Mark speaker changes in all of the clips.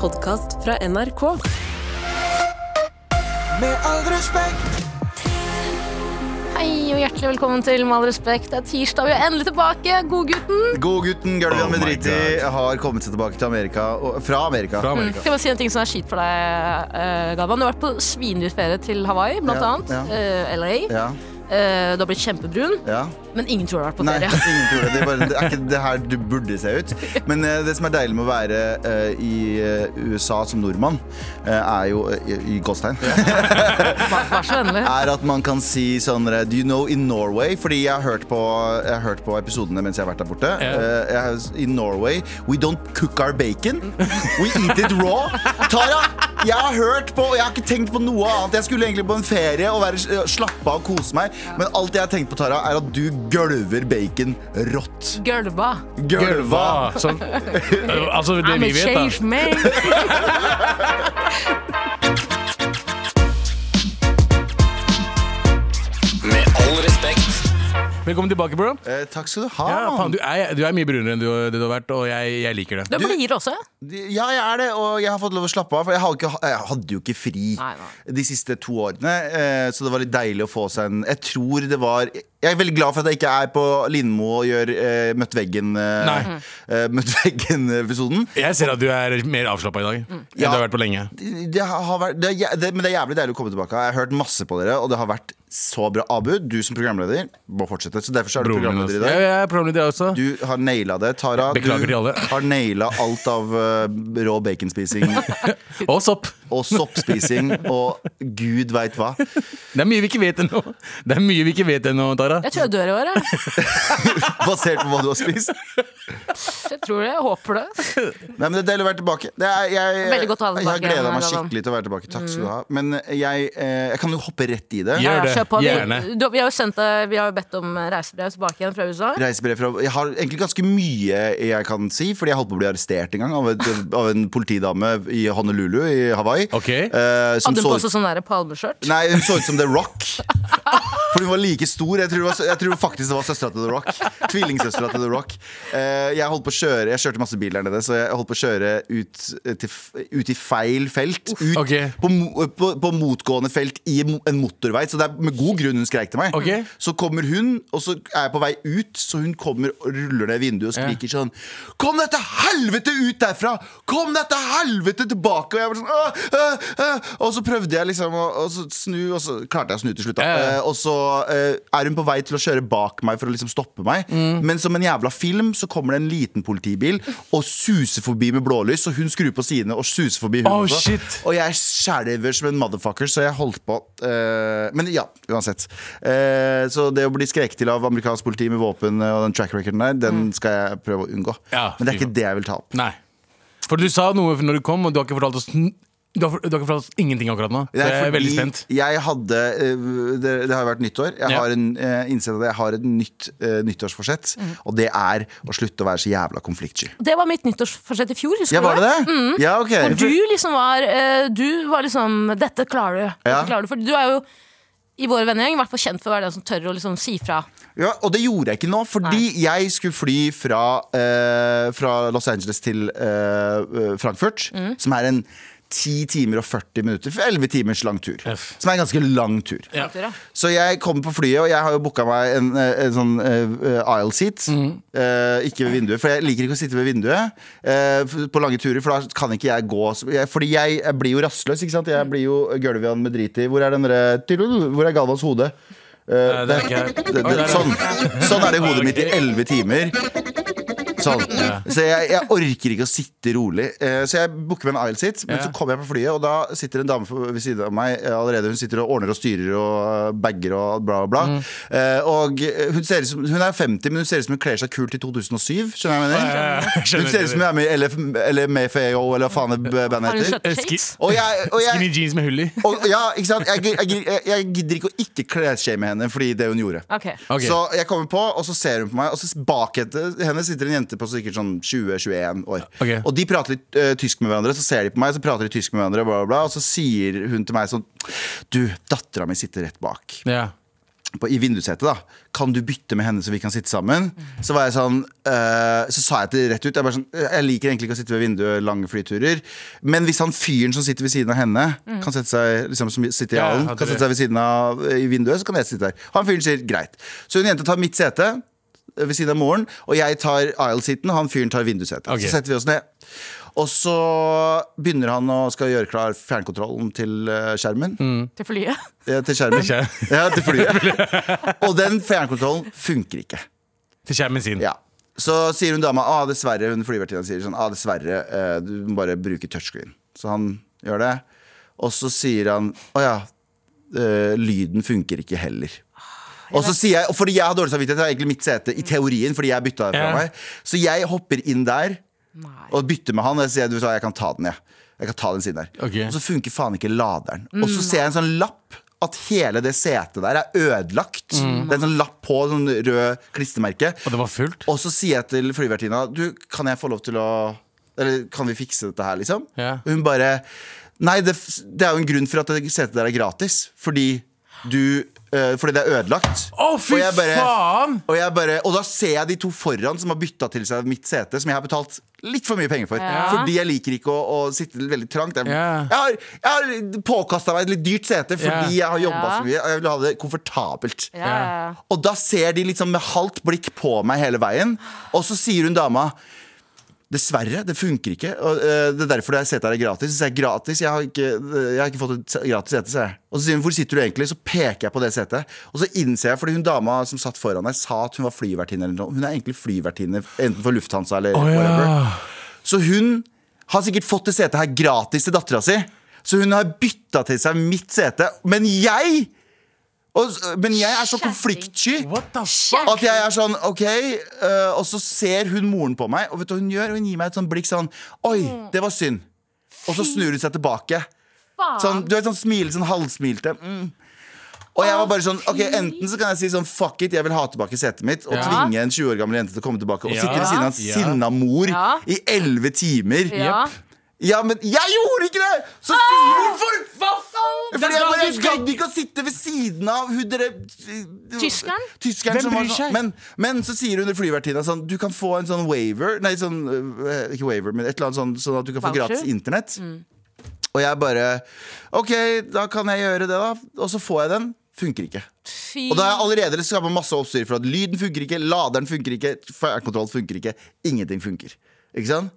Speaker 1: podkast fra NRK.
Speaker 2: Med all respekt,
Speaker 3: Hei og hjertelig velkommen til Med all respekt. Det er tirsdag, vi er endelig tilbake. Godgutten.
Speaker 4: Godgutten Gullian
Speaker 2: Oh my
Speaker 4: Medriti har kommet seg tilbake til Amerika og, fra Amerika.
Speaker 2: Fra Amerika.
Speaker 3: Skal jeg bare si en ting som er kjipt for deg, eh, Galvan. Du har vært på svindyr ferie til Hawaii, blant
Speaker 4: Ja,
Speaker 3: annet.
Speaker 4: ja.
Speaker 3: eh, LA.
Speaker 4: Ja,
Speaker 3: Eh, du har blitt kjempebrun,
Speaker 4: ja.
Speaker 3: men ingen tror du har vært på
Speaker 4: Nei,
Speaker 3: ferie.
Speaker 4: ingen tror det. Det er, bare, det er ikke det her du burde se ut. Men eh, det som er deilig med å være eh, i eh, USA som nordmann, eh, er jo eh, i, i Gåstein,
Speaker 3: Vær, vær så vennlig.
Speaker 4: er at man kan si sånn eh, Do you know in Norway? Fordi jeg har hørt på, jeg har hørt på episodene mens jeg har vært der borte. Eh, jeg, har- I Norway, we don't cook our bacon. We eat it raw. Tara, jeg har hørt på, og jeg har ikke tenkt på noe annet. Jeg skulle egentlig på en ferie og være, eh, slappe av og kose meg. Men alt jeg har tenkt på, Tara, er at du gølver bacon rått.
Speaker 3: Gølva.
Speaker 4: Gølva!
Speaker 5: Sånn. Eh, Altså, det
Speaker 3: I'm a
Speaker 5: vi vet,
Speaker 3: change
Speaker 5: da.
Speaker 3: man.
Speaker 2: med all respekt,
Speaker 5: Velkommen tilbake, bro.
Speaker 4: Eh, takk skal du ha.
Speaker 5: Ja, faen, du, er, du er mye brunere enn du, det du har vært, og jeg, jeg liker
Speaker 3: Du
Speaker 5: det.
Speaker 3: er blidere også.
Speaker 4: Ja, jeg er det, og jeg har fått lov å slappe av. For jeg, har ikke, jeg hadde jo ikke fri
Speaker 3: Nei, nei.
Speaker 4: de siste to årene, eh, så det var litt deilig å få seg en Jeg tror det var Jeg er veldig glad for at jeg ikke er på Lindmo og gjør eh, Møtt
Speaker 5: Nei.
Speaker 4: veggen-episoden. Eh, møtt veggen-episoden.
Speaker 5: Jeg ser at du er mer avslappa i dag enn du
Speaker 4: Ja.
Speaker 5: har vært på lenge.
Speaker 4: Det- det har vært, det, er jæ- det, men det er jævlig deilig å komme tilbake. Jeg har hørt masse på dere, og det har vært så bra. Abu, du som programleder må fortsette. Så derfor så er du
Speaker 5: Broren min
Speaker 4: programleder
Speaker 5: også.
Speaker 4: i dag.
Speaker 5: Ja, ja, jeg er programleder, jeg også.
Speaker 4: Du har naila det. Tara,
Speaker 5: Beklager
Speaker 4: du
Speaker 5: til alle.
Speaker 4: har naila alt av eh, rå baconspising
Speaker 5: Og sopp.
Speaker 4: og soppspising og gud veit hva.
Speaker 5: Det er mye vi ikke vet ennå. Det er mye vi ikke vet ennå, Tara.
Speaker 3: Jeg tror jeg dør i år. Jeg,
Speaker 4: Basert på hva du har spist.
Speaker 3: jeg tror det. Jeg håper det.
Speaker 4: Nei, men Det er deilig å være tilbake. Det er, jeg,
Speaker 3: Veldig godt å ha deg
Speaker 4: jeg har
Speaker 3: tilbake,
Speaker 4: gleda meg
Speaker 3: Galvan. Mm.
Speaker 4: skikkelig til å være tilbake. Takk skal du ha. Men jeg, eh, jeg kan jo hoppe rett i det.
Speaker 5: Gjør
Speaker 3: Ja,
Speaker 5: det.
Speaker 3: kjør på. Vi,
Speaker 5: Gjerne.
Speaker 3: du, vi har jo sendt deg Vi har jo bedt om reisebrev tilbake igjen fra USA.
Speaker 4: Reisebrev fra Jeg har egentlig ganske mye jeg kan si, fordi jeg holdt på å bli arrestert en gang av, et, av en politidame i Honolulu i Hawaii.
Speaker 5: Ok.
Speaker 4: eh, som
Speaker 3: Hadde hun
Speaker 4: så
Speaker 3: på
Speaker 4: ut-
Speaker 3: seg sånn der palmeskjørt?
Speaker 4: Nei, hun så ut som The Rock. For hun var like stor. Jeg tror, det var, jeg tror faktisk det var søstera til The Rock. Tvillingsøstera til The Rock. Eh, jeg holdt på å kjøre Jeg kjørte masse bil der nede, så jeg holdt på å kjøre ut, eh, til, f- ut i feil felt. Ut
Speaker 5: Ok.
Speaker 4: på, mo- på, på motgående felt i mo- en motorvei, så det er med god grunn hun skreik til meg.
Speaker 5: Ok.
Speaker 4: Så kommer hun, og så er jeg på vei ut, så hun kommer og ruller ned vinduet og skriker sånn Kom deg til helvete ut derfra! Kom deg til helvete tilbake! Og jeg var sånn «Åh, øh, øh». Og så prøvde jeg liksom å, å så snu, og så klarte jeg å snu til slutt. Da.
Speaker 5: Ja, ja, ja.
Speaker 4: Eh, og så eh, er hun på vei til å kjøre bak meg for å liksom stoppe meg.
Speaker 5: Mm.
Speaker 4: Men som en jævla film så kommer det en liten politibil og suser forbi med blålys, og hun skrur på sidene og suser forbi hun
Speaker 5: Oh,
Speaker 4: også.
Speaker 5: shit.
Speaker 4: Og jeg skjelver som en motherfucker, så jeg holdt på eh, Men ja, uansett. Eh, så det å bli skreket til av amerikansk politi med våpen eh, og den track recorden der, den skal jeg prøve å unngå.
Speaker 5: Mm. Ja,
Speaker 4: men det er
Speaker 5: fy
Speaker 4: ikke det jeg vil ta opp.
Speaker 5: Nei. For du sa noe når du kom, og du har ikke fortalt oss n- du har, du har ikke fortalt oss ingenting akkurat nå. Så
Speaker 4: Det er
Speaker 5: jeg er
Speaker 4: fordi
Speaker 5: veldig spent.
Speaker 4: Jeg hadde eh, Det, det har jo vært nyttår. Jeg
Speaker 5: Ja.
Speaker 4: har en, eh, innsett at jeg har et nytt eh, nyttårsforsett,
Speaker 5: Mm.
Speaker 4: og det er å slutte å være så jævla konfliktsky.
Speaker 3: Det var mitt nyttårsforsett i fjor. husker
Speaker 4: Ja,
Speaker 3: du
Speaker 4: var det det?
Speaker 5: Mm.
Speaker 4: Ja, ok.
Speaker 3: Hvor du liksom var eh, Du var liksom Dette klarer du. Dette
Speaker 4: Ja.
Speaker 3: klarer du. For du er jo i vår vennegjeng i hvert fall kjent for å være den som tør å liksom si fra.
Speaker 4: Ja, og det gjorde jeg ikke nå, fordi jeg skulle fly fra, eh, fra Los Angeles til eh, Frankfurt, som er en 10 timer og 40 minutter, 11 timers lang tur.
Speaker 5: F.
Speaker 4: Som er en ganske lang tur.
Speaker 5: Ja.
Speaker 3: Tror jeg.
Speaker 4: Så jeg kommer på flyet, og jeg har jo booka meg en, eh, en sånn eh, aisle seat. Eh, ikke ved vinduet, for jeg liker ikke å sitte ved vinduet eh, f- på lange turer. For da kan ikke jeg gå så- jeg, Fordi jeg, jeg blir jo rastløs, ikke sant. Jeg blir jo Gulvian med drit i. Hvor er den derre Hvor er Galvans hode? Eh,
Speaker 5: det er ikke her.
Speaker 4: det,
Speaker 5: Oi, der
Speaker 4: det,
Speaker 5: er
Speaker 4: sånn, sånn er det i hodet mitt i
Speaker 5: Ok.
Speaker 4: elleve timer. Sånn. Så jeg, jeg orker ikke å sitte rolig. Eh, Så jeg booker meg en aisle seat, men
Speaker 5: Ja.
Speaker 4: så kommer jeg på flyet, og da sitter en dame for- ved siden av meg eh, allerede. Hun sitter og ordner og styrer og eh, bager og bla, bla, bla. Eh, Og eh, hun, ser ut som, hun er 50, men hun ser ut som hun kler seg kult i 2007. Skjønner du hva jeg mener? Hun ser ut som hun er med i LF, eller MFAO, eller hva faen det b-
Speaker 3: Har
Speaker 4: bandet
Speaker 3: hun
Speaker 4: heter.
Speaker 3: skjøtt
Speaker 5: Eski-
Speaker 3: shakes?
Speaker 4: Og jeg, og jeg
Speaker 5: Skinny jeans Eh, med hull i.
Speaker 4: og, ja, ikke sant? Jeg, gir- jeg, gir- jeg, jeg gidder ikke å ikke klesshame henne fordi det hun gjorde.
Speaker 3: Ok.
Speaker 5: Ok.
Speaker 4: Så jeg kommer på, og så ser hun på meg, og så bak etter henne sitter en jente på sikkert sånn 20-21 år.
Speaker 5: Ok.
Speaker 4: Og de prater litt eh, tysk med hverandre, så ser de på meg, så prater de tysk med hverandre, bla, bla, bla, og så sier hun til meg sånn Du, dattera mi sitter rett bak.
Speaker 5: Ja.
Speaker 4: på, i vindussetet, da. Kan du bytte med henne, så vi kan sitte sammen? Så var jeg sånn eh, Så sa jeg det rett ut. Jeg, bare sånn, eh, jeg liker egentlig ikke å sitte ved vinduet lange flyturer. Men hvis han fyren som sitter ved siden av henne, kan sette seg liksom, som sitter i
Speaker 5: Mm. Ja,
Speaker 4: hallen,
Speaker 5: hadde
Speaker 4: kan
Speaker 5: det.
Speaker 4: sette seg ved siden av eh, i vinduet, så kan jeg sitte der. Han fyren sier greit. Så hun jenta tar mitt sete eh, ved siden av moren, og jeg tar aisle-seaten, han fyren tar vindussetet.
Speaker 5: Ok.
Speaker 4: Så setter vi oss ned. Og så begynner han å skal gjøre klar fjernkontrollen til eh, skjermen.
Speaker 3: til flyet.
Speaker 4: Ja, til skjermen.
Speaker 5: skjermen.
Speaker 4: Ja, til flyet. Og den fjernkontrollen funker ikke.
Speaker 5: Til skjermen sin.
Speaker 4: Ja. Så sier hun dama ah, dessverre, hun flyvertinna sier sånn ah, dessverre, eh, du må bare bruke touchscreen. Så han gjør det. Og så sier han å ja, eh, lyden funker ikke heller.
Speaker 5: Ah,
Speaker 4: Og så sier jeg, og fordi jeg har dårlig samvittighet, det er egentlig mitt sete i teorien, fordi jeg bytta det fra
Speaker 5: Mm. Ja.
Speaker 4: meg. Så jeg hopper inn der
Speaker 3: Nei.
Speaker 4: og bytter med han. Og jeg sier du, vet hva, jeg kan ta den, jeg. Jeg kan ta den siden der.
Speaker 5: Ok. Mm,
Speaker 4: Og så funker faen ikke laderen. Og så ser jeg en sånn lapp at hele det setet der er ødelagt. Det er en sånn lapp på, sånn rød klistremerke.
Speaker 5: Mm. Og det var fullt.
Speaker 4: Og så sier jeg til flyvertinna Du, kan jeg få lov til å Eller kan vi fikse dette her, liksom?
Speaker 5: Ja.
Speaker 4: Og hun bare Nei, det, f- det er jo en grunn for at det setet der er gratis. Fordi du eh, Fordi det er ødelagt.
Speaker 5: Å, fy
Speaker 4: Og jeg bare-
Speaker 5: faen!
Speaker 4: Og, jeg bare, og da ser jeg de to foran som har bytta til seg mitt sete, som jeg har betalt litt for mye penger for.
Speaker 3: Ja.
Speaker 4: Fordi jeg liker ikke å, å sitte veldig trangt. Jeg,
Speaker 5: Ja.
Speaker 4: jeg har, jeg har påkasta meg et litt dyrt sete fordi jeg
Speaker 5: Ja.
Speaker 4: har jobba
Speaker 3: Ja.
Speaker 4: så mye. og Jeg vil ha det komfortabelt.
Speaker 3: Ja, ja, ja.
Speaker 4: Og da ser de liksom med halvt blikk på meg hele veien, og så sier hun dama Dessverre, det funker ikke. Og, eh, det er derfor det setet her er gratis. Så sier jeg gratis, jeg har ikke, jeg har ikke fått et se- gratis sete, sier jeg. Og så sier hun hvor sitter du egentlig? Så peker jeg på det setet. Og så innser jeg, fordi hun dama som satt foran meg, sa at hun var flyvertinne eller noe. Hun er egentlig flyvertinne, enten for Lufthansa eller
Speaker 5: Å,
Speaker 4: whatever.
Speaker 5: ja.
Speaker 4: Så hun har sikkert fått det setet her gratis til dattera si. Så hun har bytta til seg mitt sete. Men jeg og, Men jeg er så
Speaker 3: Kjerring.
Speaker 4: konfliktsky
Speaker 5: What the f...
Speaker 4: at jeg er sånn OK. eh, og så ser hun moren på meg, og vet du hva hun gjør? Hun gir meg et sånn blikk sånn Oi, det var synd. Og så snur hun seg tilbake.
Speaker 3: Mm. Faen.
Speaker 4: Sånn, du vet sånn smile, sånn halvsmilte. Mm. Og jeg var bare sånn, ok, Enten så kan jeg si sånn fuck it, jeg vil ha tilbake setet mitt, og
Speaker 5: Ja.
Speaker 4: tvinge en 20 år gammel jente til å komme tilbake og
Speaker 5: Ja.
Speaker 4: sitte ved siden av en
Speaker 5: Ja.
Speaker 4: sinna mor
Speaker 3: Ja.
Speaker 4: i 11 timer.
Speaker 3: Ja.
Speaker 4: Ja, men jeg gjorde ikke det! Så
Speaker 3: Ah!
Speaker 4: sier hun for Fordi jeg bare jeg gadd ikke å sitte ved siden av hun dere
Speaker 3: Tyskeren?
Speaker 4: Tyskeren
Speaker 5: Hvem
Speaker 4: som var
Speaker 5: bryr
Speaker 4: sånn-
Speaker 5: seg?
Speaker 4: Men, men så sier hun til flyvertinna sånn Du kan få en sånn waiver Nei, sånn øh, Ikke waiver, men et eller annet sånn Sånn at du kan få
Speaker 3: Voucher? Mm.
Speaker 4: gratis internett. Og jeg bare OK, da kan jeg gjøre det, da. Og så får jeg den. Funker ikke.
Speaker 3: Fy.
Speaker 4: Og da har jeg allerede skapa masse oppstyr for at lyden funker ikke, laderen funker ikke, fjernkontroll funker ikke, ingenting funker. Ikke sant?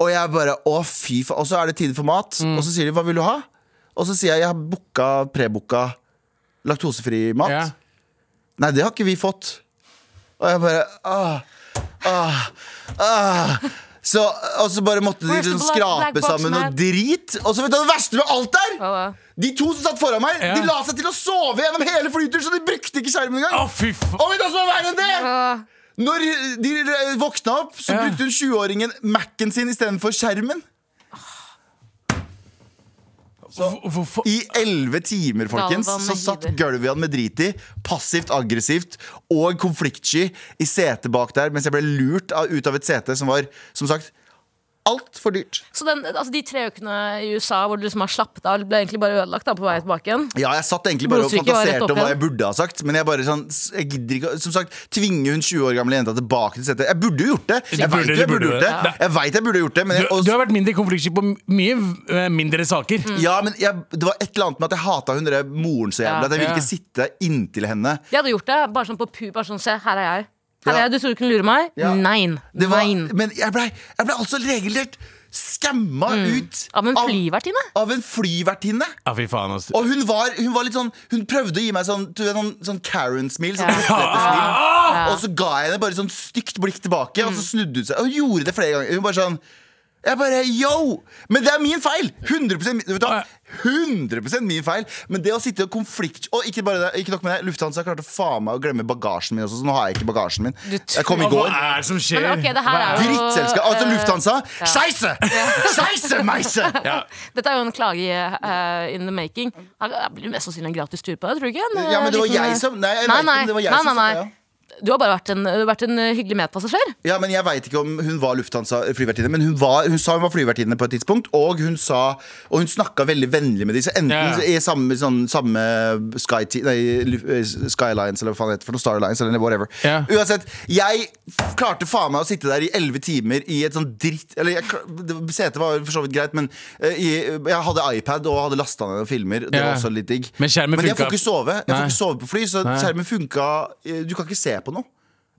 Speaker 4: Og jeg bare å fy faen. Og så er det tid for mat,
Speaker 3: Mm.
Speaker 4: og så sier de hva vil du ha? Og så sier jeg jeg har booka, prebooka laktosefri mat.
Speaker 5: Ja.
Speaker 4: Nei, det har ikke vi fått. Og jeg bare ah, ah, ah. Så, og så bare måtte de
Speaker 3: Where's the black-
Speaker 4: liksom
Speaker 3: black box,
Speaker 4: skrape sammen noe
Speaker 3: man?
Speaker 4: drit. Og så vet du hva det verste med alt er?
Speaker 3: Hva da?
Speaker 4: De to som satt foran meg,
Speaker 5: Ja.
Speaker 4: de la seg til å sove gjennom hele flyturen, så de brukte ikke skjermen engang.
Speaker 5: Å, fy faen!
Speaker 4: Og vet du hva som er verre enn det?
Speaker 3: Åh,
Speaker 4: Når de eh, våkna opp, så
Speaker 5: Ja.
Speaker 4: brukte hun 20-åringen Mac-en sin istedenfor skjermen.
Speaker 5: Hvor- Hvorfor
Speaker 4: I 11 timer, folkens,
Speaker 3: Galvan
Speaker 4: så
Speaker 3: med
Speaker 4: satt
Speaker 3: hiver.
Speaker 4: Gulvian med drit i, passivt aggressivt og konfliktsky i setet bak der, mens jeg ble lurt av, ut av et sete som var, som sagt, altfor dyrt.
Speaker 3: Så den, altså de tre ukene i USA hvor du liksom har slappet av, ble egentlig bare ødelagt da, på vei tilbake igjen?
Speaker 4: Ja, jeg satt egentlig bare og
Speaker 3: Blodtrykket var rett
Speaker 4: fantaserte
Speaker 3: opp
Speaker 4: om hva jeg
Speaker 3: igjen.
Speaker 4: burde ha sagt. Men jeg bare sånn s- jeg gidder ikke, å- Som sagt, tvinge hun 20 år gamle jenta tilbake til setet. Jeg burde jo gjort det! Jeg
Speaker 5: burde-
Speaker 4: vet jo
Speaker 5: du
Speaker 4: jeg burde
Speaker 5: burde
Speaker 4: gjort
Speaker 5: det.
Speaker 4: det. Jeg vet jeg burde gjort det, men jeg,
Speaker 5: du,
Speaker 4: og,
Speaker 5: du har vært mindre konfliktsky på mye eh, mindre saker.
Speaker 4: ja, men jeg, det var et eller annet med at jeg hata hun der moren så jævlig.
Speaker 3: Ja.
Speaker 4: At jeg ville
Speaker 5: Ja.
Speaker 4: ikke sitte inntil henne.
Speaker 3: De hadde gjort det, bare sånn på pu, bare sånn, se, her er jeg. Her er
Speaker 4: Ja.
Speaker 3: jeg, du tror du kunne lure meg?
Speaker 4: Ja.
Speaker 3: Nei.
Speaker 4: Det var,
Speaker 3: Nei.
Speaker 4: men jeg blei jeg ble altså regelrett skamma ut
Speaker 3: Mm. Av en flyvertinne?
Speaker 4: av en flyvertinne.
Speaker 5: Ja, fy faen, ass.
Speaker 4: Og hun var, hun var litt sånn Hun prøvde å gi meg sånn, du vet, sånn, sånn Karen-smil. Sånn
Speaker 3: Ja.
Speaker 5: Ah,
Speaker 4: lettlette smil.
Speaker 3: Ja.
Speaker 4: Ah, Og så ga jeg henne bare sånn stygt blikk tilbake, og så snudde hun seg. Og hun gjorde det flere ganger. Hun bare sånn jeg bare, yo! Men det er min feil! 100%, min- vet du, hva? 100 min feil. Men det å sitte og konflikt Og ikke bare det, ikke nok med det. Lufthansa klarte faen meg å glemme bagasjen min også, så nå har jeg ikke bagasjen min. Jeg kom i
Speaker 5: Hva
Speaker 4: går.
Speaker 5: er det som skjer?
Speaker 3: Men ok, det her
Speaker 5: Hva
Speaker 3: er jo-
Speaker 4: Drittselskap. Altså
Speaker 3: Eh,
Speaker 4: Lufthansa. Scheisse! Scheisse, meise!
Speaker 5: ja.
Speaker 3: Dette er jo en klage eh, in the making. Her blir det mest sannsynlig en gratis tur på det, tror du ikke? En,
Speaker 4: Ja, men det var
Speaker 3: liten-
Speaker 4: jeg som- nei, jeg vet ikke om det var jeg
Speaker 3: nei,
Speaker 4: som
Speaker 3: nei,
Speaker 4: sa det,
Speaker 3: nei, nei,
Speaker 4: ja.
Speaker 3: nei. Du har bare vært en, du har vært en eh, hyggelig medpassasjer.
Speaker 4: Ja, men Jeg veit ikke om hun var Lufthansa flyvertinne, men hun, var, hun sa hun var flyvertinne på et tidspunkt. Og hun, sa- og hun snakka veldig vennlig med disse. Enten
Speaker 5: Ja, ja.
Speaker 4: i samme, sånn, samme Sky, Te- nei, Lu- eh, Sky Alliance eller hva faen det heter for noe, Star Alliance eller whatever.
Speaker 5: Ja.
Speaker 4: Uansett, jeg f- klarte faen meg å sitte der i elleve timer i et sånt dritt Eller jeg kl- det- setet var for så vidt greit, men eh, i, jeg hadde iPad og hadde lasta ned noen filmer. Det
Speaker 5: Ja.
Speaker 4: var også litt digg.
Speaker 5: Men skjermen
Speaker 4: jeg
Speaker 5: funka.
Speaker 4: får ikke sove. Jeg
Speaker 5: Nei.
Speaker 4: får ikke sove på fly, så
Speaker 5: Nei.
Speaker 4: skjermen funka eh, Du kan ikke se på noe.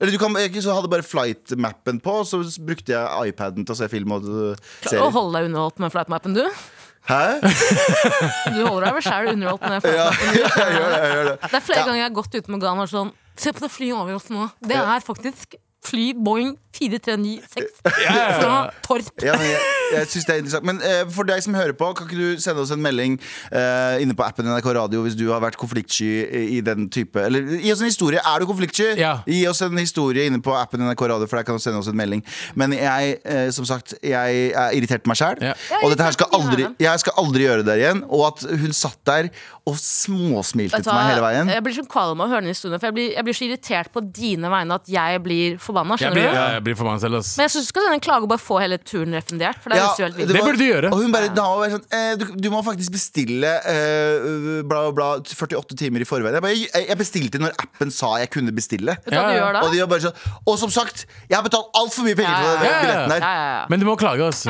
Speaker 4: Eller du kan, jeg så hadde bare flight-mappen på, så s- brukte jeg iPaden til å se film og øh,
Speaker 3: Og
Speaker 4: serier.
Speaker 3: holde deg underholdt med flightmappen, du.
Speaker 4: Hæ?
Speaker 3: Du holder deg vel sjæl underholdt med
Speaker 4: Ja,
Speaker 3: flightmappen.
Speaker 4: jeg gjør det. Jeg gjør det.
Speaker 3: Det er flere ganger jeg har gått ut med Gan og vært sånn Se på det flyet over oss nå. Det er faktisk fly Boeing 4396
Speaker 5: Ja, ja,
Speaker 3: fra
Speaker 5: ja.
Speaker 3: Torp.
Speaker 4: Ja, men jeg, jeg synes det er interessant Men eh, for deg som hører på, kan ikke du sende oss en melding eh, Inne på appen NRK Radio Hvis du har vært konfliktsky i, i den type Eller gi oss en historie, er du konfliktsky?
Speaker 5: Ja.
Speaker 4: Gi oss en historie inne på appen NRK Radio For der kan du sende oss en melding Men jeg, eh, som sagt, jeg er irritert på meg selv
Speaker 5: Ja.
Speaker 4: Og dette her
Speaker 3: irritert
Speaker 4: skal
Speaker 3: på meg
Speaker 4: aldri
Speaker 3: selv.
Speaker 4: Jeg skal aldri gjøre det der igjen Og at hun satt der og småsmilte til meg hele veien
Speaker 3: Jeg blir så kvalm av å høre den historien, for jeg blir, jeg blir så irritert på dine vegne at jeg blir forbanna.
Speaker 5: Jeg
Speaker 3: Skjønner
Speaker 5: blir,
Speaker 3: du?
Speaker 5: ja, jeg blir forbanna selv, ass.
Speaker 3: Men jeg syns du skal sende en klage og bare få hele turen refundert. For det er
Speaker 4: Ja,
Speaker 3: jo helt vilt.
Speaker 5: Det burde du gjøre.
Speaker 4: Og hun bare, da var jeg sånn, eh, du, du må faktisk bestille eh, bla, bla, bla 48 timer i forveien. Jeg, bare, jeg, jeg bestilte når appen sa jeg kunne bestille.
Speaker 3: Vet du hva
Speaker 5: Ja,
Speaker 3: du
Speaker 5: ja.
Speaker 3: gjør da?
Speaker 4: Og, de var bare sånn, og som sagt, jeg har betalt altfor mye penger for
Speaker 3: Ja,
Speaker 4: den
Speaker 5: ja, ja.
Speaker 3: Ja,
Speaker 4: billetten der.
Speaker 3: ja, ja.
Speaker 5: Men du må klage, ass.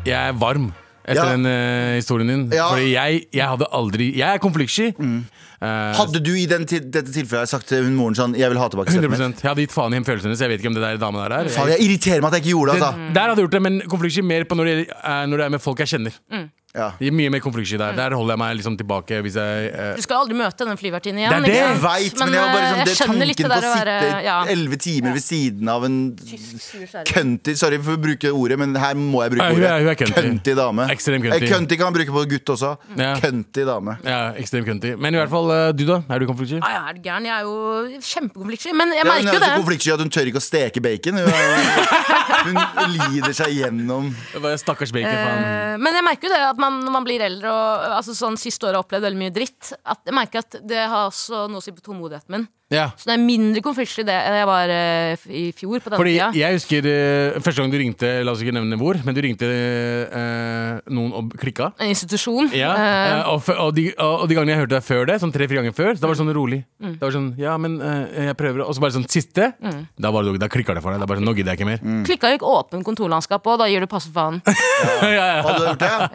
Speaker 5: Jeg er varm etter
Speaker 4: Ja.
Speaker 5: den eh, historien din.
Speaker 4: Ja.
Speaker 5: Fordi jeg, jeg hadde aldri Jeg er konfliktsky. Eh,
Speaker 4: Hadde du i den, til- dette tilfellet sagt til hun moren sånn Jeg vil ha tilbake setet mitt?
Speaker 5: 100% Jeg hadde gitt faen i en følelse hennes. Jeg vet ikke om det der dame der er.
Speaker 4: Faen, jeg irriterer meg at jeg ikke gjorde det, altså.
Speaker 3: Mm.
Speaker 5: Det- Der hadde jeg gjort det, men konfliktsky mer på når det, gjelder, eh, når det er med folk jeg kjenner.
Speaker 3: Mm.
Speaker 4: Ja.
Speaker 5: Det er Mye mer konfliktsky der. Der holder jeg meg liksom tilbake hvis jeg eh,
Speaker 3: Du skal aldri møte den flyvertinnen igjen.
Speaker 5: Det er det
Speaker 3: ikke
Speaker 4: Jeg
Speaker 3: sant?
Speaker 4: veit, men jeg var bare
Speaker 3: eh,
Speaker 4: sånn, det er
Speaker 3: skjønner litt det
Speaker 4: tanken på
Speaker 3: der å
Speaker 4: å
Speaker 3: være-
Speaker 4: sitte
Speaker 3: ja.
Speaker 4: elleve timer ved siden av en
Speaker 3: Skjønner.
Speaker 4: Kønti, sorry for å bruke ordet, men her må jeg bruke
Speaker 5: Ja, hun
Speaker 4: ordet.
Speaker 5: er- hun er kønti.
Speaker 4: dame.
Speaker 5: Ekstrem kønti.
Speaker 4: Eh, Kønti kan man bruke på gutt også.
Speaker 5: Ja.
Speaker 4: Kønti dame.
Speaker 5: Ja, ekstremt kønti. Men i hvert fall, eh, du da? Er du konfliktsky?
Speaker 3: Ja, ja, er du gæren? Jeg er jo kjempekonfliktsky. Men jeg
Speaker 4: Ja, hun
Speaker 3: merker
Speaker 4: er
Speaker 3: jo det.
Speaker 4: så konfliktsky at hun tør ikke å steke bacon. Hun, er- hun lider seg gjennom
Speaker 5: Det var Stakkars bacon. faen.
Speaker 3: Eh, Men jeg merker jo det at man, når man blir eldre og eh, altså, sånn siste året har jeg opplevd veldig mye dritt, at jeg merker at det har også noe å si på tålmodigheten min.
Speaker 5: Ja.
Speaker 3: Så det er mindre konfliktsky det enn jeg var eh, f- i fjor på denne
Speaker 5: Fordi
Speaker 3: tida.
Speaker 5: jeg husker eh, første gang du ringte, la oss ikke nevne hvor, men du ringte eh, noen og klikka.
Speaker 3: En institusjon.
Speaker 5: Ja,
Speaker 3: eh,
Speaker 5: eh, og, f- og, de, og de gangene jeg hørte deg før det, sånn tre-fire ganger før, så da var det sånn rolig.
Speaker 3: Mm.
Speaker 5: Da var det sånn, ja, men eh, jeg prøver, Og så bare sånn siste. Da, var det, da klikka det for deg. Da bare sånn, Nå gidder jeg ikke mer.
Speaker 4: Mm.
Speaker 3: Klikka jo ikke åpen kontorlandskap òg, da gir du passe faen. Eh,
Speaker 5: ja, ja.
Speaker 4: Hadde du gjort det?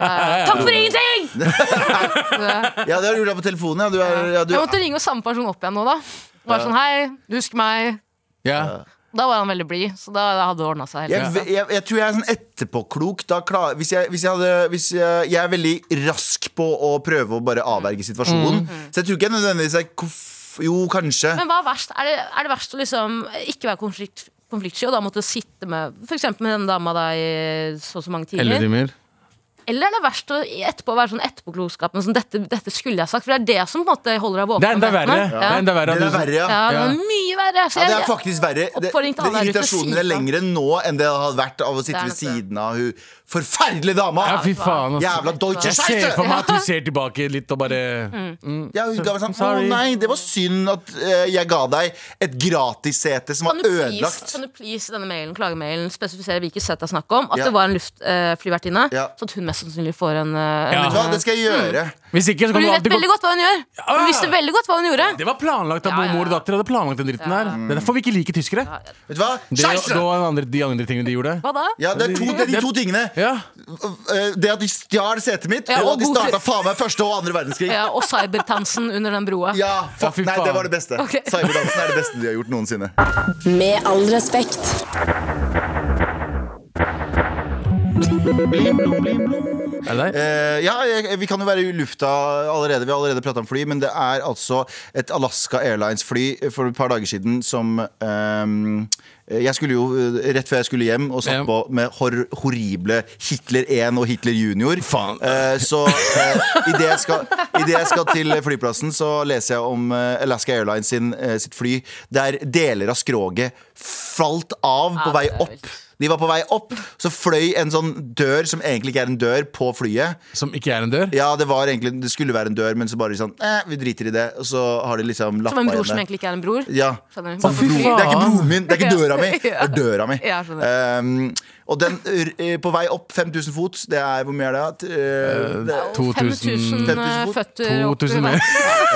Speaker 3: Takk for ingenting!
Speaker 4: Ja, det har du gjort det på telefonen. Ja. Du er, ja, du,
Speaker 3: Jeg måtte ringe samme person opp igjen nå, da. Og Bare sånn, hei, du husker meg.
Speaker 5: ja.
Speaker 3: Da var han veldig blid, så da da hadde det ordna seg.
Speaker 4: jeg,
Speaker 3: Helt.
Speaker 4: jeg, jeg, tror jeg er sånn etterpåklok. Da klar, hvis jeg, hvis jeg, hadde, hvis jeg, jeg er veldig rask på å prøve å bare avverge situasjonen.
Speaker 3: Mm.
Speaker 4: Så jeg tror ikke jeg nødvendigvis er konf- Jo, kanskje.
Speaker 3: Men hva er verst? Er det, er det verst å liksom ikke være konflikt, konfliktsky og da måtte sitte med for eksempel med den dama da i så og så mange timer?
Speaker 5: Elleve
Speaker 3: Eller,
Speaker 5: timer.
Speaker 3: er det verst å etterpå være sånn etterpåklokskapen sånn dette, 'dette skulle jeg sagt'? For det er det som på en måte holder deg våken.
Speaker 5: Det er enda
Speaker 3: om
Speaker 5: verre.
Speaker 3: nettene.
Speaker 5: Det er enda verre. at
Speaker 4: Den
Speaker 5: du-
Speaker 4: er verre, ja.
Speaker 3: Ja, det
Speaker 5: Ja.
Speaker 3: er mye verre. Så
Speaker 4: Ja,
Speaker 3: jeg,
Speaker 4: det er faktisk verre. Det,
Speaker 3: Oppfordring til alle
Speaker 4: det-
Speaker 3: der ute, si
Speaker 4: irritasjonen er
Speaker 3: ifra.
Speaker 4: lengre nå enn det hadde vært av å
Speaker 3: Det er
Speaker 4: sitte ved
Speaker 3: nok det.
Speaker 4: siden av hun forferdelige dama!
Speaker 5: Ja, fy faen, ass.
Speaker 4: Jævla Deutsche
Speaker 5: Jeg ser for
Speaker 4: Scheiße!
Speaker 5: meg at du ser tilbake litt og bare
Speaker 3: Mm.
Speaker 4: Ja, hun ga meg sånn Å
Speaker 5: Sorry.
Speaker 4: nei, det var synd at eh, jeg ga deg et gratissete som var
Speaker 3: kan du, please,
Speaker 4: ødelagt.
Speaker 3: kan du please i denne mailen, klagemailen spesifisere hlyket sett det er snakk om? At
Speaker 4: Ja.
Speaker 3: det var en luftflyvertinne?
Speaker 4: Ja.
Speaker 3: Så at hun mest sannsynlig får en eh, en-
Speaker 5: Ja.
Speaker 4: Vet du hva, det skal jeg gjøre.
Speaker 5: Hvis ikke, så
Speaker 3: For hun
Speaker 5: kan du
Speaker 3: vet
Speaker 5: alltid gå
Speaker 3: veldig godt hva hun gjør!
Speaker 5: Ja.
Speaker 3: Hun visste veldig godt hva hun gjorde.
Speaker 5: Det var planlagt av
Speaker 3: Ja, ja, ja.
Speaker 5: mor og datter. hadde planlagt den dritten her Det er derfor vi ikke liker tyskere.
Speaker 4: Vet du hva?
Speaker 5: Det,
Speaker 4: Scheisse!
Speaker 5: det var den andre, de andre tingene de gjorde.
Speaker 3: Hva da?
Speaker 4: Ja, det er, to, det er de to tingene.
Speaker 5: Ja.
Speaker 4: Eh, Det at de stjal setet mitt,
Speaker 3: Ja,
Speaker 4: og
Speaker 3: og
Speaker 4: at de
Speaker 3: god tur.
Speaker 4: starta faen meg første og andre verdenskrig.
Speaker 3: Ja, og cybertansen under den broa.
Speaker 4: Ja, fuck,
Speaker 5: fy
Speaker 4: nei,
Speaker 5: faen.
Speaker 4: det var det beste.
Speaker 3: Ok.
Speaker 4: Cyberdansen er det beste de har gjort noensinne.
Speaker 1: Med all respekt.
Speaker 5: Er det deg?
Speaker 4: Eh, ja, jeg, vi kan jo være i lufta allerede. Vi har allerede prata om fly, men det er altså et Alaska Airlines-fly for et par dager siden som ehm, Jeg skulle jo, eh, Rett før jeg skulle hjem og satt
Speaker 5: Ja.
Speaker 4: på med hor horrible Hitler 1 og Hitler junior.
Speaker 5: Faen.
Speaker 4: Eh, så eh, idet jeg, skal- i det jeg skal til flyplassen, så leser jeg om eh, Alaska Airlines sin, eh, sitt fly der deler av skroget falt av på
Speaker 3: Ja,
Speaker 4: vei
Speaker 3: det er
Speaker 4: opp
Speaker 3: vilt.
Speaker 4: De var på vei opp, så fløy en sånn dør som egentlig ikke er en dør, på flyet.
Speaker 5: Som ikke er en dør?
Speaker 4: Ja, det, var egentlig, det skulle være en dør, men så bare sånn eh, Vi driter i det. Og så har de liksom
Speaker 3: Som
Speaker 4: lappa
Speaker 3: en bror som
Speaker 4: igjen det.
Speaker 3: egentlig ikke er en bror.
Speaker 4: Ja.
Speaker 3: Skjønner du?
Speaker 4: Sånn,
Speaker 5: fy
Speaker 4: bror, det er ikke broren min, det er ikke døra mi. Det
Speaker 3: Ja.
Speaker 4: er døra mi.
Speaker 3: Ja, skjønner.
Speaker 4: Ehm, og den r- eh, på vei opp 5000 fot, det er hvor mye er det? Eh, det
Speaker 5: 2000
Speaker 3: 5000 eh, føtter opp i
Speaker 5: 2000 mer.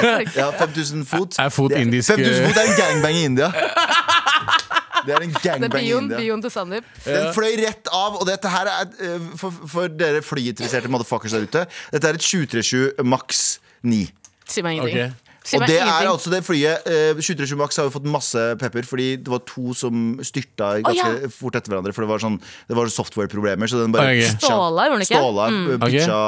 Speaker 3: vannet.
Speaker 4: ja, 5000 fot.
Speaker 5: Er fot
Speaker 4: Det er-
Speaker 5: indisk,
Speaker 4: 5000
Speaker 5: eh?
Speaker 4: fot er en gangbang i India. Det er en
Speaker 3: Det er
Speaker 4: gangbang i
Speaker 3: bioen,
Speaker 4: India.
Speaker 3: bioen til Sandeep.
Speaker 4: Den fløy rett av, og dette her er eh, For, for dere flyinteresserte motherfuckers der ute, dette er et 737 maks 9.
Speaker 3: Si meg ingenting.
Speaker 5: Ok.
Speaker 3: Si
Speaker 4: og
Speaker 3: meg
Speaker 4: det er
Speaker 3: ingenting.
Speaker 4: altså det flyet eh, 737 Max har jo fått masse pepper, fordi det var to som styrta ganske
Speaker 3: ja.
Speaker 4: fort etter hverandre. For det var, sånn, det var software-problemer. Så den bare
Speaker 5: Ok.
Speaker 4: pitcha-
Speaker 3: Ståla, gjorde den ikke? Mm.
Speaker 4: Ståla, eh,
Speaker 5: Ok.
Speaker 4: pitcha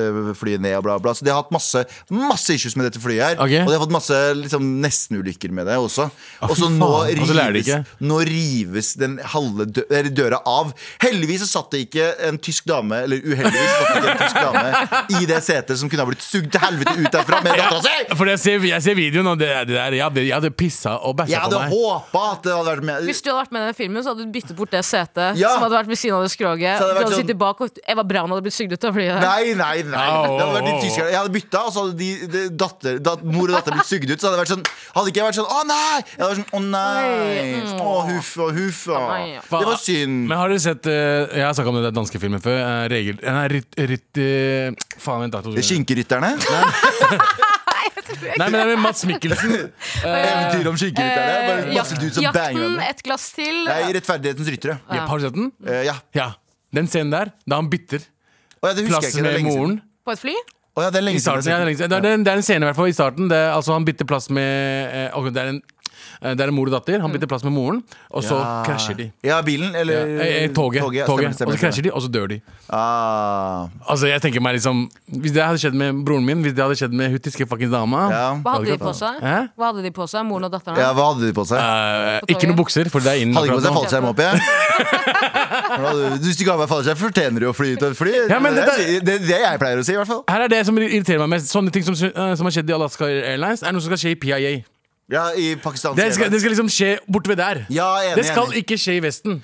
Speaker 4: eh, flyet ned og bla, bla. Så de har hatt masse, masse issues med dette flyet her.
Speaker 5: Ok.
Speaker 4: Og de har fått masse liksom, nestenulykker med det også. Og så
Speaker 5: fy
Speaker 4: nå,
Speaker 5: faen. Og så lærer de
Speaker 4: rives-
Speaker 5: ikke.
Speaker 4: nå rives den halve dø eller døra av. Heldigvis så satt det ikke en tysk dame, eller uheldigvis, satt det ikke en tysk dame i det setet som kunne ha blitt sugd til helvete ut derfra med dattera si!
Speaker 5: For jeg ser, jeg ser videoen, og det, det der, jeg, hadde, jeg hadde pissa og bæsja
Speaker 4: Jeg
Speaker 5: på
Speaker 4: hadde
Speaker 5: meg.
Speaker 4: håpa at det hadde vært med
Speaker 3: Hvis du hadde vært med i den filmen, så hadde du byttet bort det setet
Speaker 4: Ja.
Speaker 3: som hadde vært ved siden av det skroget. Du
Speaker 4: Så hadde det vært
Speaker 3: hadde
Speaker 4: sånn-
Speaker 3: sittet bak, og Eva Braun hadde blitt sugd ut av flyet.
Speaker 4: Nei, nei, nei.
Speaker 5: Au,
Speaker 4: Det hadde vært de
Speaker 5: au, au.
Speaker 4: tyskerne Jeg hadde bytta, og så hadde de, de datter, dat, mor og datter blitt sugd ut. Så hadde det vært sånn Hadde ikke jeg vært sånn Å, nei! Jeg hadde vært sånn Å, nei!
Speaker 3: Oi, mm.
Speaker 4: Å, huff og huff. å.
Speaker 3: nei, ja.
Speaker 4: Det var synd.
Speaker 5: Men har du sett eh, Jeg har snakka om den der danske filmen før. eh, regel, nei, ritt, ritt, eh, faen, vent da. to sekunder.
Speaker 4: Skinkerytterne?
Speaker 5: Nei, men det er med Mats Mikkelsen.
Speaker 4: Eventyr om skinkerytterne? Bare masse dudes som banger
Speaker 3: Eh, jakten,
Speaker 4: dem.
Speaker 3: et glass til. eh,
Speaker 4: Nei, Rettferdighetens ryttere.
Speaker 5: Ja, har du sett den?
Speaker 4: Eh, ja.
Speaker 5: Ja. Den scenen der, da han bytter
Speaker 4: Å, ja, det husker
Speaker 5: plass
Speaker 4: jeg ikke. Det er
Speaker 5: med
Speaker 4: lenge siden.
Speaker 5: moren
Speaker 3: På et fly?
Speaker 4: Å, ja, det er
Speaker 5: I
Speaker 4: lenge
Speaker 5: starten, ja, det, er
Speaker 4: siden.
Speaker 5: lenge siden. det, er, det er en scene i hvert fall i starten. Det, er- altså, han bytter plass med eh, ok, det, er en, eh, det er en mor og datter. Han bytter plass med moren, og så krasjer de.
Speaker 4: Mm. Ja, bilen,
Speaker 5: Ja.
Speaker 4: eller
Speaker 5: eh, eh, Toget.
Speaker 4: ja, stemmer,
Speaker 5: toget.
Speaker 4: stemmer,
Speaker 5: Og så krasjer de, og så dør de.
Speaker 4: Ah,
Speaker 5: Altså, jeg tenker meg liksom Hvis det hadde skjedd med broren min, hvis det hadde skjedd med hun tyske fuckings dama
Speaker 4: ja.
Speaker 3: Hva hadde de
Speaker 5: Hadde
Speaker 3: på seg?
Speaker 5: Hæ?
Speaker 3: Hva hadde de på seg, moren og datteren?
Speaker 4: ja, hva hadde de på seg?
Speaker 5: eh,
Speaker 3: På toget.
Speaker 5: Ikke noen bukser, for det er innen
Speaker 4: Hadde ikke på seg
Speaker 5: akkurat
Speaker 4: fallskjerm
Speaker 5: nå.
Speaker 4: opp igjen. Hvordan- Hvis du ikke har med fallskjerm, fortjener du å fly ut av et fly.
Speaker 5: Ja, men
Speaker 4: det,
Speaker 5: dette-
Speaker 4: er det, det jeg pleier å si, i hvert fall.
Speaker 5: Her er det som irriterer meg mest. Sånne ting som, eh, som har skjedd i Alaska Airlines, er noe som skal skje i PIA.
Speaker 4: Ja, i Pakistan
Speaker 5: Det skal, det skal liksom skje borte ved der.
Speaker 4: Ja, enig,
Speaker 5: det skal
Speaker 4: enig.
Speaker 5: ikke skje i Vesten.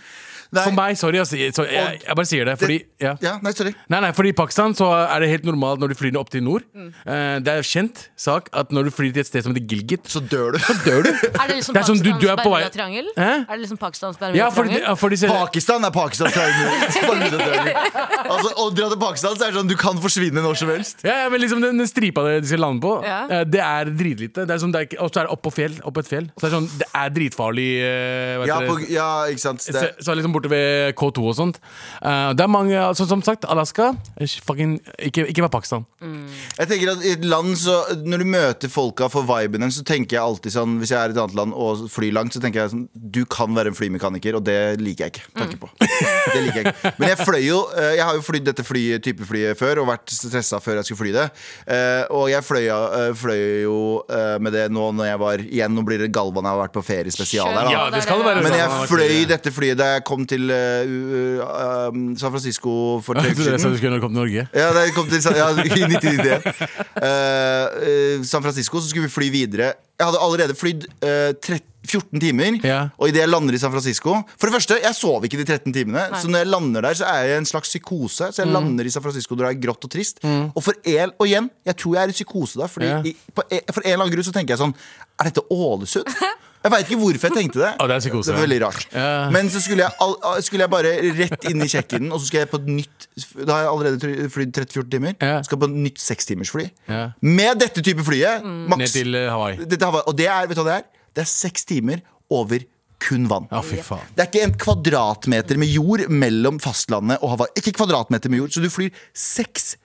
Speaker 4: Nei.
Speaker 5: For meg, sorry, altså, jeg, sorry, jeg, jeg bare sier det. Fordi, ja.
Speaker 4: Ja, nei, sorry.
Speaker 5: Nei, nei, fordi I Pakistan så er det helt normalt når du flyr opp til nord. Eh, det er kjent sak at når du flyr til et sted som heter Gilgit
Speaker 4: Så dør du.
Speaker 5: Dør du?
Speaker 3: Er det liksom
Speaker 5: Det er
Speaker 4: sånn,
Speaker 5: som du- du er
Speaker 3: Pakistans
Speaker 5: på vei-
Speaker 3: Bermuda-triangel?
Speaker 5: Hæ?
Speaker 3: Er det liksom Pakistans
Speaker 5: Ja, for,
Speaker 3: Bermuda-triangel?
Speaker 5: for de ser
Speaker 4: Pakistan er Pakistan. så er det mye- bare mye å dø i. Altså, å dra til Pakistan så er det sånn du kan forsvinne når som helst.
Speaker 5: ja, ja, men liksom den, den stripa de skal lande på,
Speaker 3: Ja.
Speaker 5: eh, det er dritlite. Det er som det er, ikke- og så er det opp på fjell. Opp et fjell. Så det er, sånn, det er dritfarlig. eh, hva
Speaker 4: Ja,
Speaker 5: heter
Speaker 4: på,
Speaker 5: det?
Speaker 4: ja ikke sant.
Speaker 5: Så,
Speaker 4: Det,
Speaker 5: så er det liksom borte ved K2 og sånt. Eh, det er mange, altså, Som sagt, Alaska eh, fucking, ikke, ikke vær Pakistan.
Speaker 4: jeg tenker at i et land så Når du møter folka for viben deres, så tenker jeg alltid sånn Hvis jeg er i et annet land og flyr langt, så tenker jeg sånn Du kan være en flymekaniker, og det liker jeg ikke.
Speaker 5: Mm.
Speaker 4: Takker på. Det liker jeg ikke. Men jeg fløy jo eh, Jeg har jo flydd dette flyet, type flyet før og vært stressa før jeg skulle fly det. Eh, Og jeg fløy, eh, fløy jo eh, med det nå når jeg var igjen. Nå blir det Galvan jeg har vært på ferie spesial her. da.
Speaker 5: Ja, det skal det være. sånn
Speaker 4: Men
Speaker 5: Ja,
Speaker 4: jeg
Speaker 5: det var
Speaker 4: fløy
Speaker 5: tidligere.
Speaker 4: dette flyet da jeg kom til eh, u- u- um, San Francisco for tre
Speaker 5: Jeg trodde
Speaker 4: uker
Speaker 5: jeg sa
Speaker 4: siden.
Speaker 5: du skulle når du kom til Norge.
Speaker 4: Ja, da jeg kom til San- ja, i 1991. Eh, eh, San Francisco, så skulle vi fly videre. Jeg hadde allerede flydd eh, tre- 14 timer,
Speaker 5: Ja.
Speaker 4: og idet jeg lander i San Francisco For det første, jeg sov ikke de 13 timene, så når jeg lander der, så er jeg i en slags psykose.
Speaker 5: Mm.
Speaker 4: Så jeg lander i San Francisco og det er grått og trist. Og for el, og igjen, jeg tror jeg er i psykose da, fordi
Speaker 5: Ja.
Speaker 4: i, på, e- for en eller annen grunn så tenker jeg sånn Er dette Ålesund? Jeg veit ikke hvorfor jeg tenkte det.
Speaker 5: Ja, det er psykose,
Speaker 4: det var
Speaker 5: ja.
Speaker 4: veldig rart.
Speaker 5: Ja.
Speaker 4: Men så skulle jeg, all, skulle jeg bare rett inn i check-in, og så skal jeg på et nytt Da har jeg allerede try- flydd 30-14 timer.
Speaker 5: Ja.
Speaker 4: Skal på et nytt sekstimersfly.
Speaker 5: Ja.
Speaker 4: Med dette type flyet,
Speaker 5: Ned
Speaker 4: maks.
Speaker 5: til eh, Hawaii.
Speaker 4: Dette har- og det er, vet du hva det er? Det er seks timer over kun vann.
Speaker 5: Ja, fy faen.
Speaker 4: Det er ikke en kvadratmeter med jord mellom fastlandet og Hawaii. Ikke kvadratmeter med jord, så du flyr seks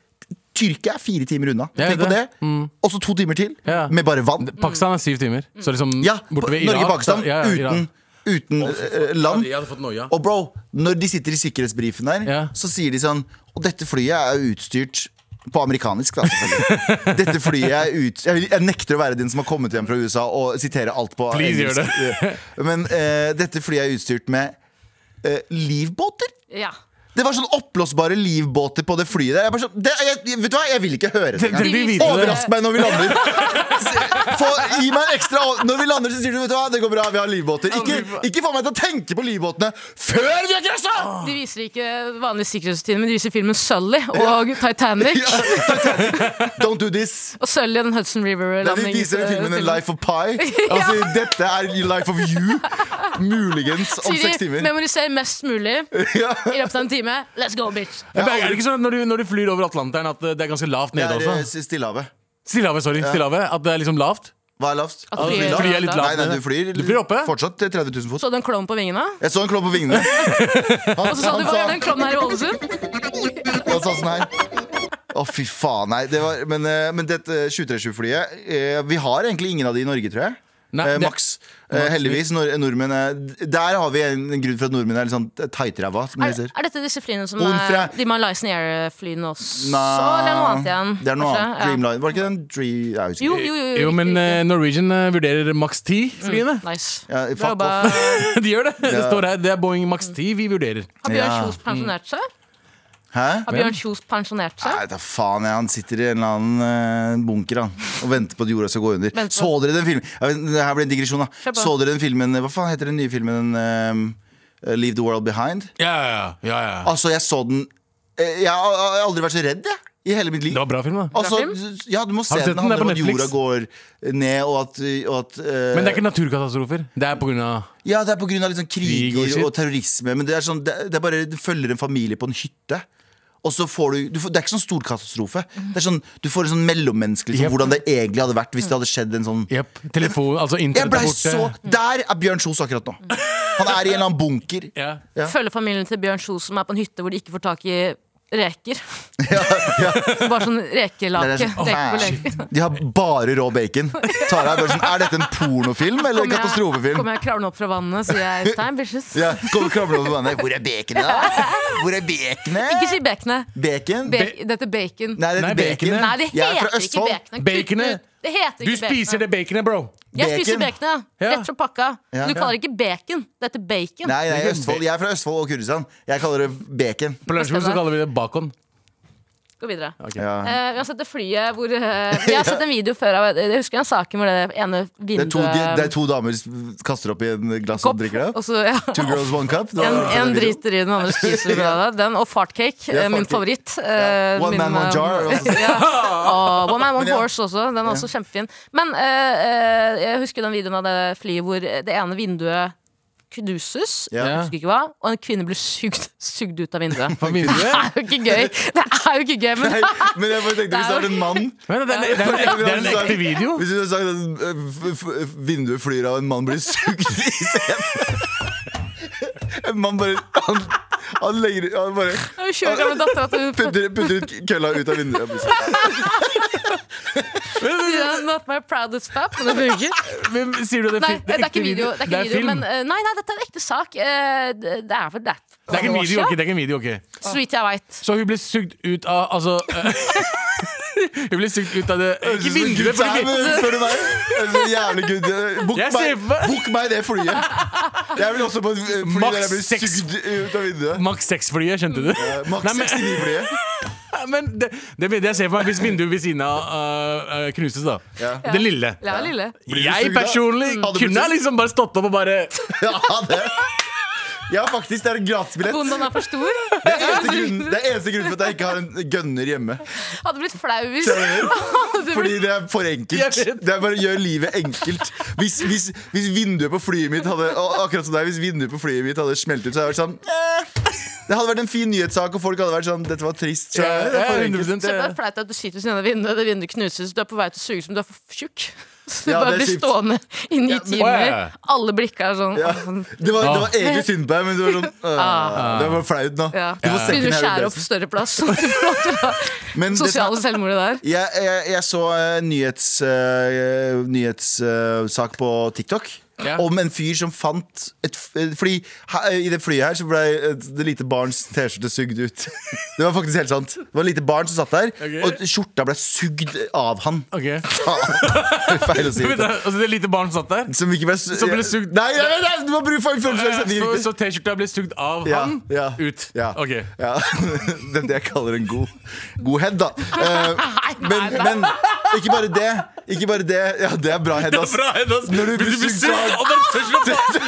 Speaker 4: Tyrkia er fire timer unna.
Speaker 5: Ja,
Speaker 4: Tenk på det.
Speaker 5: det. Mm.
Speaker 4: Og så to timer til
Speaker 5: Ja.
Speaker 4: med bare vann.
Speaker 5: Pakistan er syv timer. Så liksom
Speaker 4: Mm. Ja,
Speaker 5: borte ved Irak
Speaker 4: Norge-Pakistan
Speaker 5: så- ja, ja, Irak.
Speaker 4: uten, uten eh, land.
Speaker 5: Jeg hadde fått noia.
Speaker 4: Og bro, når de sitter i sikkerhetsbrifen der,
Speaker 5: Ja.
Speaker 4: så sier de sånn Og dette flyet er jo utstyrt på amerikansk, da, selvfølgelig. Dette flyet er ut... Jeg, vil- jeg nekter å være den som har kommet hjem fra USA og sitere alt på
Speaker 5: Please gjør
Speaker 4: engelsk. Men eh, dette flyet er utstyrt med eh, livbåter.
Speaker 3: Ja.
Speaker 4: Det var sånn oppblåsbare livbåter på det flyet der. Jeg bare sånn, det, jeg, vet du hva, jeg vil ikke høre det
Speaker 5: Trenger
Speaker 4: engang.
Speaker 5: vi vite det?
Speaker 4: Overrask meg når vi lander. Se- Få, gi meg en ekstra o- Når vi lander, så sier du vet du hva, det går bra, vi har livbåter. Ikke, ikke få meg til å tenke på livbåtene før vi har krasja!
Speaker 3: De viser ikke vanlige sikkerhetsrutiner, men de viser filmen Sully og Titanic.
Speaker 4: Ja, Don't do this.
Speaker 3: Og Sully og den Hudson
Speaker 4: Nei, de
Speaker 3: River-landingen.
Speaker 4: viser den filmen en Life of Pie. Altså, Dette er Life of You. Muligens om seks timer.
Speaker 3: Memoriser mest mulig
Speaker 4: Ja.
Speaker 3: i løpet av en time. Let's go, bitch!
Speaker 5: Men Er det ikke sånn at når du, når du flyr over Atlanteren, at eh, det er ganske lavt
Speaker 4: Det
Speaker 5: nede
Speaker 4: er eh,
Speaker 5: også?
Speaker 4: Stillehavet.
Speaker 5: Stillehavet, sorry. Stillehavet. At det er liksom lavt?
Speaker 4: Hva er lavst?
Speaker 3: At flyet-
Speaker 4: Flyet?
Speaker 5: Flyet er litt
Speaker 4: Nei,
Speaker 5: lavt
Speaker 4: nei,
Speaker 5: nede.
Speaker 4: du flyr,
Speaker 5: Du flyr oppe?
Speaker 4: fortsatt til 30 000 fot.
Speaker 3: Så du en klovn på vingene?
Speaker 4: Jeg så en klovn på vingene. Han,
Speaker 3: Og så sa du
Speaker 4: han
Speaker 3: hva er den klovnen her i Ålesund?
Speaker 4: han sa sånn her. Å, fy faen. Nei, det var, men, eh, men dette 737-flyet eh, Vi har egentlig ingen av de i Norge, tror jeg.
Speaker 5: Nei,
Speaker 4: eh,
Speaker 5: det-
Speaker 4: Maks. Eh, heldigvis. Nor nordmenn er, der har vi en, en grunn for at nordmenn er litt sånn tight-ræva. som
Speaker 3: Er,
Speaker 4: de sier.
Speaker 3: er dette disse flyene som
Speaker 4: Hun
Speaker 3: er
Speaker 4: fra-
Speaker 3: de Malaysian Air-flyene også?
Speaker 4: Nei,
Speaker 3: Eller noe annet igjen?
Speaker 4: Det er noe
Speaker 3: kanskje?
Speaker 4: annet.
Speaker 3: Ja.
Speaker 4: Dreamline. Var det ikke den Dream... Jeg husker
Speaker 3: Jo,
Speaker 4: ikke.
Speaker 3: jo, jo.
Speaker 5: Jo, Mm.
Speaker 3: riktig,
Speaker 5: men eh,
Speaker 3: riktig.
Speaker 5: Norwegian eh, vurderer maks 10-flyene.
Speaker 3: Nice.
Speaker 4: eh, Ja,
Speaker 3: Bra
Speaker 4: fuck
Speaker 3: jobba.
Speaker 4: off.
Speaker 5: De gjør det. Det står her. Det er Boeing maks 10 vi vurderer.
Speaker 3: Har Bjørn
Speaker 4: Ja.
Speaker 3: Kjos pensjonert seg?
Speaker 4: Hæ?
Speaker 3: Har Bjørn Kjos pensjonert
Speaker 4: Nei,
Speaker 3: seg?
Speaker 4: da faen, jeg, han sitter i en eller annen eh, bunker han, og venter på at jorda skal gå under.
Speaker 3: Vent på-
Speaker 4: Så dere den filmen? Jeg vet, det her ble en digresjon, da.
Speaker 3: Kjør på.
Speaker 4: Så dere den filmen Hva faen heter den nye filmen? eh, Leave the World Behind?
Speaker 5: Ja, ja, ja, ja, ja.
Speaker 4: Altså, jeg så den eh, Jeg har jeg har aldri vært så redd, jeg. I hele mitt liv.
Speaker 5: Det var bra film, da.
Speaker 4: Altså,
Speaker 3: Bra
Speaker 4: ja, du må se
Speaker 5: Har
Speaker 4: den. Det
Speaker 5: du sett den? Det er
Speaker 4: handler om
Speaker 5: på
Speaker 4: at
Speaker 5: Netflix.
Speaker 4: jorda går ned, og at, og at eh,
Speaker 5: Men det er ikke naturkatastrofer. Det er på grunn av
Speaker 4: Ja, det er på grunn av litt sånn
Speaker 5: Krig og
Speaker 4: kriger
Speaker 5: shit.
Speaker 4: og terrorisme. Men det er sånn, det, det er bare, du følger en familie på en hytte. Og så får du, du får, Det er ikke sånn stor katastrofe. Det er sånn, Du får en sånn mellommenneskelig sånn,
Speaker 5: Jep.
Speaker 4: Hvordan det egentlig hadde vært hvis det hadde skjedd en sånn
Speaker 5: Jepp. Telefon, altså
Speaker 4: Jeg
Speaker 5: internett
Speaker 4: ble
Speaker 5: er borte.
Speaker 4: så, Der er Bjørn Kjos akkurat nå! Han er i en eller annen bunker.
Speaker 5: Ja.
Speaker 4: Ja.
Speaker 3: Følger familien til Bjørn Kjos som er på en hytte hvor de ikke får tak i reker?
Speaker 4: Ja, ja.
Speaker 3: Bare sånn
Speaker 4: Det
Speaker 3: rekelake.
Speaker 4: er sånn,
Speaker 3: Reker på
Speaker 4: «Åh,
Speaker 3: leker.
Speaker 4: De har bare rå bacon. Tara Er bare sånn, er dette en pornofilm
Speaker 3: Kommer
Speaker 4: eller en
Speaker 3: jeg-
Speaker 4: katastrofefilm?
Speaker 3: Kommer jeg kravlende opp fra vannet, sier jeg Stein, bitches.
Speaker 4: Ja, kommer kravlende over vannet. Hvor er baconet? da? Hvor er
Speaker 3: Ikke si
Speaker 4: baconet?
Speaker 3: bekene.
Speaker 4: Bacon?
Speaker 3: Be dette er bacon.
Speaker 4: Nei, det
Speaker 5: Nei,
Speaker 4: er bacon.
Speaker 5: baconet.
Speaker 3: Nei, det
Speaker 4: Jeg er
Speaker 3: heter
Speaker 4: fra
Speaker 3: ikke
Speaker 4: Østfold.
Speaker 3: bekene. Kutt
Speaker 5: Baconet.
Speaker 3: ut. Det heter
Speaker 5: Du
Speaker 3: ikke
Speaker 5: spiser det baconet, bro.
Speaker 3: Jeg spiser
Speaker 4: Bacon.
Speaker 3: bekene, ja.
Speaker 5: Ja.
Speaker 3: Rett fra pakka.
Speaker 4: Ja.
Speaker 3: Du kaller det ikke bacon. Dette er bacon.
Speaker 4: Nei, nei
Speaker 5: Ikke
Speaker 4: Østfold.
Speaker 5: bacon.
Speaker 4: jeg er fra Østfold og Kurdistan. Jeg kaller det bacon.
Speaker 5: På lunsjbordet så kaller vi det bacon.
Speaker 3: Gå videre.
Speaker 4: Ja.
Speaker 3: Eh, vi har sett det flyet hvor eh, Vi har sett en video før av Jeg husker den saken hvor det ene
Speaker 4: Det, er to,
Speaker 3: vinduet
Speaker 4: det er to damer som kaster opp i en glass og drikker det opp.
Speaker 3: og så, ja.
Speaker 4: Two girls, one cup. Det var-
Speaker 3: En,
Speaker 4: altså, det var
Speaker 3: en
Speaker 4: video.
Speaker 3: driter i den andre spiser fra det. Den og fartcake. eh, min
Speaker 4: fartcake.
Speaker 3: favoritt. eh,
Speaker 4: One
Speaker 3: min,
Speaker 4: man, one
Speaker 3: eh,
Speaker 4: jar, er også-
Speaker 3: ja. Og One man, one
Speaker 4: Men ja.
Speaker 3: horse også. Den er også kjempefin. Men eh, eh, jeg husker den videoen av det flyet hvor det ene vinduet knuses,
Speaker 4: Ja.
Speaker 3: jeg husker ikke hva, og en kvinne blir sugd, sugd ut av vinduet.
Speaker 5: På vinduet.
Speaker 3: Det er jo ikke gøy! Det er jo ikke gøy, men
Speaker 4: Nei, Men jeg bare tenkte hvis det hadde vært en mann
Speaker 5: Men det, er, det, er, det, er, det er en ekte
Speaker 3: sånn.
Speaker 5: video.
Speaker 4: Hvis du hadde sagt at øh, f- f- vinduet flyr av en mann blir sugd i scenen En mann bare Han, han legger Han bare
Speaker 3: Jeg har kjørt med dattera til hun
Speaker 4: putter, putter ut kølla ut av vinduet. og blir sugd.
Speaker 3: Yeah, Not my proudest pap, men det funker.
Speaker 5: Hvem sier du det? er
Speaker 3: Nei,
Speaker 5: film?
Speaker 3: det er ikke video. Det er ikke video
Speaker 5: film.
Speaker 3: men, eh, nei, nei, dette er en ekte sak. Eh, Det det er for det.
Speaker 5: Det er ikke en video, ok, det er ikke en video, ok
Speaker 3: Så vidt jeg veit.
Speaker 5: Så hun ble sugd ut av, altså eh, Hun ble sugd ut av det Ikke
Speaker 4: Nei,
Speaker 5: vinduet, fordi
Speaker 4: men Spør du meg? Jeg er så jævlig good. Bok
Speaker 5: Jeg
Speaker 4: meg,
Speaker 5: ser for meg-
Speaker 4: book meg det flyet. Jeg vil også på et fly
Speaker 5: Max
Speaker 4: der jeg blir
Speaker 5: seks.
Speaker 4: sugd ut av vinduet.
Speaker 5: Max 6-flyet, skjønte du?
Speaker 4: Eh, Max
Speaker 5: Nei, men-
Speaker 4: 69-flyet.
Speaker 5: Men det, det bildet jeg ser for meg, hvis vinduet ved siden av eh, eh, knuses, da.
Speaker 4: Ja.
Speaker 5: Den lille.
Speaker 3: La meg lille.
Speaker 4: du
Speaker 5: Jeg
Speaker 4: sugd da?
Speaker 5: personlig
Speaker 4: Hadde du blitt
Speaker 5: kunne
Speaker 4: sugd?
Speaker 5: liksom bare stått opp og bare
Speaker 4: Ja, det Ja, faktisk. Det er en gratisbillett.
Speaker 3: Bondaen er for stor.
Speaker 4: Det er eneste grunnen, det er eneste grunnen for at jeg ikke har en gunner hjemme.
Speaker 3: Hadde blitt flau hvis
Speaker 4: Skjønner du?
Speaker 3: Hadde
Speaker 4: Fordi
Speaker 3: blitt-
Speaker 4: det er for enkelt.
Speaker 5: Jeg vet.
Speaker 4: Det er bare gjør livet enkelt. Hvis, hvis, hvis vinduet på flyet mitt hadde og Akkurat som deg, hvis vinduet på flyet mitt hadde smelt ut, så hadde jeg vært sånn eh. Det hadde vært en fin nyhetssak, og folk hadde vært sånn Dette var trist. Så,
Speaker 5: Ja,
Speaker 4: det er for
Speaker 5: ja,
Speaker 4: enkelt.
Speaker 5: 100%.
Speaker 3: Så det er bare flaut at du sitter ved siden av vinduet, det vinduet knuses, du er på vei til å suge som du er for tjukk. Så du
Speaker 4: Ja,
Speaker 3: bare
Speaker 4: det er
Speaker 3: blir
Speaker 4: kjipt.
Speaker 3: stående i ni
Speaker 5: men- Å, ja, ja.
Speaker 3: timer. Alle blikka er sånn.
Speaker 4: Ja.
Speaker 3: «Åh,
Speaker 4: Det var, det var egentlig synd på deg, men det var sånn øh, Det var flaut nå.
Speaker 3: Ja.
Speaker 4: Du får
Speaker 3: Så Begynner
Speaker 4: second
Speaker 3: å
Speaker 4: Harry
Speaker 3: skjære opp
Speaker 4: Blazer.
Speaker 3: større plass. sånn at du får lov til å ha
Speaker 4: Men det som-
Speaker 3: Sosiale selvmordet der.
Speaker 4: jeg, jeg, jeg så øh, en nyhetssak nyhets, eh, sak på TikTok
Speaker 5: Ja.
Speaker 4: om en fyr som fant et, f- eh, Fordi her, i det flyet her så ble et, det lite barns T-skjorte sugd ut. Det var faktisk helt sant. Det var et lite barn som satt der,
Speaker 5: Ok.
Speaker 4: og skjorta ble sugd av han.
Speaker 5: Ok.
Speaker 4: Faen. feil å si.
Speaker 5: Vet du, altså, det lite barn satt der.
Speaker 4: Som ikke ble, su-
Speaker 5: Som ble sugd.
Speaker 4: Nei, nei, nei, nei, du må bruke for
Speaker 5: Eh,
Speaker 4: følelsen.
Speaker 5: Så, så T-skjorta ble sugd av
Speaker 4: Ja,
Speaker 5: han
Speaker 4: ja,
Speaker 5: ut.
Speaker 4: Ja.
Speaker 5: Ok.
Speaker 4: Ja. Det er det jeg kaller en god, god head, da. Eh, men, men ikke bare det. Ikke bare det. Ja, det er bra head, ass.
Speaker 5: Bra, Heddas.
Speaker 4: Når du
Speaker 5: Men
Speaker 4: blir
Speaker 5: du blir
Speaker 4: sugd
Speaker 5: sugd
Speaker 4: av-
Speaker 5: av den T-skjorta.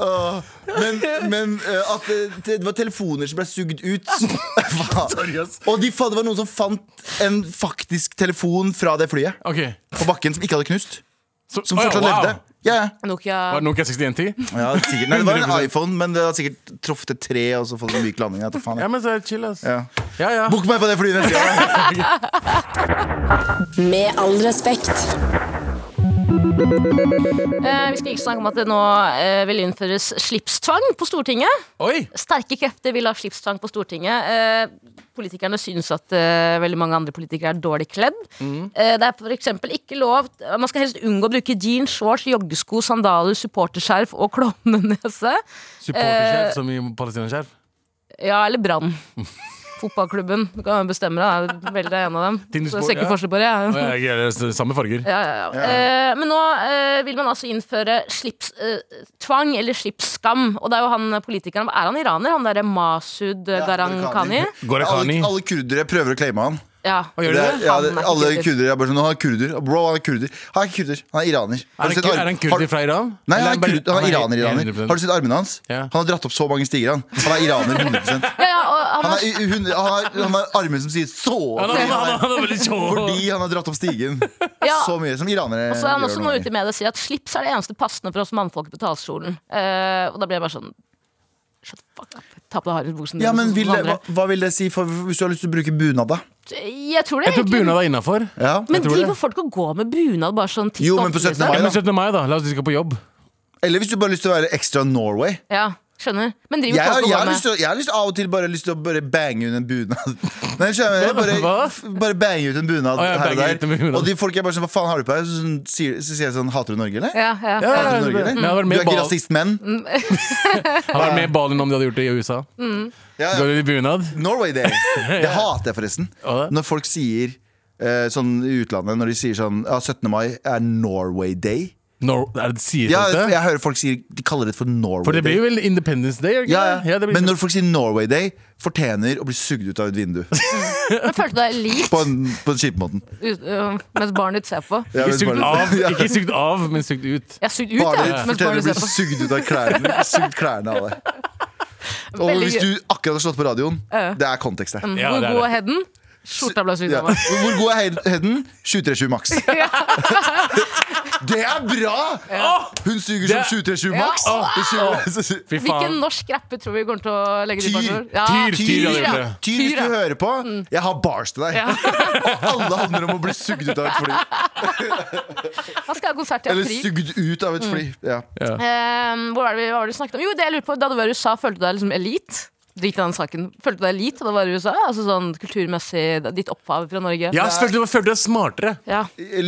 Speaker 4: Åh, Men, men eh, at det, det var telefoner som ble sugd ut. Faen. Og de, fa- det var noen som fant en faktisk telefon fra det flyet
Speaker 5: Ok.
Speaker 4: på bakken som ikke hadde knust.
Speaker 5: Så-
Speaker 4: Som
Speaker 5: Å, ja,
Speaker 4: fortsatt
Speaker 5: wow.
Speaker 4: levde. Ja, ja.
Speaker 3: Nokia
Speaker 5: Var det Nokia 6110?
Speaker 4: Ja, sikkert. Nei, det var en
Speaker 5: 100%.
Speaker 4: iPhone, men det hadde sikkert truffet et tre og så fått en myk landing. Jeg vet da faen,
Speaker 5: Ja,
Speaker 4: jeg.
Speaker 5: men så er det chill, ass.
Speaker 4: Ja.
Speaker 5: Ja, ja.
Speaker 4: Book meg på det flyet neste gang!
Speaker 1: Med all respekt.
Speaker 3: Eh, Vi skal ikke snakke om at det nå eh, vil innføres slipstvang på Stortinget.
Speaker 5: Oi!
Speaker 3: Sterke krefter vil ha slipstvang på Stortinget. Eh, Politikerne syns at eh, veldig mange andre politikere er dårlig kledd.
Speaker 5: Mm.
Speaker 3: Eh, det er for eksempel ikke lov Man skal helst unngå å bruke jeans, shorts, joggesko, sandaler, supporterskjerf og klovnenese.
Speaker 5: Supporterskjerf som i palestinaskjerf.
Speaker 3: Ja, eller Brann. Fotballklubben. Du kan bestemme deg. det er Vel deg en av dem. Så
Speaker 5: Tindersport,
Speaker 3: jeg ser ikke
Speaker 5: ja.
Speaker 3: forskjell på det. jeg.
Speaker 5: Å, ja, ja, det er Samme farger.
Speaker 3: Ja, ja, ja. Eh, men nå eh, vil man altså innføre slipstvang eller slipsskam. Og det er jo han politikeren Er han iraner? Han derre Masud eh, Gharahkhani?
Speaker 5: Gharahkhani.
Speaker 4: Alle, alle kurdere prøver å claime han.
Speaker 3: Ja.
Speaker 5: gjør
Speaker 4: Det
Speaker 5: de
Speaker 4: er, ja, det,
Speaker 3: Han er ikke
Speaker 4: alle
Speaker 3: kurder.
Speaker 4: kurdere er bare sånn Han er kurder. Bro, han er kurder. Han er ikke kurder. Han er iraner. Har
Speaker 5: Er
Speaker 4: du
Speaker 5: det
Speaker 4: sett
Speaker 5: ku-
Speaker 4: arm-
Speaker 5: er det en
Speaker 4: har-
Speaker 5: kurder fra Iran?
Speaker 4: Nei, han
Speaker 5: Eller
Speaker 4: er, kurder, han er iraner. iraner.
Speaker 5: 100%.
Speaker 4: Har du sett armene hans?
Speaker 5: Ja.
Speaker 4: Han har dratt opp så mange stiger, han. Han er iraner 100
Speaker 3: Ja, ja, og han
Speaker 4: Han
Speaker 3: har,
Speaker 4: har, hun, han har, han har armer som sier så
Speaker 5: Han er- han er- han er veldig sjå.
Speaker 4: Fordi han har dratt opp stigen.
Speaker 3: Ja.
Speaker 4: Så mye. Som iranere
Speaker 3: så er han også
Speaker 4: gjør
Speaker 3: nå
Speaker 4: noe.
Speaker 3: ute i media og sier at slips er det eneste passende for oss mannfolk på talerstolen. Eh, og da blir jeg bare sånn Shut the fuck up. Ta på deg harebuksen.
Speaker 4: Ja,
Speaker 3: sånn
Speaker 4: men
Speaker 3: som
Speaker 4: vil, det- hva,
Speaker 3: andre.
Speaker 4: hva vil det si for hvis du har lyst til å bruke bunad, da?
Speaker 3: Jeg tror det
Speaker 5: Jeg tror
Speaker 3: egentlig
Speaker 5: bunad er innafor.
Speaker 4: Ja.
Speaker 3: Men
Speaker 5: tror
Speaker 3: driver
Speaker 5: det.
Speaker 3: folk og går med bunad bare sånn titt
Speaker 4: Jo,
Speaker 3: og
Speaker 4: men på
Speaker 3: ofte,
Speaker 4: 17.
Speaker 3: liksom?
Speaker 4: mai,
Speaker 5: Ja,
Speaker 4: da.
Speaker 5: men 17. mai, da. La oss si de skal på jobb.
Speaker 4: Eller hvis du bare har lyst til å være ekstra Norway.
Speaker 3: Ja, skjønner. Men driver
Speaker 4: Jeg har,
Speaker 3: folk og
Speaker 4: jeg, har
Speaker 3: går
Speaker 4: lyst
Speaker 3: med
Speaker 4: til, å- jeg har lyst av og til bare lyst til å bare bange ut en bunad. Nei, skjønner jeg, bare,
Speaker 5: Hva?
Speaker 4: bare bange ut en bunad
Speaker 5: Å, ja,
Speaker 4: her og
Speaker 5: bange ut en
Speaker 4: der.
Speaker 5: bunad.
Speaker 4: Og de folk er bare sånn Hva faen har du på deg? Så sånn sier- Så sier jeg sånn Hater du Norge, eller?
Speaker 3: ja, Mm. ja.
Speaker 5: Ja, ja,
Speaker 4: Hater du
Speaker 5: det
Speaker 4: Norge,
Speaker 5: blir-
Speaker 4: eller?
Speaker 5: Men jeg hadde vært
Speaker 4: Du
Speaker 5: med
Speaker 4: er
Speaker 5: i
Speaker 4: ikke
Speaker 5: Bal-
Speaker 4: rasist, men?
Speaker 5: jeg hadde vært med i Balin om de hadde gjort det i USA.
Speaker 4: Ja, ja.
Speaker 5: Går de i bunad?
Speaker 4: Norway Day. Det hater jeg forresten.
Speaker 5: Ja, det.
Speaker 4: Når folk sier eh, sånn i utlandet Når de sier sånn ja, 17. mai er Norway Day.
Speaker 5: Nor er det sier
Speaker 4: Ja,
Speaker 5: folk det?
Speaker 4: jeg hører folk sier De kaller det for Norway
Speaker 5: For det
Speaker 4: Day.
Speaker 5: blir vel Independence Day? gjør det ikke
Speaker 4: ja,
Speaker 5: det?
Speaker 4: ja.
Speaker 5: det blir sånn.
Speaker 4: Men når folk sier Norway Day, fortjener å bli sugd ut av et vindu.
Speaker 3: Men følte du deg lik
Speaker 4: På en, på en kjip måten.
Speaker 3: ut, øh, mens barnet ditt ser på?
Speaker 4: Ja,
Speaker 5: ikke
Speaker 4: men
Speaker 5: sugd
Speaker 4: bare-
Speaker 5: av,
Speaker 4: Ja.
Speaker 5: ikke sugd av, men sugd ut.
Speaker 3: Jeg er sugd ut,
Speaker 4: Bare
Speaker 3: jeg. Mens
Speaker 4: fortell å
Speaker 3: barnet
Speaker 4: bli
Speaker 3: ser på.
Speaker 4: sugd ut av klærne. Sugd klærne av deg. Og
Speaker 3: Veldig
Speaker 4: hvis du akkurat har slått på radioen, det er kontekst her.
Speaker 5: Ja,
Speaker 3: Hvor
Speaker 5: det er
Speaker 3: god er
Speaker 5: det.
Speaker 3: headen? Skjorta ble sugd
Speaker 4: Ja.
Speaker 3: av meg.
Speaker 4: Hvor god er head- headen? 737 maks. Det er bra! Hun suger som
Speaker 5: Det-
Speaker 4: 737 maks.
Speaker 5: Åh,
Speaker 4: Hun suger- så- så-
Speaker 5: Fy
Speaker 3: Hvilken
Speaker 5: faen.
Speaker 3: norsk rapper tror vi kommer til å legge det i
Speaker 4: Tyr.
Speaker 3: bakgrunnen? Ja.
Speaker 5: Tyr,
Speaker 4: Tyr,
Speaker 5: hadde gjort
Speaker 4: ja.
Speaker 5: det.
Speaker 4: Tyr, hvis
Speaker 3: Tyr,
Speaker 4: du
Speaker 3: ja.
Speaker 4: hører på,
Speaker 5: Mm.
Speaker 4: jeg har bars til deg. Og alle handler om å bli sugd ut av et fly.
Speaker 3: Han skal ha konsert i
Speaker 4: Eller
Speaker 3: april.
Speaker 4: sugd ut av et fly. Ja.
Speaker 3: Ehm, hvor var det vi, hva var det vi snakket om? Jo, det jeg lurer på, Da du var i USA, følte du deg liksom elit? Drit i den saken. Følte du deg elit da du var i USA? Altså sånn Kulturmessig, ditt opphav fra Norge?
Speaker 5: Ja, jeg følte, jeg følte deg smartere.
Speaker 3: Ja.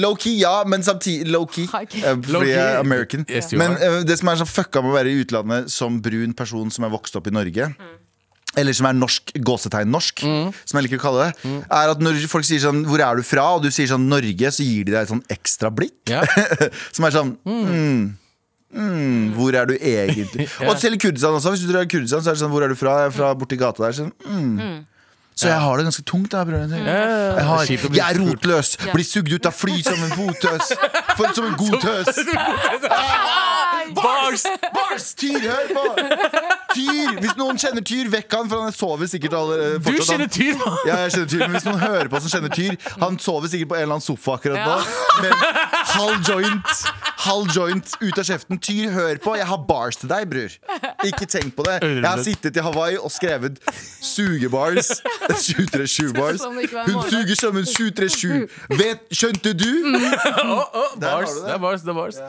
Speaker 4: Low-key, ja, men samtidig low-key.
Speaker 3: High key.
Speaker 4: Eh, Fordi
Speaker 5: Low key.
Speaker 4: jeg er American.
Speaker 5: Yes, you
Speaker 4: men
Speaker 5: are.
Speaker 4: eh, det som er så fucka med å være i utlandet som brun person som er vokst opp i Norge Eller som er norsk, gåsetegn norsk,
Speaker 5: Mm.
Speaker 4: som jeg liker å kalle det. Er at når folk sier sånn 'Hvor er du fra?' og du sier sånn 'Norge', så gir de deg et sånn ekstra blikk.
Speaker 5: Ja.
Speaker 4: Som er sånn mm. Mm, Hvor er du egentlig? Og selv i Kurdistan også. Hvis du drar i Kurdistan, så er det sånn Hvor er du fra? Jeg er fra borti gata der. Sånn, mm. Så jeg har det ganske tungt. Da, bror. jeg, har,
Speaker 5: Det er kjipt å bli
Speaker 4: jeg er rotløs. Blir sugd ut av fly som en fotøs. For, som en god tøs.
Speaker 5: Bars!
Speaker 4: Bars! Tyr, hør på! Tyr! Hvis noen kjenner Tyr, vekk han, for han sover sikkert allerede.
Speaker 5: Du kjenner Tyr, mann!
Speaker 4: Ja, jeg kjenner Tyr, men Hvis noen hører på som kjenner Tyr Han sover sikkert på en eller annen sofa akkurat nå. Men halv joint Halv joint ut av kjeften. Tyr, hør på. Jeg har bars til deg, bror. Ikke tenk på det. Jeg har sittet i Hawaii og skrevet sugebars. 737 bars.
Speaker 3: Som om det ikke var en
Speaker 4: Hun
Speaker 3: måned.
Speaker 4: suger som en 737. Vet, skjønte du? Der har
Speaker 5: Bars,
Speaker 4: du
Speaker 5: det er bars, det er bars.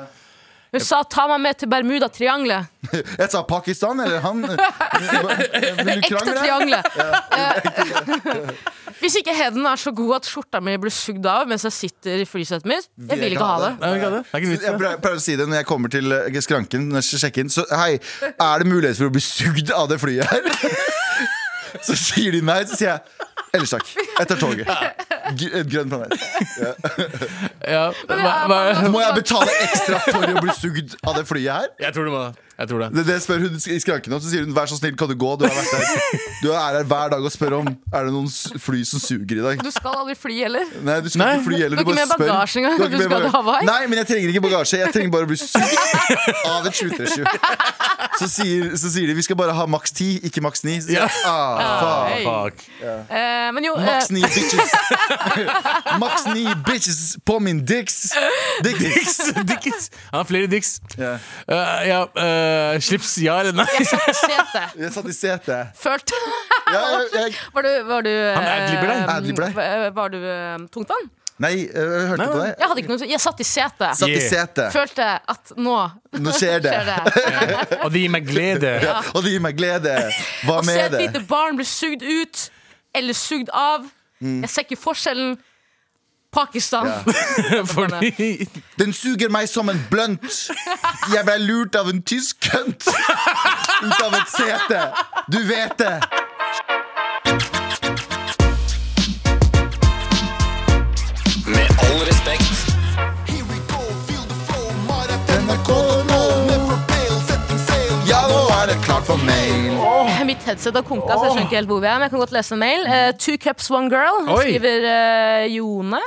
Speaker 3: USA, ta meg med til Bermuda-triangelet.
Speaker 4: Jeg sa Pakistan, eller han Vil du
Speaker 3: Ekte
Speaker 4: krangle?
Speaker 3: triangelet. Eh, Hvis ikke heden er så god at skjorta mi blir sugd av mens jeg sitter i flysetet mitt, jeg vil ikke ha det.
Speaker 5: Nei, men hva er det? Det er ikke
Speaker 4: Jeg
Speaker 5: vits. det.
Speaker 4: prøver prøver å si det når jeg kommer til eh, skranken. Når jeg skal sjekke inn Så hei, er det mulighet for å bli sugd av det flyet her? Så sier de nei, så sier jeg ellers takk. Jeg tar toget. G- Et grønn planet.
Speaker 5: Ja, hva, hva,
Speaker 4: Må jeg betale ekstra for å bli sugd av det flyet her?
Speaker 5: jeg tror det må det. Jeg tror det.
Speaker 4: Det, det spør hun i skranken om, så sier hun 'vær så snill, kan du gå'? Du, har vært her. du er her hver dag og spør om Er det noen s- fly som suger i dag.
Speaker 3: Du skal aldri fly heller.
Speaker 4: Nei, du skal
Speaker 5: Nei.
Speaker 4: ikke fly heller.
Speaker 3: Du har ikke med bagasje engang,
Speaker 4: har ikke
Speaker 3: du
Speaker 4: med
Speaker 3: skal til
Speaker 4: bagasje.
Speaker 3: Hawaii.
Speaker 4: Nei, men jeg trenger ikke bagasje. Jeg trenger bare å bli sugd av et 737. Så sier, så sier de vi skal bare ha maks 10, ikke maks 9. Så sier
Speaker 5: Ja.
Speaker 4: jeg, ah, faen.
Speaker 3: Hey.
Speaker 5: Fuck.
Speaker 3: Eh, men jo, eh,
Speaker 4: Maks 9 bitches. Maks 9 bitches på min dicks. Dick dicks.
Speaker 5: Dicks. Han har flere dicks.
Speaker 4: Ja.
Speaker 5: Eh, ja, eh, slips ja eller nei?
Speaker 3: sete.
Speaker 4: Jeg satt i setet.
Speaker 3: Følt.
Speaker 4: Ja, jeg, jeg,
Speaker 3: Var du, var du
Speaker 5: Han adlibber deg.
Speaker 3: eh,
Speaker 4: Adlibber deg.
Speaker 3: v- Var du eh, tungtvann?
Speaker 4: nei, eh, jeg hørte på deg.
Speaker 3: Jeg hadde ikke noe Jeg satt i setet.
Speaker 4: Satt i setet.
Speaker 3: Følte at nå
Speaker 4: Nå skjer det.
Speaker 3: skjer det.
Speaker 5: Og det gir meg glede.
Speaker 4: Ja, og det gir meg glede. Hva
Speaker 3: Å se
Speaker 4: med
Speaker 3: et
Speaker 4: det?
Speaker 3: lite barn bli sugd ut eller sugd av.
Speaker 4: Mm.
Speaker 3: Jeg ser ikke forskjellen. Pakistan.
Speaker 5: Fordi
Speaker 4: Den suger meg som en blunt. Jeg ble lurt av en tysk kønt ut av et sete. Du vet det.
Speaker 2: Med all respekt.
Speaker 4: Ja, nå er det klart for mail.
Speaker 3: Mitt headset har konka, så jeg skjønner ikke helt hvor vi er. Men jeg kan godt lese en mail. Eh, two cups, one girl,
Speaker 5: Oi.
Speaker 3: skriver eh, Jone.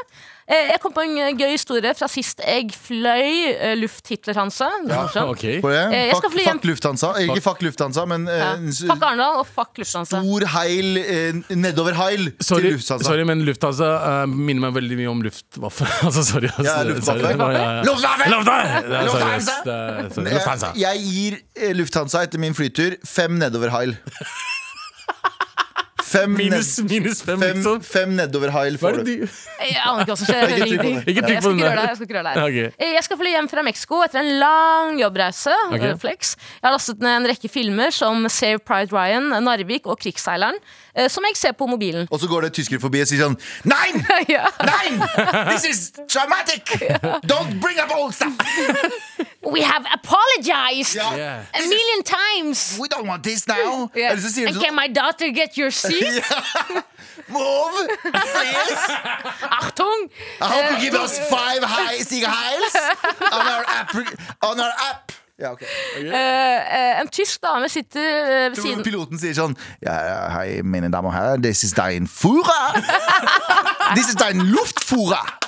Speaker 3: Eh, jeg kom på en eh, gøy historie fra sist jeg fløy eh, luft-Hitler-Hansa. Det er morsomt.
Speaker 5: Ok.
Speaker 4: Får jeg?
Speaker 3: Eh, jeg skal
Speaker 4: Fuck,
Speaker 3: fly hjem.
Speaker 4: fuck Lufthansa. Eh, Ikke fuck Lufthansa, men eh,
Speaker 3: Ja.
Speaker 4: en s-
Speaker 3: Fuck Arendal og fuck Lufthansa.
Speaker 4: stor heil eh, nedover heil til
Speaker 5: Sorry,
Speaker 4: Lufthansa.
Speaker 5: sorry, men Lufthansa eh, minner meg veldig mye om luftwaffe. altså, sorry. Altså,
Speaker 4: Ja,
Speaker 5: sorry.
Speaker 4: luftwaffe.
Speaker 5: Det var- ja, ja.
Speaker 4: Luftwaffe!
Speaker 5: Luftwaffe! Det er- sorry, ass.
Speaker 4: Lufthansa!
Speaker 5: Det er- sorry,
Speaker 4: Eh,
Speaker 5: Lufthansa.
Speaker 4: Jeg gir eh, Lufthansa etter min flytur fem nedover heil. Fem,
Speaker 5: Minus,
Speaker 4: ned,
Speaker 5: minus fem,
Speaker 4: fem,
Speaker 5: liksom.
Speaker 4: fem nedover heil
Speaker 5: Hva er
Speaker 4: får
Speaker 5: det
Speaker 4: du.
Speaker 5: du
Speaker 3: Jeg aner ikke hva som skjer.
Speaker 4: Ikke trykk på det.
Speaker 5: Ikke trykk
Speaker 3: Jeg
Speaker 5: på
Speaker 3: skal
Speaker 5: den
Speaker 3: ikke
Speaker 5: der.
Speaker 3: røre deg, Jeg skal ikke røre deg.
Speaker 5: Ok.
Speaker 3: Eh, Jeg skal fly hjem fra Mexico etter en lang jobbreise.
Speaker 5: Ok.
Speaker 3: eh, Flex. Jeg har lastet ned en rekke filmer som Save Pride Ryan, Narvik og Krigsseileren, eh, som jeg ser på mobilen.
Speaker 4: Og så går det tyskere forbi og sier sånn Nein!
Speaker 3: ja.
Speaker 4: Nein! This is traumatic! Don't bring up old stuff!
Speaker 3: We have apologized
Speaker 4: Ja.
Speaker 5: Yeah.
Speaker 3: a million times!
Speaker 4: We don't want this now!
Speaker 3: Yeah.
Speaker 4: Eller så sier
Speaker 3: And
Speaker 4: du
Speaker 3: can
Speaker 4: sånn
Speaker 3: my daughter get your seat?
Speaker 4: Mov! Please!
Speaker 3: Achtung!
Speaker 4: I hope you give us five high sig heils on our app! On our app. Ja, ok.
Speaker 3: Eh, En tysk dame sitter eh, ved
Speaker 4: Tror du
Speaker 3: siden
Speaker 4: piloten sier sånn ja, ja, Hei, mine damer og herrer, this is dein Führer! This is dein Luftfuhrer!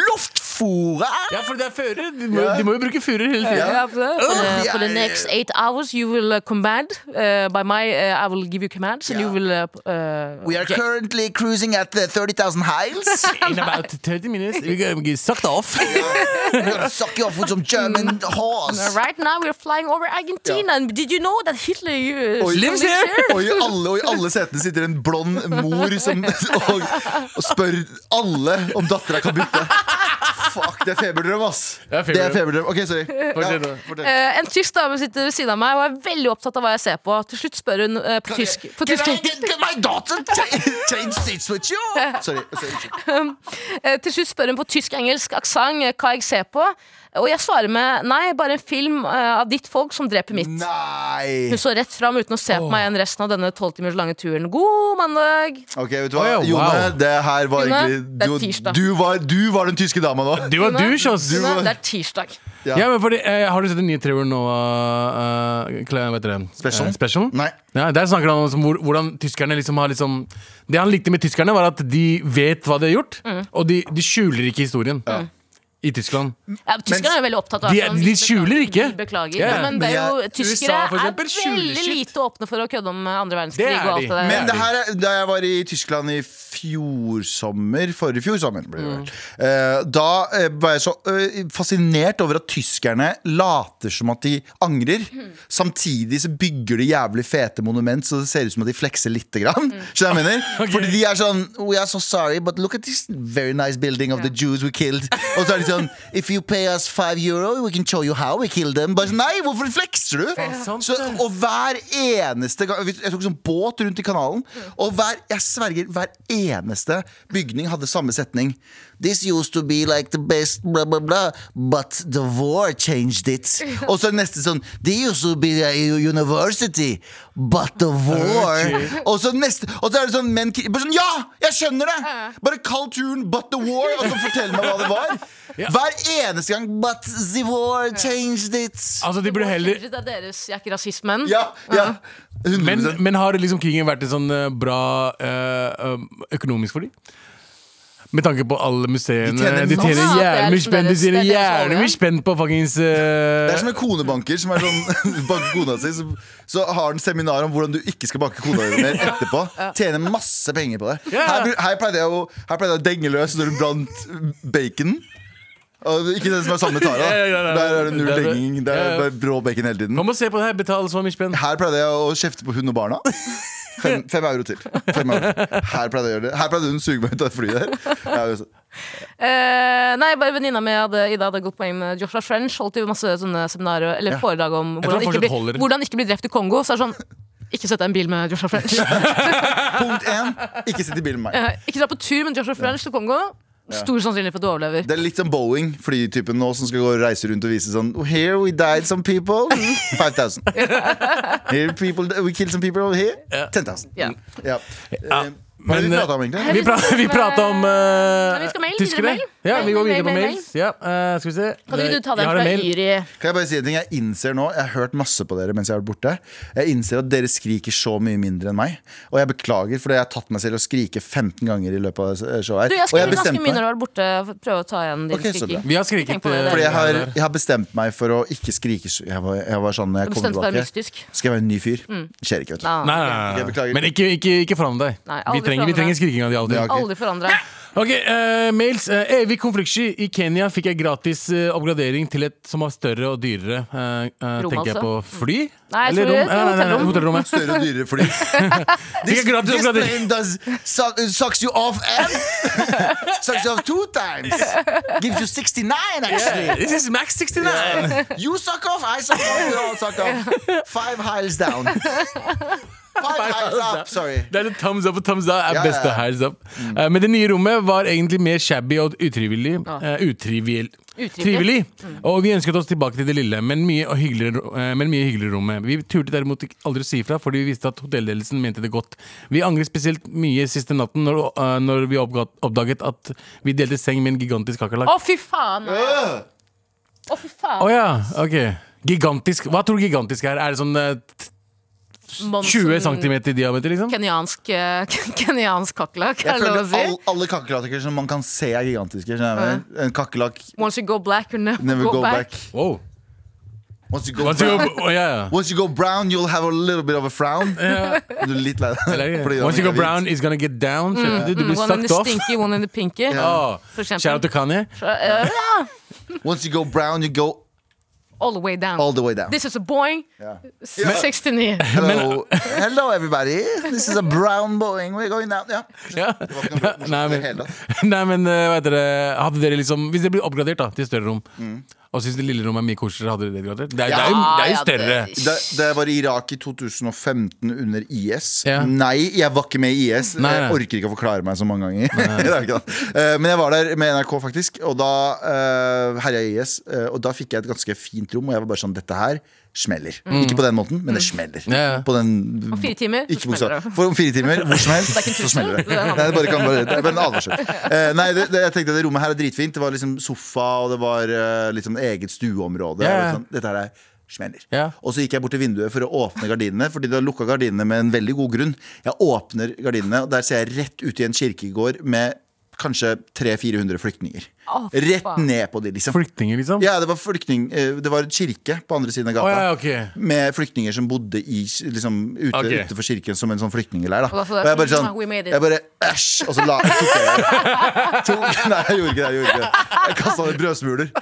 Speaker 4: Luftfuhrer!
Speaker 5: Ja, for det er fører. De må, de må jo bruke fører hele tiden.
Speaker 3: Yeah, for, the, for, the,
Speaker 4: yeah,
Speaker 3: eh, for the
Speaker 4: yeah,
Speaker 3: next eight hours, you will uh, command. Uh, by my, uh, I will give you commands, and you
Speaker 4: Yeah.
Speaker 3: will. Uh, p- uh,
Speaker 4: We are currently cruising at uh, the 30,000 heils.
Speaker 5: In about 30 minutes, we go- we suck it off.
Speaker 4: We're gonna suck you off with some German horse.
Speaker 3: Mm. right now, we're flying over Argentina. And did you know that Hitler uh,
Speaker 4: Og i,
Speaker 3: lives here?
Speaker 4: og, i alle, og i alle setene sitter en blond mor som, og, og spør alle om dattera kan bytte. Fuck, det er feberdrøm, ass.
Speaker 5: Det er feberdrøm.
Speaker 4: Det er feberdrøm. OK, sorry.
Speaker 5: Fortsett
Speaker 4: Ja,
Speaker 5: nå.
Speaker 4: fortell.
Speaker 3: Eh, en tysk dame sitter ved siden av meg og er veldig opptatt av hva jeg ser på. Til slutt spør hun eh, på tysk. På
Speaker 4: Can
Speaker 3: tysk.
Speaker 4: I get- can my daughter cha- change seats with you? Sorry. sorry.
Speaker 3: Eh, til slutt spør hun på tysk-engelsk aksent eh, hva jeg ser på, og jeg svarer med nei, bare en film eh, av ditt folk som dreper mitt.
Speaker 4: Nei!
Speaker 3: Hun så rett fram uten å se på meg igjen resten av denne tolv timers lange turen. God mandag!
Speaker 4: Ok, vet du hva?
Speaker 5: Å ja, wow.
Speaker 4: Jone, det her var
Speaker 3: Jone, det er
Speaker 4: egentlig du,
Speaker 3: tirsdag.
Speaker 4: du, var, du var den tyske dama nå.
Speaker 5: Du var
Speaker 3: Tone,
Speaker 5: douche, ass.
Speaker 3: Tone,
Speaker 4: var-
Speaker 3: Det er tirsdag.
Speaker 5: Ja, men fordi, eh, har du sett den nye Trevor Noah uh, Vet dere
Speaker 4: Special?
Speaker 5: Eh, special?
Speaker 4: Nei.
Speaker 5: Ja, der snakker han om hvor, hvordan tyskerne liksom har liksom Det han likte med tyskerne, var at de vet hva de har gjort,
Speaker 3: Mm.
Speaker 5: og de, de skjuler ikke historien. I Tyskland.
Speaker 3: Ja, tyskerne er jo veldig opptatt av
Speaker 5: De-
Speaker 3: at man-
Speaker 5: de skjuler ikke.
Speaker 3: De beklager.
Speaker 5: Ja, ja.
Speaker 3: Men det er
Speaker 4: Men
Speaker 3: jo,
Speaker 4: jeg-
Speaker 3: tyskere
Speaker 5: USA for
Speaker 3: er
Speaker 5: eksempel skjuler
Speaker 3: veldig
Speaker 5: shit.
Speaker 3: lite åpne for å kødde om eh, andre
Speaker 5: Det
Speaker 3: verdenskrig
Speaker 5: er
Speaker 3: og alt
Speaker 5: de.
Speaker 3: det der.
Speaker 4: Men
Speaker 5: det
Speaker 4: det her, er- da jeg var i Tyskland i fjor sommer, forrige fjor sommer blir det vel,
Speaker 5: Mm.
Speaker 4: eh, Da eh, var jeg så eh, fascinert over at tyskerne later som at de angrer.
Speaker 5: Mm.
Speaker 4: Samtidig så bygger de jævlig fete monument, så det ser ut som at de flekser lite grann.
Speaker 5: Mm.
Speaker 4: Skjønner du hva jeg mener? Fordi de er sånn We are so sorry, but look at this very nice building of the Jews we killed. Og så er de sånn If you pay us five euro, we can show you how we killed them. Bare sånn, Nei, hvorfor flekser du?
Speaker 5: er sant,
Speaker 4: Så,
Speaker 5: det.
Speaker 4: og hver eneste gang Jeg tok sånn båt rundt i kanalen, og hver, jeg sverger, hver eneste bygning hadde samme setning. This used to be like the best blah, blah, blah, but the war changed it. Og så neste sånn They used to be a university, but the war Og så neste Og så er det sånn menn kri- bare sånn, Ja! Jeg skjønner det! Bare kall turen But the war, og så fortell meg hva det var. Hver eneste gang But the war changed it.
Speaker 5: Altså, de burde heller
Speaker 3: Det er deres, jeg er ikke rasismen.
Speaker 4: Ja, ja. 100%.
Speaker 5: men, men har liksom krigen vært en sånn eh, bra eh, um, økonomisk for dem? Med tanke på alle museene.
Speaker 4: De tjener
Speaker 5: De tjener
Speaker 3: masse.
Speaker 5: jævlig
Speaker 3: Ja,
Speaker 5: mye
Speaker 3: det er
Speaker 5: spenn De
Speaker 3: deres-
Speaker 5: tjener
Speaker 3: det er deres
Speaker 5: jævlig
Speaker 3: olje.
Speaker 5: mye spenn på fuckings
Speaker 4: Det
Speaker 5: eh,
Speaker 4: er som en konebanker som er sånn banker kona si, så, så har han seminar om hvordan du ikke skal banke kona di mer etterpå. Tjener masse penger på det. Her, bru- her pleide jeg å, her pleide jeg å denge løs når hun brant baconen. Og ikke den som er sammen med Tara.
Speaker 5: Ja, ja, ja, ja.
Speaker 4: Der er det null
Speaker 5: Det er det.
Speaker 4: denging. Det
Speaker 5: Ja,
Speaker 4: er
Speaker 5: ja.
Speaker 4: bare brå bacon hele tiden.
Speaker 5: Man må se på det her, betale så mye spenn.
Speaker 4: Her pleide jeg å kjefte på hun og barna. Fem, fem euro til. Fem euro. Her pleide jeg å gjøre det Her pleide hun å suge meg ut av det flyet der. Ja, altså.
Speaker 3: Eh, nei, bare venninna mi hadde, Ida hadde et godt poeng med Joshua French. Holdt jo masse sånne seminarer eller foredrag om hvordan
Speaker 5: tror han
Speaker 3: ikke,
Speaker 5: fortsatt holder
Speaker 3: bli,
Speaker 5: det.
Speaker 3: hvordan ikke bli drept i Kongo. Så er det sånn Ikke sett deg i en bil med Joshua French.
Speaker 4: Punkt én ikke sitt i bilen med meg.
Speaker 3: Eh, ikke dra på tur med Joshua French til Kongo. Stor sannsynlighet for at du overlever.
Speaker 4: Det er litt som Boeing, flytypen nå som skal gå og reise rundt og vise sånn Here we died some people. 5000. Here people, we killed some people over here. 10,000.
Speaker 3: Ja.
Speaker 4: Ja.
Speaker 5: Ja,
Speaker 4: Eh, Hva er det vi
Speaker 5: men,
Speaker 4: pratet om, egentlig?
Speaker 5: Vi, pra vi prata om
Speaker 3: Nei, vi skal
Speaker 5: uh,
Speaker 3: mail, videre
Speaker 5: tyskere.
Speaker 3: mail.
Speaker 5: Ja,
Speaker 3: Mail,
Speaker 5: vi
Speaker 3: mail,
Speaker 5: går videre på
Speaker 3: mail,
Speaker 5: mails. Ja, eh, skal vi se.
Speaker 3: Kan ikke du ta
Speaker 5: Jeg
Speaker 3: den
Speaker 5: har
Speaker 3: fra
Speaker 5: en mail.
Speaker 3: Yri?
Speaker 4: Kan jeg bare si en ting? Jeg innser nå, jeg har hørt masse på dere mens jeg har vært borte. Jeg innser at dere skriker så mye mindre enn meg. Og jeg beklager, for jeg har tatt meg selv å skrike 15 ganger i løpet av eh, showet her.
Speaker 3: Du, jeg
Speaker 4: og
Speaker 3: skrev ganske
Speaker 4: bestemte
Speaker 3: mye
Speaker 4: meg-
Speaker 3: når du var borte. for å Prøve å ta igjen din
Speaker 4: Ok, så bra.
Speaker 3: skriking.
Speaker 5: Vi har
Speaker 3: Tenk
Speaker 5: skriket
Speaker 3: på det,
Speaker 5: eh,
Speaker 3: det er
Speaker 4: Fordi jeg har, jeg har bestemt meg for å ikke skrike så- Jeg var, jeg var sånn når jeg
Speaker 3: Du
Speaker 4: kom
Speaker 3: bestemte deg
Speaker 4: tilbake.
Speaker 3: mystisk. Mm.
Speaker 4: Skal jeg være en ny fyr? Skjer ikke, vet du.
Speaker 3: Nei,
Speaker 5: Nei, nei,
Speaker 4: Jeg
Speaker 5: nei,
Speaker 4: beklager.
Speaker 5: nei. Men ikke, ikke, ikke forandre deg.
Speaker 3: Nei,
Speaker 5: vi,
Speaker 3: aldri
Speaker 5: trenger,
Speaker 3: forandre
Speaker 5: vi trenger
Speaker 3: deg.
Speaker 5: skriking av de alltid.
Speaker 4: Ja, ok.
Speaker 3: Aldri forandra.
Speaker 5: Ok, eh, mails. Eh, evig konfliktsky. I Kenya fikk jeg gratis eh, oppgradering til et som var større og dyrere. Eh, eh,
Speaker 3: Rom,
Speaker 5: tenker jeg
Speaker 3: altså.
Speaker 5: på fly?
Speaker 3: Nei, jeg tror det er
Speaker 5: Eh, nei, nei, nei,
Speaker 3: hotellrom.
Speaker 5: hotellrommet.
Speaker 4: Større og dyrere fly.
Speaker 5: Fikk jeg gratis
Speaker 4: This
Speaker 5: oppgradering.
Speaker 4: plane does suck, sucks you off and sucks you off two times. Gives you 69 actually.
Speaker 5: This is Max 69!
Speaker 4: You suck off, I suck off, we all suck off. Five hiles down. Five hiles up, sorry.
Speaker 5: Det er en thumbs up og thumbs out
Speaker 4: Ja,
Speaker 5: er
Speaker 4: Mm. ja, ja.
Speaker 5: beste hands up. Eh, men det nye rommet var egentlig mer shabby og utrivelig. eh, utriviel- Trivelig. Og vi ønsket oss tilbake til det lille, men mye og hyggeligere, ro- eh, men mye hyggeligere rommet. Vi turte derimot ikke- aldri å si ifra, fordi vi visste at hotellledelsen mente det godt. Vi angret spesielt mye siste natten når, eh, når vi oppga- oppdaget at vi delte seng med en gigantisk kakerlakk.
Speaker 3: Å,
Speaker 5: Å
Speaker 3: fy faen! Å,
Speaker 4: Øh!
Speaker 3: fy faen.
Speaker 5: ja, ok. Gigantisk. Hva tror du gigantisk er? Er det sånn eh, t-
Speaker 3: Monsen-
Speaker 5: 20 cm i diameter, liksom?
Speaker 3: Kenyansk, eh, kenyansk kakerlakk,
Speaker 4: Jeg
Speaker 3: er det
Speaker 4: føler
Speaker 3: lov å si?
Speaker 4: all, alle kakerlakker som man kan se er gigantiske. skjønner jeg hva jeg mener? En kakerlakk
Speaker 3: Once you go black, you never,
Speaker 4: never
Speaker 3: go,
Speaker 4: go
Speaker 3: back.
Speaker 4: back.
Speaker 5: Wow.
Speaker 4: Once you go
Speaker 5: Hva tror
Speaker 4: brown,
Speaker 5: du- Å, ja, ja.
Speaker 4: once you go brown you'll have a little bit of a frown. Du er litt lei deg.
Speaker 5: Eller,
Speaker 4: fordi
Speaker 5: Once
Speaker 4: det
Speaker 5: you go
Speaker 4: er hvit.
Speaker 5: brown, it's gonna get down. skjønner Du, du blir
Speaker 3: Mm. One in
Speaker 5: sucked
Speaker 3: the
Speaker 5: off.
Speaker 3: stinky, one in the pinky.
Speaker 5: Oh.
Speaker 3: For eksempel.
Speaker 5: Shout out to Kanye.
Speaker 3: Eh,
Speaker 4: Once you go brown, you go
Speaker 3: all the way down.
Speaker 4: all the way down.
Speaker 3: This is a boy.
Speaker 4: Ja.
Speaker 3: 69.
Speaker 4: Hello. Hello, everybody. This is a brown Boeing. We're going down. Ja.
Speaker 5: Ja.
Speaker 4: var ikke noe morsomt
Speaker 5: Nei,
Speaker 4: i det
Speaker 5: men,
Speaker 4: hele
Speaker 5: nei, men eh, vet dere, hadde dere liksom Hvis dere blir oppgradert da, til større rom,
Speaker 4: Mm.
Speaker 5: og syns det lille rommet er mye koseligere, hadde dere det gradert? Det er, det er, jo, det er jo
Speaker 3: Ja,
Speaker 5: større.
Speaker 3: ja, det-
Speaker 4: Da, da jeg var i Irak i 2015 under IS
Speaker 5: Ja.
Speaker 4: Nei, jeg var ikke med i IS.
Speaker 5: Nei, nei.
Speaker 4: Jeg orker ikke å forklare meg så mange ganger. Det er ikke det. Eh, Men jeg var der med NRK, faktisk, og da uh, herja IS. eh, og da fikk jeg et ganske fint rom, og jeg var bare sånn Dette her smeller. Ikke på den måten, men det smeller.
Speaker 5: Ja, ja.
Speaker 4: På den
Speaker 3: Om fire timer, så
Speaker 4: Ikke bokstav.
Speaker 3: smeller det.
Speaker 4: For om fire timer, hvor som helst,
Speaker 3: Det er ikke en
Speaker 4: så
Speaker 3: trussel,
Speaker 4: smeller det.
Speaker 3: det er en
Speaker 4: Nei, det bare kan bare, det er bare en advarsel. Eh, nei, det, det, jeg tenkte det rommet her er dritfint. Det var liksom sofa, og det var eh, liksom eget stueområde.
Speaker 5: Ja,
Speaker 4: og
Speaker 5: ja.
Speaker 4: Sånn. Dette her er smeller.
Speaker 5: Ja.
Speaker 4: Og så gikk jeg bort til vinduet for å åpne gardinene, Fordi de har lukka gardinene med en veldig god grunn. Jeg åpner gardinene, og der ser jeg rett ut i en kirkegård med kanskje 300-400 flyktninger.
Speaker 3: Å, fy
Speaker 4: rett
Speaker 3: faen.
Speaker 4: ned på de, liksom.
Speaker 5: Flyktninger, liksom?
Speaker 4: Ja, det var flyktning eh, Det var en kirke på andre siden av
Speaker 5: Å,
Speaker 4: gata.
Speaker 5: ja, ok.
Speaker 4: Med flyktninger som bodde i, liksom, ute,
Speaker 5: Ok.
Speaker 4: utenfor kirken som en sånn flyktningleir. Da.
Speaker 3: Og da så
Speaker 4: Og
Speaker 3: der,
Speaker 4: jeg bare sånn
Speaker 3: "We made it."
Speaker 4: Jeg bare æsj! Og så la tok jeg tok, Nei, jeg gjorde ikke det. Jeg gjorde ikke det Jeg kasta ned brødsmuler.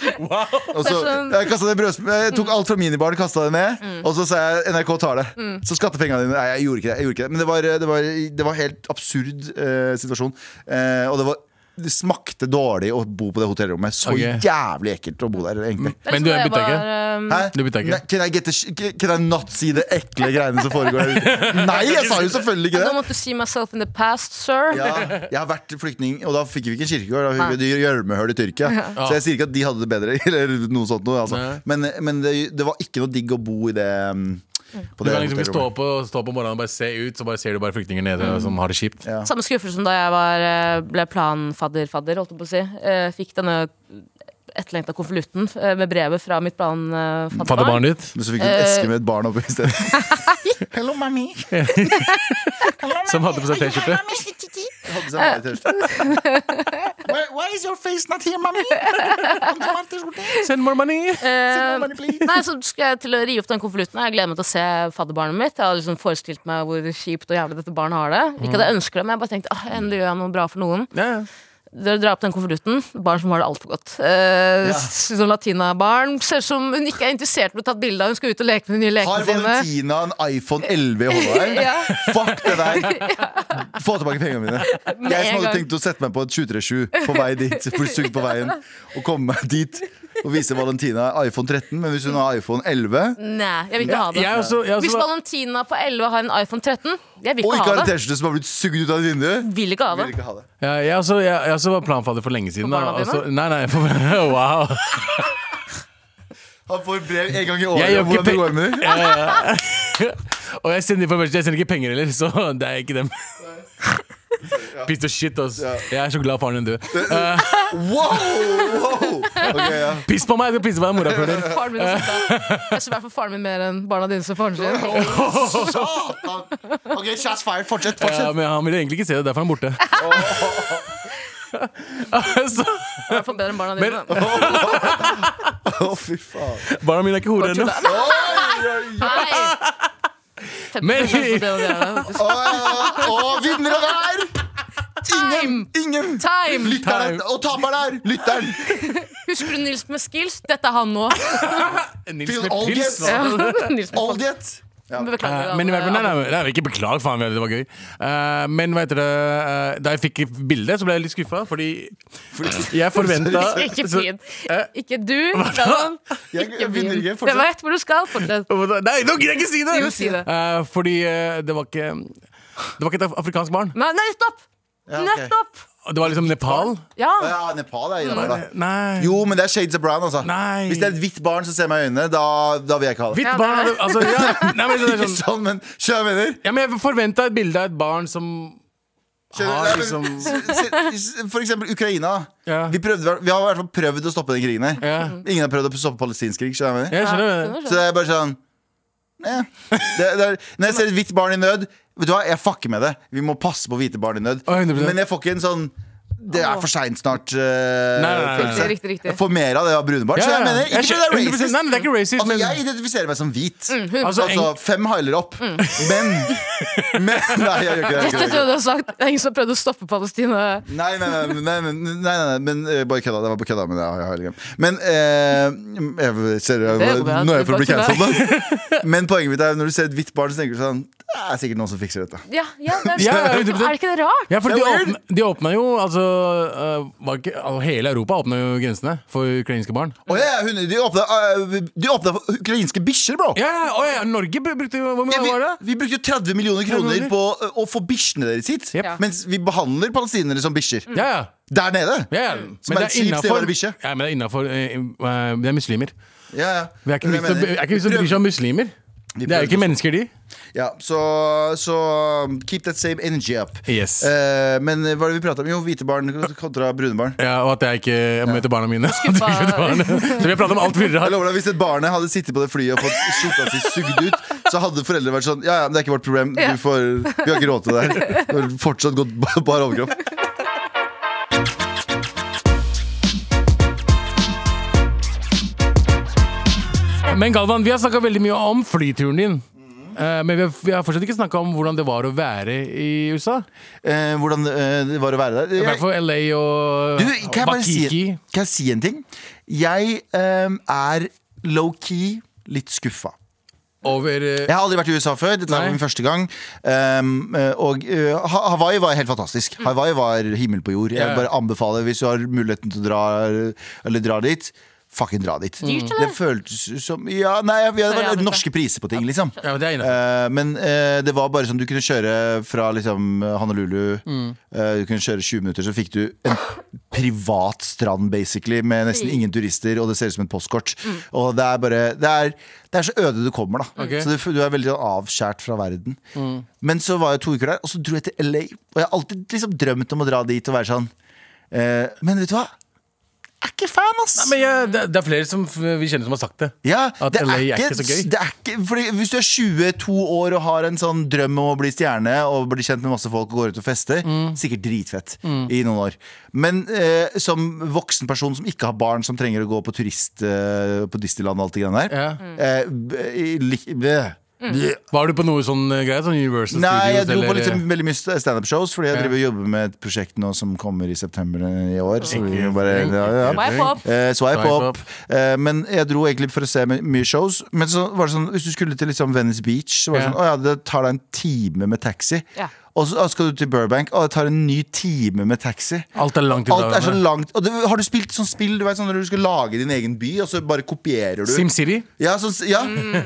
Speaker 4: Og så,
Speaker 3: Sånn. Mm.
Speaker 4: jeg, kastet ned brødsm- jeg tok alt fra minibaren, kasta det ned, og så sa jeg NRK tar det. Så skattepengene dine Nei, jeg gjorde ikke det. Jeg gjorde ikke det. Men det var, det var, det var helt absurd eh, situasjon. Eh, og det var det smakte dårlig å bo på det hotellrommet. Så
Speaker 5: Ok.
Speaker 4: jævlig ekkelt å bo der, egentlig.
Speaker 3: Det
Speaker 5: Men du
Speaker 3: liksom
Speaker 5: er bytta
Speaker 3: det
Speaker 5: ikke?
Speaker 3: var, um,
Speaker 4: Hæ?
Speaker 5: Du bytta ikke?
Speaker 4: Nei, Can I, get the, sh- can I not si det ekle greiene som foregår der ute? Nei, jeg sa jo selvfølgelig ikke
Speaker 3: I
Speaker 4: det!
Speaker 3: don't want to see myself in the past, sir.
Speaker 4: Ja, jeg har vært flyktning, og da fikk vi ikke en kirkegård. Da fikk vi et gjørmehull i Tyrkia. Så jeg sier ikke at de hadde det bedre. Eller noe sånt noe, altså.
Speaker 5: Nei.
Speaker 4: Men, men det, det var ikke noe digg å bo i det um, på
Speaker 5: Du
Speaker 4: det
Speaker 5: kan liksom ikke stå
Speaker 4: hotellrommet.
Speaker 5: opp, og, stå opp om morgenen og bare se ut, så bare ser du bare flyktninger nede
Speaker 3: Mm.
Speaker 5: som har det kjipt.
Speaker 4: Ja.
Speaker 3: Samme skuffelse som da jeg var, eh, ble planfadder-fadder, holdt jeg på å si. Eh, Fikk denne etterlengta konvolutten eh, med brevet fra mitt eh, planfadderbarn.
Speaker 5: Fadderbarnet ditt,
Speaker 4: Men så fikk du en eske med et barn oppi i stedet. Hello, mommy.
Speaker 5: som hadde på seg T-skjorte.
Speaker 4: Jeg hadde sånn her T-skjorte. Why, why is your face not here, mommy? Kom til meg, T-skjorte.
Speaker 5: Send more money!
Speaker 4: Send
Speaker 5: Um,
Speaker 4: me money, please.
Speaker 3: Nei, så skal jeg til å rive opp den konvolutten. Jeg gleder meg til å se fadderbarnet mitt. Jeg hadde liksom forestilt meg hvor kjipt og jævlig dette barnet har det. Ikke at
Speaker 4: Mm.
Speaker 3: jeg ønsker det, men jeg bare tenkte ah, endelig gjør jeg noe bra for noen.
Speaker 5: Ja, ja.
Speaker 3: Dere drar opp den konvolutten. Barn som har det altfor godt. Eh, Sånn latinabarn. Ser ut som hun ikke er interessert i å bli tatt bilde av. Hun skal ut og leke med de nye lekene
Speaker 4: Har
Speaker 3: sine.
Speaker 4: Valentina en iPhone 11 i hånda her?
Speaker 3: Ja.
Speaker 4: Fuck det der! Få tilbake pengene mine. Jeg som
Speaker 3: en
Speaker 4: hadde
Speaker 3: gang.
Speaker 4: tenkt å sette meg på et 737 på vei dit, for sugd på veien, og komme meg dit og vise Valentina iPhone 13, men hvis hun har iPhone 11
Speaker 3: Nei, jeg vil ikke ha det.
Speaker 5: Jeg også, jeg
Speaker 3: Hvis
Speaker 5: også var,
Speaker 3: Valentina på 11 har en iPhone 13, jeg vil
Speaker 4: og
Speaker 3: ikke
Speaker 4: ikke har
Speaker 3: ha
Speaker 4: en
Speaker 3: det.
Speaker 4: T-skjorte som har blitt sugd ut av et vindu
Speaker 3: Vil ikke ha
Speaker 4: vil
Speaker 3: det.
Speaker 4: ikke ha det.
Speaker 5: ja, jeg, også, jeg, jeg også var planfader for lenge siden.
Speaker 3: For
Speaker 5: da,
Speaker 3: barna dine?
Speaker 5: og så- nei, nei, for, wow.
Speaker 4: Han får brev en gang i
Speaker 5: Jeg
Speaker 4: året
Speaker 5: gjør
Speaker 4: om
Speaker 5: ikke
Speaker 4: hvordan det går med henne.
Speaker 5: Og jeg sender, information, jeg sender ikke penger heller, så det er ikke dem. Piece of shit, ass. Jeg er så glad faren din døde. Eh,
Speaker 4: Wow! wow. Ok, ja.
Speaker 5: piss på meg! Jeg skal pisse på deg, mora puler.
Speaker 3: Faren min har sett det. Jeg ser i hvert fall faren min mer enn barna dine som faren sin.
Speaker 4: Satan! Ok, shots fired. Fortsett. fortsett.
Speaker 5: Ja, men han ville egentlig ikke se det, derfor er han borte. så,
Speaker 3: I hvert fall bedre enn barna dine.
Speaker 4: Å, fy faen.
Speaker 5: barna mine er ikke horer ennå.
Speaker 4: Oi, oi, oi.
Speaker 3: Nei!
Speaker 5: Men-
Speaker 3: 15 av det og det er det.
Speaker 4: Å, ja. Å, vinner det der!
Speaker 3: Time!
Speaker 4: Ingen!
Speaker 3: Time!
Speaker 4: Lytteren er- og taperen er lytteren!
Speaker 3: Husker du Nils med skills? Dette er han nå.
Speaker 5: Nils
Speaker 4: Phil
Speaker 5: med
Speaker 4: Aldgren.
Speaker 5: pils. hva?
Speaker 3: Nils med
Speaker 4: Oldiet! Ja.
Speaker 3: Beklager.
Speaker 5: Eh, Men i hvert fall, nei,
Speaker 3: alle-
Speaker 5: nei, nei, ikke beklag, faen, det var gøy. Eh, men hva heter det eh, Da jeg fikk bildet, så ble jeg litt skuffa, fordi jeg forventa
Speaker 3: Ikke
Speaker 5: så-
Speaker 3: fint.
Speaker 5: Eh,
Speaker 3: Ikke du. Galvan.
Speaker 4: Jeg, jeg vinner ikke.
Speaker 3: Jeg
Speaker 4: Fortsett.
Speaker 3: vet hvor du skal. Fortsett.
Speaker 5: Nei, nå gidder jeg ikke si det!
Speaker 3: Jo, si det.
Speaker 5: Eh, fordi eh, det var ikke Det var ikke et afrikansk barn.
Speaker 3: Nei, nettopp!
Speaker 4: Ja, ok.
Speaker 3: Nettopp!
Speaker 5: Det var liksom Nepal. Eh,
Speaker 3: Ja.
Speaker 4: Ja, Nepal er innafor, da.
Speaker 5: Nei.
Speaker 4: Jo, men det er shades of brown, altså.
Speaker 5: Mm. Nei.
Speaker 4: Hvis det er et hvitt barn som ser meg i øynene, da, da vil jeg ikke ha det.
Speaker 5: Hvitt
Speaker 3: Ja,
Speaker 5: barn hadde altså, ja, nei, men, det er
Speaker 4: Ikke
Speaker 5: sånn,
Speaker 4: sånn, men skjønner du hva jeg mener?
Speaker 5: ja, men jeg forventa et bilde av et barn som
Speaker 4: Skjønner-
Speaker 5: har
Speaker 4: Nei, men
Speaker 5: liksom
Speaker 4: se- se- For eksempel Ukraina.
Speaker 5: Ja.
Speaker 4: Vi, prøvde, vi har i hvert fall prøvd å stoppe den krigen her.
Speaker 5: Ja.
Speaker 4: Ingen har prøvd å stoppe palestinsk krig. skjønner du hva jeg mener?
Speaker 5: Jeg skjønner det.
Speaker 4: Så det er bare sånn eh. det, det er, Når jeg ser et hvitt barn i nød, Vet du hva, jeg fucker med det. Vi må passe på hvite barn i nød.
Speaker 5: Å, 100%.
Speaker 4: Men jeg får ikke en sånn det er for seint snart. eh,
Speaker 5: Nei, nei, nei, nei.
Speaker 4: følelse.
Speaker 3: Riktig, riktig, riktig.
Speaker 4: Jeg får mer av det av brune barn.
Speaker 5: Ja,
Speaker 4: Så jeg
Speaker 5: ja.
Speaker 4: mener, ikke
Speaker 5: Jeg
Speaker 4: fordi det er
Speaker 5: skjønner- 100%
Speaker 4: racist.
Speaker 5: Nei, det er ikke racist,
Speaker 4: altså,
Speaker 5: men-
Speaker 4: jeg identifiserer meg som hvit.
Speaker 5: Altså,
Speaker 4: altså,
Speaker 5: en-
Speaker 4: fem hailer opp.
Speaker 3: Mm.
Speaker 4: Men, men Nei, jeg gjør ikke det. Jeg gjør
Speaker 3: Jeg
Speaker 4: ikke det.
Speaker 3: trodde du hadde sagt det er ingen som har prøvd å stoppe Palestina.
Speaker 4: Nei, nei, nei, nei, nei, nei, nei, nei men eh, bare kødda. Det var på kødda, men det har jeg har jeg glemt. Men eh, jeg, ser,
Speaker 3: Det er jo bra.
Speaker 4: Nå er jeg for å bli
Speaker 3: Du får
Speaker 4: cancelled, da. Men poenget mitt er når du ser et hvitt barn, så tenker du sånn Det er sikkert noen som fikser dette.
Speaker 3: Ja, ja, det er, sånn.
Speaker 5: Ja, ja,
Speaker 3: er
Speaker 5: 100%.
Speaker 3: det ikke det rart?
Speaker 5: Ja, for
Speaker 4: Det
Speaker 5: de
Speaker 4: er weird.
Speaker 5: åpna, de åpna jo altså, eh, var ikke, al- Hele Europa åpna jo grensene for ukrainske barn.
Speaker 4: Å ja, hun, de åpna, eh, de åpna for ukrainske bikkjer, bro!
Speaker 5: Ja, ja, å ja, Norge br- brukte jo Hvor mye
Speaker 4: Ja, vi,
Speaker 5: var det?
Speaker 4: vi brukte jo 30 millioner kroner på eh, å få bikkjene deres hit.
Speaker 5: Jep. Ja.
Speaker 4: Mens vi behandler palestinere som bikkjer.
Speaker 5: Ja, ja.
Speaker 4: Der nede!
Speaker 5: ja, ja.
Speaker 4: Som er et kjipt sted å
Speaker 5: innenfor-
Speaker 4: være bikkje.
Speaker 5: Ja, men det er innafor Det er muslimer.
Speaker 4: Ja, ja.
Speaker 5: Vi er ikke vi
Speaker 4: Det er det jeg
Speaker 5: som
Speaker 4: mener.
Speaker 5: er ikke vi som bryr seg om muslimer. Det er
Speaker 4: prøver
Speaker 5: jo ikke mennesker, de.
Speaker 4: Ja, så, så um, keep that same energy up.
Speaker 5: Yes.
Speaker 4: Eh, men hva er det vi prata om? Jo, hvite barn kontra brune barn.
Speaker 5: Ja, og at jeg ikke jeg møter barna mine. Så vi har pratet om alt mye
Speaker 4: Jeg
Speaker 5: rart.
Speaker 4: lover deg, Hvis et barn hadde sittet på det flyet og fått skjorta si sugd ut, så hadde foreldre vært sånn Ja, ja, men det er ikke vårt problem. Du får, vi har ikke råd til det her. Du har fortsatt gått ba- bar overkropp.
Speaker 5: Men Galvan, vi har snakka veldig mye om flyturen din.
Speaker 4: Mhm.
Speaker 5: Eh, Men vi har, vi har fortsatt ikke snakka om hvordan det var å være i USA.
Speaker 4: Eh, hvordan eh, det var å være der.
Speaker 5: I
Speaker 4: Jeg,
Speaker 5: hvert fall LA og
Speaker 4: du, kan jeg bare si,
Speaker 5: Bakiki.
Speaker 4: kan jeg si en ting? Jeg eh, er low-key litt skuffa.
Speaker 5: over eh,
Speaker 4: Jeg har aldri vært i USA før. Dette
Speaker 5: Nei.
Speaker 4: var min første gang. Um, eh, og eh, Ha- Hawaii var helt fantastisk. Hawaii var himmel på jord. Jeg
Speaker 5: Mm. Ja.
Speaker 4: vil bare anbefaler, hvis du har muligheten til å dra, eller dra dit, fucking dra
Speaker 5: Mm.
Speaker 4: dit.
Speaker 3: Dyrt, eller?
Speaker 4: det føltes som Ja, nei, vi hadde
Speaker 3: Sorry,
Speaker 4: bare
Speaker 3: Annika.
Speaker 4: norske priser på ting, liksom.
Speaker 5: Ja, men det er innenfor.
Speaker 4: Eh, men eh, det var bare sånn du kunne kjøre fra liksom Honolulu eh, Du kunne kjøre 20 minutter, så fikk du en privat strand, basically, med nesten ingen turister, og det ser ut som et postkort. Og det er bare Det er, det er så øde du kommer, da.
Speaker 5: Ok.
Speaker 4: Så du, du er veldig sånn avskjært fra verden. Men så var jeg to uker der, og så dro jeg til LA. Og jeg har alltid liksom drømt om å dra dit og være sånn eh, Men vet du hva? Jeg er ikke fan, ass!
Speaker 5: Nei, men jeg, det, det er flere som f- vi kjenner som har sagt det.
Speaker 4: Ja,
Speaker 5: At
Speaker 4: det er
Speaker 5: LA er
Speaker 4: ikke,
Speaker 5: ikke så gøy.
Speaker 4: Det er ikke, fordi hvis du er 22 år og har en sånn drøm om å bli stjerne og bli kjent med masse folk og går ut og fester,
Speaker 5: Mm.
Speaker 4: sikkert dritfett i noen år. Men eh, som voksen person som ikke har barn, som trenger å gå på turist eh, på Disneyland og alt det greiene der
Speaker 5: Ja.
Speaker 4: eh, b- i lik- bleh. Bleh.
Speaker 5: Var du på noe sånn eh, greie? Sånn Universal
Speaker 4: Mm. Nei, jeg
Speaker 5: Studios?
Speaker 4: dro på liksom-
Speaker 5: eller-
Speaker 4: litt, veldig mye st- standup-shows, fordi jeg
Speaker 5: Ja.
Speaker 4: driver og jobber med et prosjekt nå som kommer i september i år. Så vi må bare, ja, ja.
Speaker 3: Hva er pop?
Speaker 4: Eh, Swipe
Speaker 5: Swipe
Speaker 4: opp. Eh, men jeg dro egentlig for å se my- mye shows. Men så var det sånn, hvis du skulle til liksom Venice Beach, så var det
Speaker 5: Ja.
Speaker 4: sånn, å ja, det tar deg en time med taxi.
Speaker 3: Ja.
Speaker 4: Og så å, skal du til Burbank, å, det tar en ny time med taxi.
Speaker 5: Alt er langt i
Speaker 4: Alt er så
Speaker 5: dagene.
Speaker 4: langt. Og det, har du spilt sånn spill du vet, sånn, når du skal lage din egen by, og så bare kopierer du?
Speaker 5: SimCity?
Speaker 4: Ja, sånn, ja.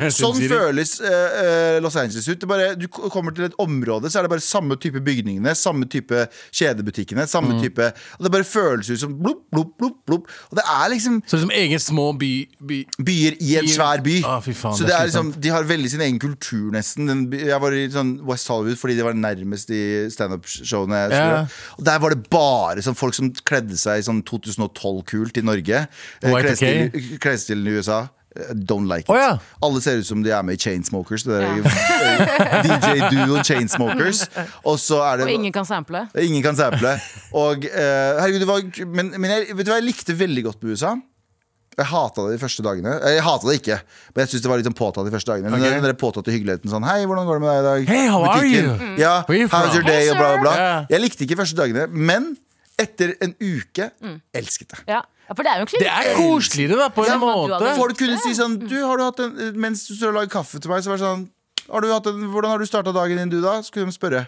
Speaker 4: sånn
Speaker 5: City.
Speaker 4: føles eh, eh, Los Angeles ut. Det bare, du k- kommer til et område, så er det bare samme type bygningene, samme type kjedebutikkene. Samme
Speaker 5: Mm.
Speaker 4: type, og Det bare føles ut som blubb, blubb, blubb. blubb. Og det er liksom
Speaker 5: Så liksom egen små by, by
Speaker 4: byer i en
Speaker 5: I-
Speaker 4: svær by.
Speaker 5: Ah, fy faen,
Speaker 4: så
Speaker 5: det
Speaker 4: det
Speaker 5: er
Speaker 4: er liksom, De har veldig sin egen kultur, nesten. Den, by- jeg var i sånn West Hollywood fordi det var nærmest de standup-showene. jeg skulle
Speaker 5: Ja.
Speaker 4: gjøre. Og Der var det bare sånn folk som kledde seg i sånn 2012-kult i Norge. Eh,
Speaker 5: Y2K?
Speaker 4: Klesstilen klesstilen i USA. eh, Don't like it.
Speaker 5: Å, ja.
Speaker 4: Alle ser ut som de er med i Chainsmokers. Det der, DJ Duo Chainsmokers. Og så er det
Speaker 3: Og ingen kan sample.
Speaker 4: Ingen kan sample. Og, eh, herregud, det var, men men jeg, vet du hva jeg likte veldig godt med USA? Jeg hata det de første dagene. Eh, Jeg hata det ikke, men jeg synes det var litt sånn påtatt de første dagene. Den,
Speaker 5: Ok.
Speaker 4: den der påtatte hyggeligheten sånn Hei, hvordan går det med deg i dag?
Speaker 5: Hey, how are
Speaker 4: Butikken.
Speaker 5: you?
Speaker 4: Ja,
Speaker 5: Where you
Speaker 4: how's
Speaker 5: from?
Speaker 4: your day?
Speaker 3: Hey,
Speaker 4: og bla, bla, bla.
Speaker 5: sir.
Speaker 4: Jeg likte ikke de første dagene, men etter en uke
Speaker 3: Mm.
Speaker 4: elsket det.
Speaker 3: Ja. ja, for det er jo en
Speaker 5: Det
Speaker 3: klinikk.
Speaker 5: er koseligere, da, på en
Speaker 3: men du
Speaker 5: måte.
Speaker 3: hadde-
Speaker 4: Folk kunne si sånn du, har du hatt en, Mens du står og lager kaffe til meg, så var det sånn har du hatt en, Hvordan har du starta dagen din, du, da? Så kunne de spørre.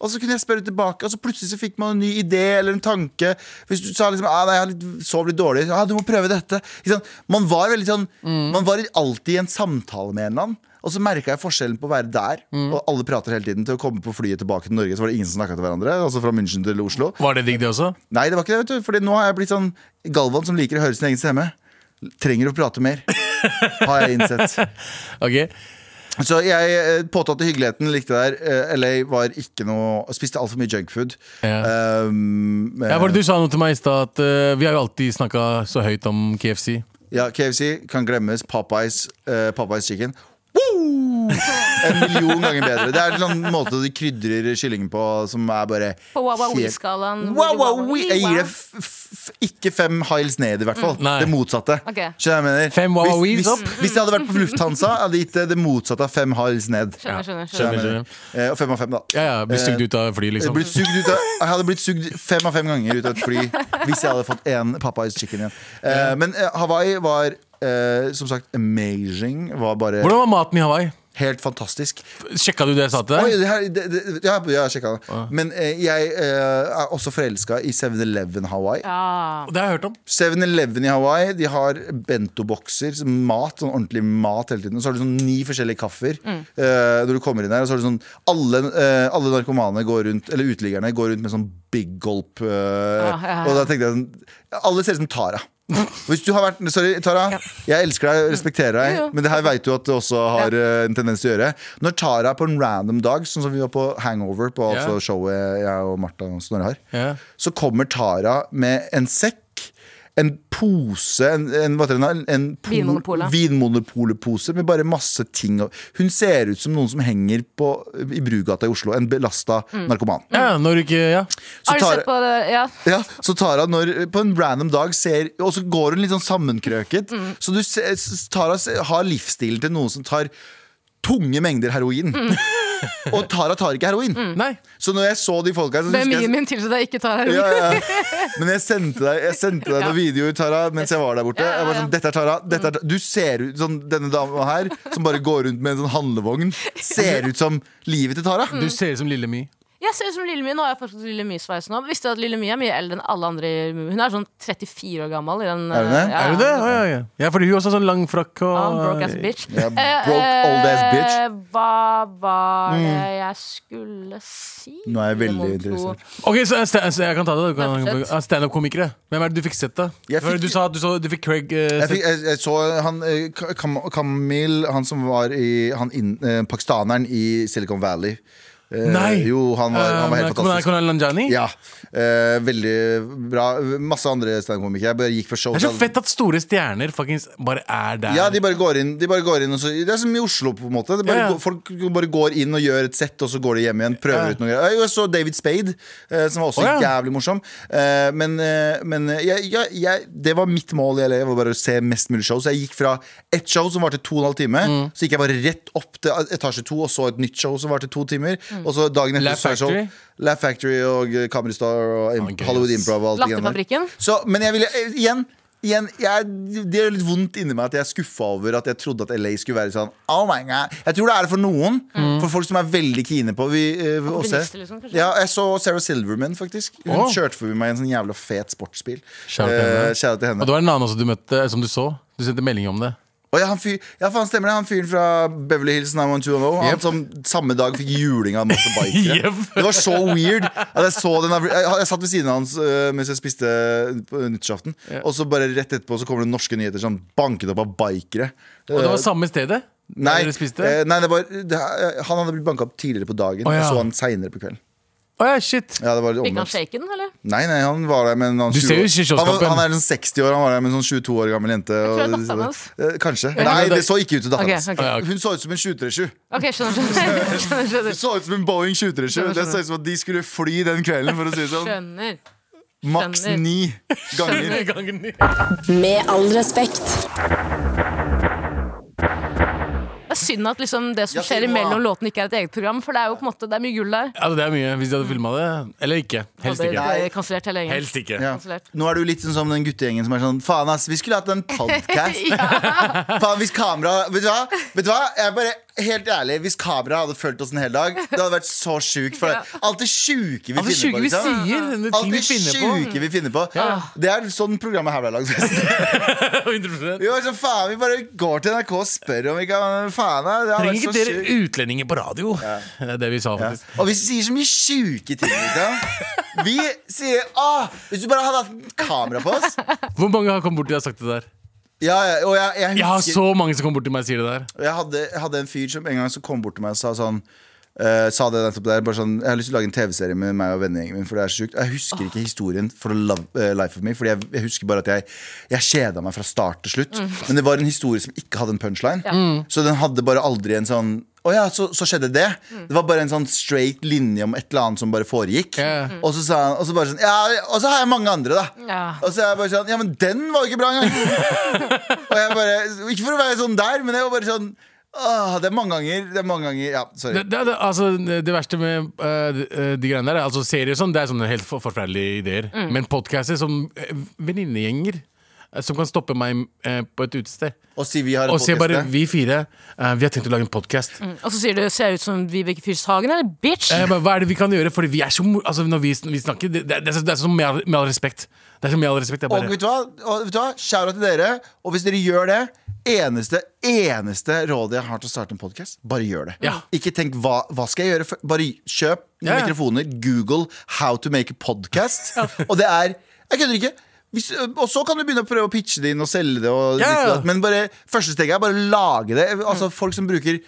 Speaker 4: Og så kunne jeg spørre tilbake, og så plutselig så fikk man en ny idé eller en tanke. Hvis du sa liksom ah, nei, jeg har litt, sov litt dårlig, ah, du må prøve dette. Ikke sant? Man var veldig sånn Man var alltid i en samtale med en eller annen. Og så merka jeg forskjellen på å være der, og alle prater hele tiden, til å komme på flyet tilbake til Norge, så var det ingen som snakka til hverandre. Altså fra München til Oslo.
Speaker 5: Var det digg, det også?
Speaker 4: Nei, det var ikke det, vet du. Fordi nå har jeg blitt sånn Galvan som liker å høre sin egen stemme. Trenger å prate mer, har jeg innsett.
Speaker 5: Ok.
Speaker 4: Så jeg eh, påtatte hyggeligheten, likte det der. Eh, LA var ikke noe Spiste altfor mye junkfood.
Speaker 5: Ja.
Speaker 4: Um, eh,
Speaker 5: Ja, for Du sa noe til meg i stad at eh, vi har jo alltid snakka så høyt om KFC.
Speaker 4: ja, KFC kan glemmes. Popeyes, eh, Popeyes chicken. Woo! En million ganger bedre. Det er en sånn måte de krydrer kyllingen på som er bare
Speaker 3: På
Speaker 4: helt-
Speaker 3: Wawawi-skalaen.
Speaker 4: Wow, wow, wow. Jeg gir det
Speaker 3: Wow.
Speaker 4: f f ikke fem hiles ned, i hvert fall.
Speaker 5: Mm. Nei.
Speaker 4: Det motsatte.
Speaker 3: Ok.
Speaker 4: Skjønner du hva jeg mener?
Speaker 5: Fem wow, wows
Speaker 4: hvis, hvis,
Speaker 5: opp.
Speaker 4: hvis jeg hadde vært på Lufthansa, hadde jeg gitt det det motsatte av fem hiles ned.
Speaker 3: Skjønner, skjønner. skjønner.
Speaker 4: Skjønner du hva jeg
Speaker 5: Skjønner,
Speaker 4: mener? Eh, Og fem av fem, da.
Speaker 5: Ja, ja, Blir sugd ut av fly,
Speaker 4: Jeg,
Speaker 5: liksom.
Speaker 4: blitt sugd ut av, jeg hadde blitt sugd fem av fem ganger ut av et fly hvis jeg hadde fått én Papa's chicken igjen. Eh, men eh, Hawaii var eh, som sagt amazing. Var bare
Speaker 5: Hvordan var maten i Hawaii?
Speaker 4: helt fantastisk.
Speaker 5: Sjekka du det jeg sa til
Speaker 4: Oi,
Speaker 5: deg?
Speaker 4: det her, det, det, ja, jeg har sjekka det. Men eh, jeg eh, er også forelska i 7-Eleven Hawaii.
Speaker 3: Ja.
Speaker 5: Det har jeg hørt om.
Speaker 4: 7-Eleven i Hawaii De har bentobokser, sånn mat, sånn ordentlig mat hele tiden. Og så har du sånn ni forskjellige kaffer
Speaker 3: Mm.
Speaker 4: eh, når du kommer inn der. Og så har du sånn Alle, eh, alle narkomane går rundt, eller uteliggerne går rundt med sånn big gulp. eh,
Speaker 3: Ah, ja, ja.
Speaker 4: Og da tenkte jeg sånn Alle ser ut som Tara. Hvis du har vært, Sorry, Tara. Jeg elsker deg, respekterer deg, men det her veit du at du også har eh, en tendens til å gjøre. Når Tara på en random dag, sånn som vi var på Hangover, på
Speaker 5: Ja.
Speaker 4: altså showet jeg og Martha Snorre har,
Speaker 5: Ja.
Speaker 4: så kommer Tara med en sekk, en pose En, en, hva heter den da? en, en po-
Speaker 3: Vinmonopolet.
Speaker 4: Vinmonopolet-pose med bare masse ting. og- Hun ser ut som noen som henger på, i Brugata i Oslo. En belasta narkoman.
Speaker 5: Ja, når du ikke ja.
Speaker 4: Så
Speaker 3: Har du sett på det? Ja.
Speaker 4: ja, så Tara når, på en random dag ser Og så går hun litt sånn sammenkrøket. Så du ser, Tara ser- har livsstilen til noen som tar tunge mengder heroin. Og Tara tar ikke heroin.
Speaker 5: Nei.
Speaker 4: Så når jeg så de folka her, så husker
Speaker 6: BMI-en
Speaker 4: jeg
Speaker 6: min tilsa deg ikke tar
Speaker 4: ja,
Speaker 6: heroin.
Speaker 4: ja. Men jeg sendte deg, jeg sendte deg noen videoer Tara, mens jeg var der borte. Jeg var sånn, dette er Tara, dette er Tara. Du ser ut sånn, Denne dama her, som bare går rundt med en sånn handlevogn, ser ut som livet til Tara.
Speaker 5: Du ser ut som Lille My.
Speaker 3: Jeg ser ut som Lille My. Nå har jeg faktisk Lille My-sveis nå. Visste du at Lille My er mye eldre enn alle andre? i Mumin? Hun er sånn 34 år gammel. I den,
Speaker 4: Er hun det?
Speaker 3: eh, ja,
Speaker 5: Er du det? Ja, ja, ja. ja, fordi hun også har sånn lang frakk og
Speaker 3: Ja, broke ass bitch.
Speaker 4: Ja, broke old ass bitch. Mm.
Speaker 3: Eh, Hva var det jeg skulle si?
Speaker 4: Nå er jeg veldig
Speaker 3: Mon tro.
Speaker 4: interessert.
Speaker 5: Ok, så, eh, sta- så jeg kan ta det. da. Du kan-
Speaker 3: Ja, fortsett.
Speaker 5: Ja, Standup-komikere. Hvem er det du fikk sett, da?
Speaker 4: Jeg
Speaker 5: Hva var det
Speaker 4: fikk-
Speaker 5: Du sa at du, så, du fikk Craig eh,
Speaker 4: Jeg,
Speaker 5: sett-
Speaker 4: fikk, jeg, jeg så han eh, Ka- Kam Kamil, han som var i han inn, eh, pakistaneren i Silicon Valley. Eh,
Speaker 5: Nei!
Speaker 4: Jo, han var, han var
Speaker 5: Eh,
Speaker 4: helt fantastisk.
Speaker 5: Konal Nanjiani?
Speaker 4: Ja, eh, Veldig bra. Masse andre standup-komikere. Jeg bare gikk for show.
Speaker 5: Det er så fett at store stjerner fuckings bare er der.
Speaker 4: Ja, de bare går inn, de bare går inn og så, Det er som i Oslo, på en måte. Det bare,
Speaker 5: Ja, ja.
Speaker 4: går- Folk bare går inn og gjør et sett, og så går de hjem igjen. Prøver
Speaker 5: Ja.
Speaker 4: ut noe greier. Jeg så David Spade, eh, som var også
Speaker 5: Å, ja.
Speaker 4: jævlig morsom. Eh, men eh, men eh, jeg, jeg, jeg, det var mitt mål i LA, var bare å se mest mulig show. Så jeg gikk fra ett show som varte to og en halv time,
Speaker 5: Mm.
Speaker 4: så gikk jeg bare rett opp til etasje to og så et nytt show som varte to timer. Og så dagen etter
Speaker 5: Mm. Laugh
Speaker 4: så er det show.
Speaker 5: Factory?
Speaker 4: Laugh Factory og eh, Comedy Star og Im-
Speaker 5: Ah, gøy,
Speaker 4: Hollywood
Speaker 5: ass.
Speaker 4: Improv og alt det greiene der.
Speaker 3: Latterfabrikken.
Speaker 4: Så, men jeg ville, eh, igjen, igjen jeg, det gjør litt vondt inni meg at jeg er skuffa over at jeg trodde at LA skulle være sånn. Oh my god Jeg tror det er det for noen.
Speaker 5: Mm.
Speaker 4: For folk som er veldig kine på vi, eh, å se.
Speaker 3: Opportunister, liksom, kanskje?
Speaker 4: ja, Jeg så Sarah Silverman, faktisk. Hun
Speaker 5: Åh.
Speaker 4: kjørte forbi meg i en sånn jævla fet sportsbil.
Speaker 5: Shout out til henne.
Speaker 4: Eh, shout out til
Speaker 5: Og
Speaker 4: henne.
Speaker 5: det var en annen også du møtte, eh, som du så. Du sendte melding om det.
Speaker 4: Å, ja, han fyr, ja, faen stemmer det. Han fyren fra Beverly Hills 90210. oh, Han
Speaker 5: Jep.
Speaker 4: som samme dag fikk juling av masse bikere.
Speaker 5: Jep.
Speaker 4: Det var så weird. At jeg, så den, jeg, jeg satt ved siden av hans øh, mens jeg spiste øh, på nyttårsaften. Og så bare rett etterpå så kommer det norske nyheter sånn banket opp av bikere.
Speaker 5: Og det var
Speaker 4: Eh,
Speaker 5: samme stedet? der
Speaker 4: Nei,
Speaker 5: Dere spiste?
Speaker 4: eh, nei det var, det, eh, han hadde blitt banka opp tidligere på dagen.
Speaker 5: Å, ja.
Speaker 4: Jeg så han seinere på kvelden.
Speaker 5: Å ja, shit.
Speaker 4: Ja, det var litt
Speaker 3: Fikk han
Speaker 4: omvendt.
Speaker 3: shaken, eller?
Speaker 4: Nei, nei, han var der med en annen
Speaker 5: Du
Speaker 4: 20
Speaker 5: ser jo
Speaker 4: år. han,
Speaker 5: ikke
Speaker 4: var,
Speaker 5: kjøleskapet.
Speaker 4: han er en 60 år, han var der med en sånn 22 år gammel
Speaker 3: tror
Speaker 4: jente.
Speaker 3: det er
Speaker 4: og-
Speaker 3: datteren hans.
Speaker 4: Eh, Kanskje. Nei, det så ikke ut til
Speaker 3: Ok,
Speaker 4: datteren hans.
Speaker 3: ok.
Speaker 5: Ja, ok.
Speaker 4: Hun så ut som en 737.
Speaker 3: Ok, skjønner, skjønner. skjønner,
Speaker 4: Det
Speaker 3: skjønner.
Speaker 4: så ut som en Boeing 737. Det så ut som at de skulle fly den kvelden, for å si det sånn.
Speaker 3: skjønner.
Speaker 4: Maks
Speaker 3: Skjønner.
Speaker 4: ni ganger.
Speaker 1: Med all respekt.
Speaker 3: Det er synd at liksom det som
Speaker 4: Ja,
Speaker 3: skjer
Speaker 4: si noe, da.
Speaker 3: mellom låtene, ikke er et eget program. For det er jo på en måte Det er mye gull der.
Speaker 5: Altså, det er mye. Hvis de hadde filma det. Eller ikke. Helst
Speaker 3: Og det-
Speaker 5: ikke.
Speaker 3: det er Kansellert hele gjengen.
Speaker 5: Helst ikke.
Speaker 4: Ja.
Speaker 3: Kansellert.
Speaker 4: Nå er du litt sånn som den guttegjengen som er sånn Faen, ass, vi skulle hatt en podcast. Faen, hvis kamera Vet du hva? Vet du hva? Jeg er bare Helt ærlig, hvis kamera hadde fulgt oss en hel dag, det hadde vært så sjukt. For alt det sjuke vi
Speaker 5: Altså,
Speaker 4: finner
Speaker 5: sjuke
Speaker 4: på.
Speaker 5: vi
Speaker 4: liksom.
Speaker 5: sier. det er
Speaker 4: Alt
Speaker 5: Ting vi
Speaker 4: det
Speaker 5: finner på.
Speaker 4: sjuke vi finner på. Det er sånn programmet her ble lagd. forresten.
Speaker 5: 100%.
Speaker 4: Vi var sånn, faen, vi bare går til NRK og spør om vi kan Faen, da, det har
Speaker 5: Trenger
Speaker 4: vært
Speaker 5: ikke
Speaker 4: så
Speaker 5: dere
Speaker 4: sjukt.
Speaker 5: utlendinger på radio? Det er det vi
Speaker 4: Ja.
Speaker 5: sa, faktisk.
Speaker 4: Og vi sier så mye sjuke ting. Liksom. Vi sier Åh, Hvis du bare hadde hatt en kamera på oss
Speaker 5: Hvor mange har kommet bort til deg og sagt det der?
Speaker 4: ja, ja, Og jeg, jeg
Speaker 5: Jeg har
Speaker 4: husker
Speaker 5: så mange som kommer bort til meg og sier det der.
Speaker 4: jeg hadde, jeg hadde en fyr som en gang så kom bort til meg og sa sånn eh, sa det nettopp der, bare sånn Jeg har lyst til å lage en TV-serie med meg og vennegjengen min. For det er så sjukt Jeg husker ikke historien for the love, eh, life of me. Fordi jeg, jeg husker bare at jeg Jeg kjeda meg fra start til slutt. Men det var en historie som ikke hadde en punchline. Så den hadde bare aldri en sånn Å ja, så, så skjedde det. Det var bare en sånn straight linje om et eller annet som bare foregikk.
Speaker 5: Ja.
Speaker 4: Og så sa han Og så bare sånn Ja, og så har jeg mange andre, da.
Speaker 3: Ja.
Speaker 4: Og så er jeg bare sånn Ja, men den var jo ikke bra engang! Og jeg bare, ikke for å være sånn der, men jeg var bare sånn Åh, det er mange ganger, det er mange ganger Ja, sorry
Speaker 5: Det, det, det, altså, det verste med eh, de, eh, de greiene der, er- altså serier og sånn, det er sånne helt for, forferdelige ideer. Men podcaster som eh, venninnegjenger eh, som kan stoppe meg eh, på et utested.
Speaker 4: Og si vi har en
Speaker 5: Og se
Speaker 4: podcast
Speaker 5: bare,
Speaker 4: der.
Speaker 5: vi fire, eh, vi har tenkt å lage en podkast.
Speaker 3: Og så sier du 'ser jeg ut som Vibeke Fyrshagen', eller bitch?
Speaker 5: Eh, Hva er det vi kan gjøre? Fordi vi er så mor... Altså, når vi, sn- vi snakker Det, det, det, er så- det er så med all, med all respekt. Det er så med all respekt. Det er
Speaker 4: Og
Speaker 5: bare
Speaker 4: vet du hva, og vet du hva? Shout out til dere Og hvis dere gjør det Eneste, eneste rådet jeg har til å starte en podcast Bare gjør det
Speaker 5: Ja.
Speaker 4: Ikke tenk, hva, hva skal jeg gjøre? før?» Bare kjøp noen
Speaker 5: Ja, ja.
Speaker 4: mikrofoner Google how to make a podcast Og det er, jeg kødder ikke hvis, og så kan du begynne å prøve å pitche det inn og selge det og,
Speaker 5: Ja, ja.
Speaker 4: ditt og datt, Men bare, første steget er bare å lage det Altså folk som bruker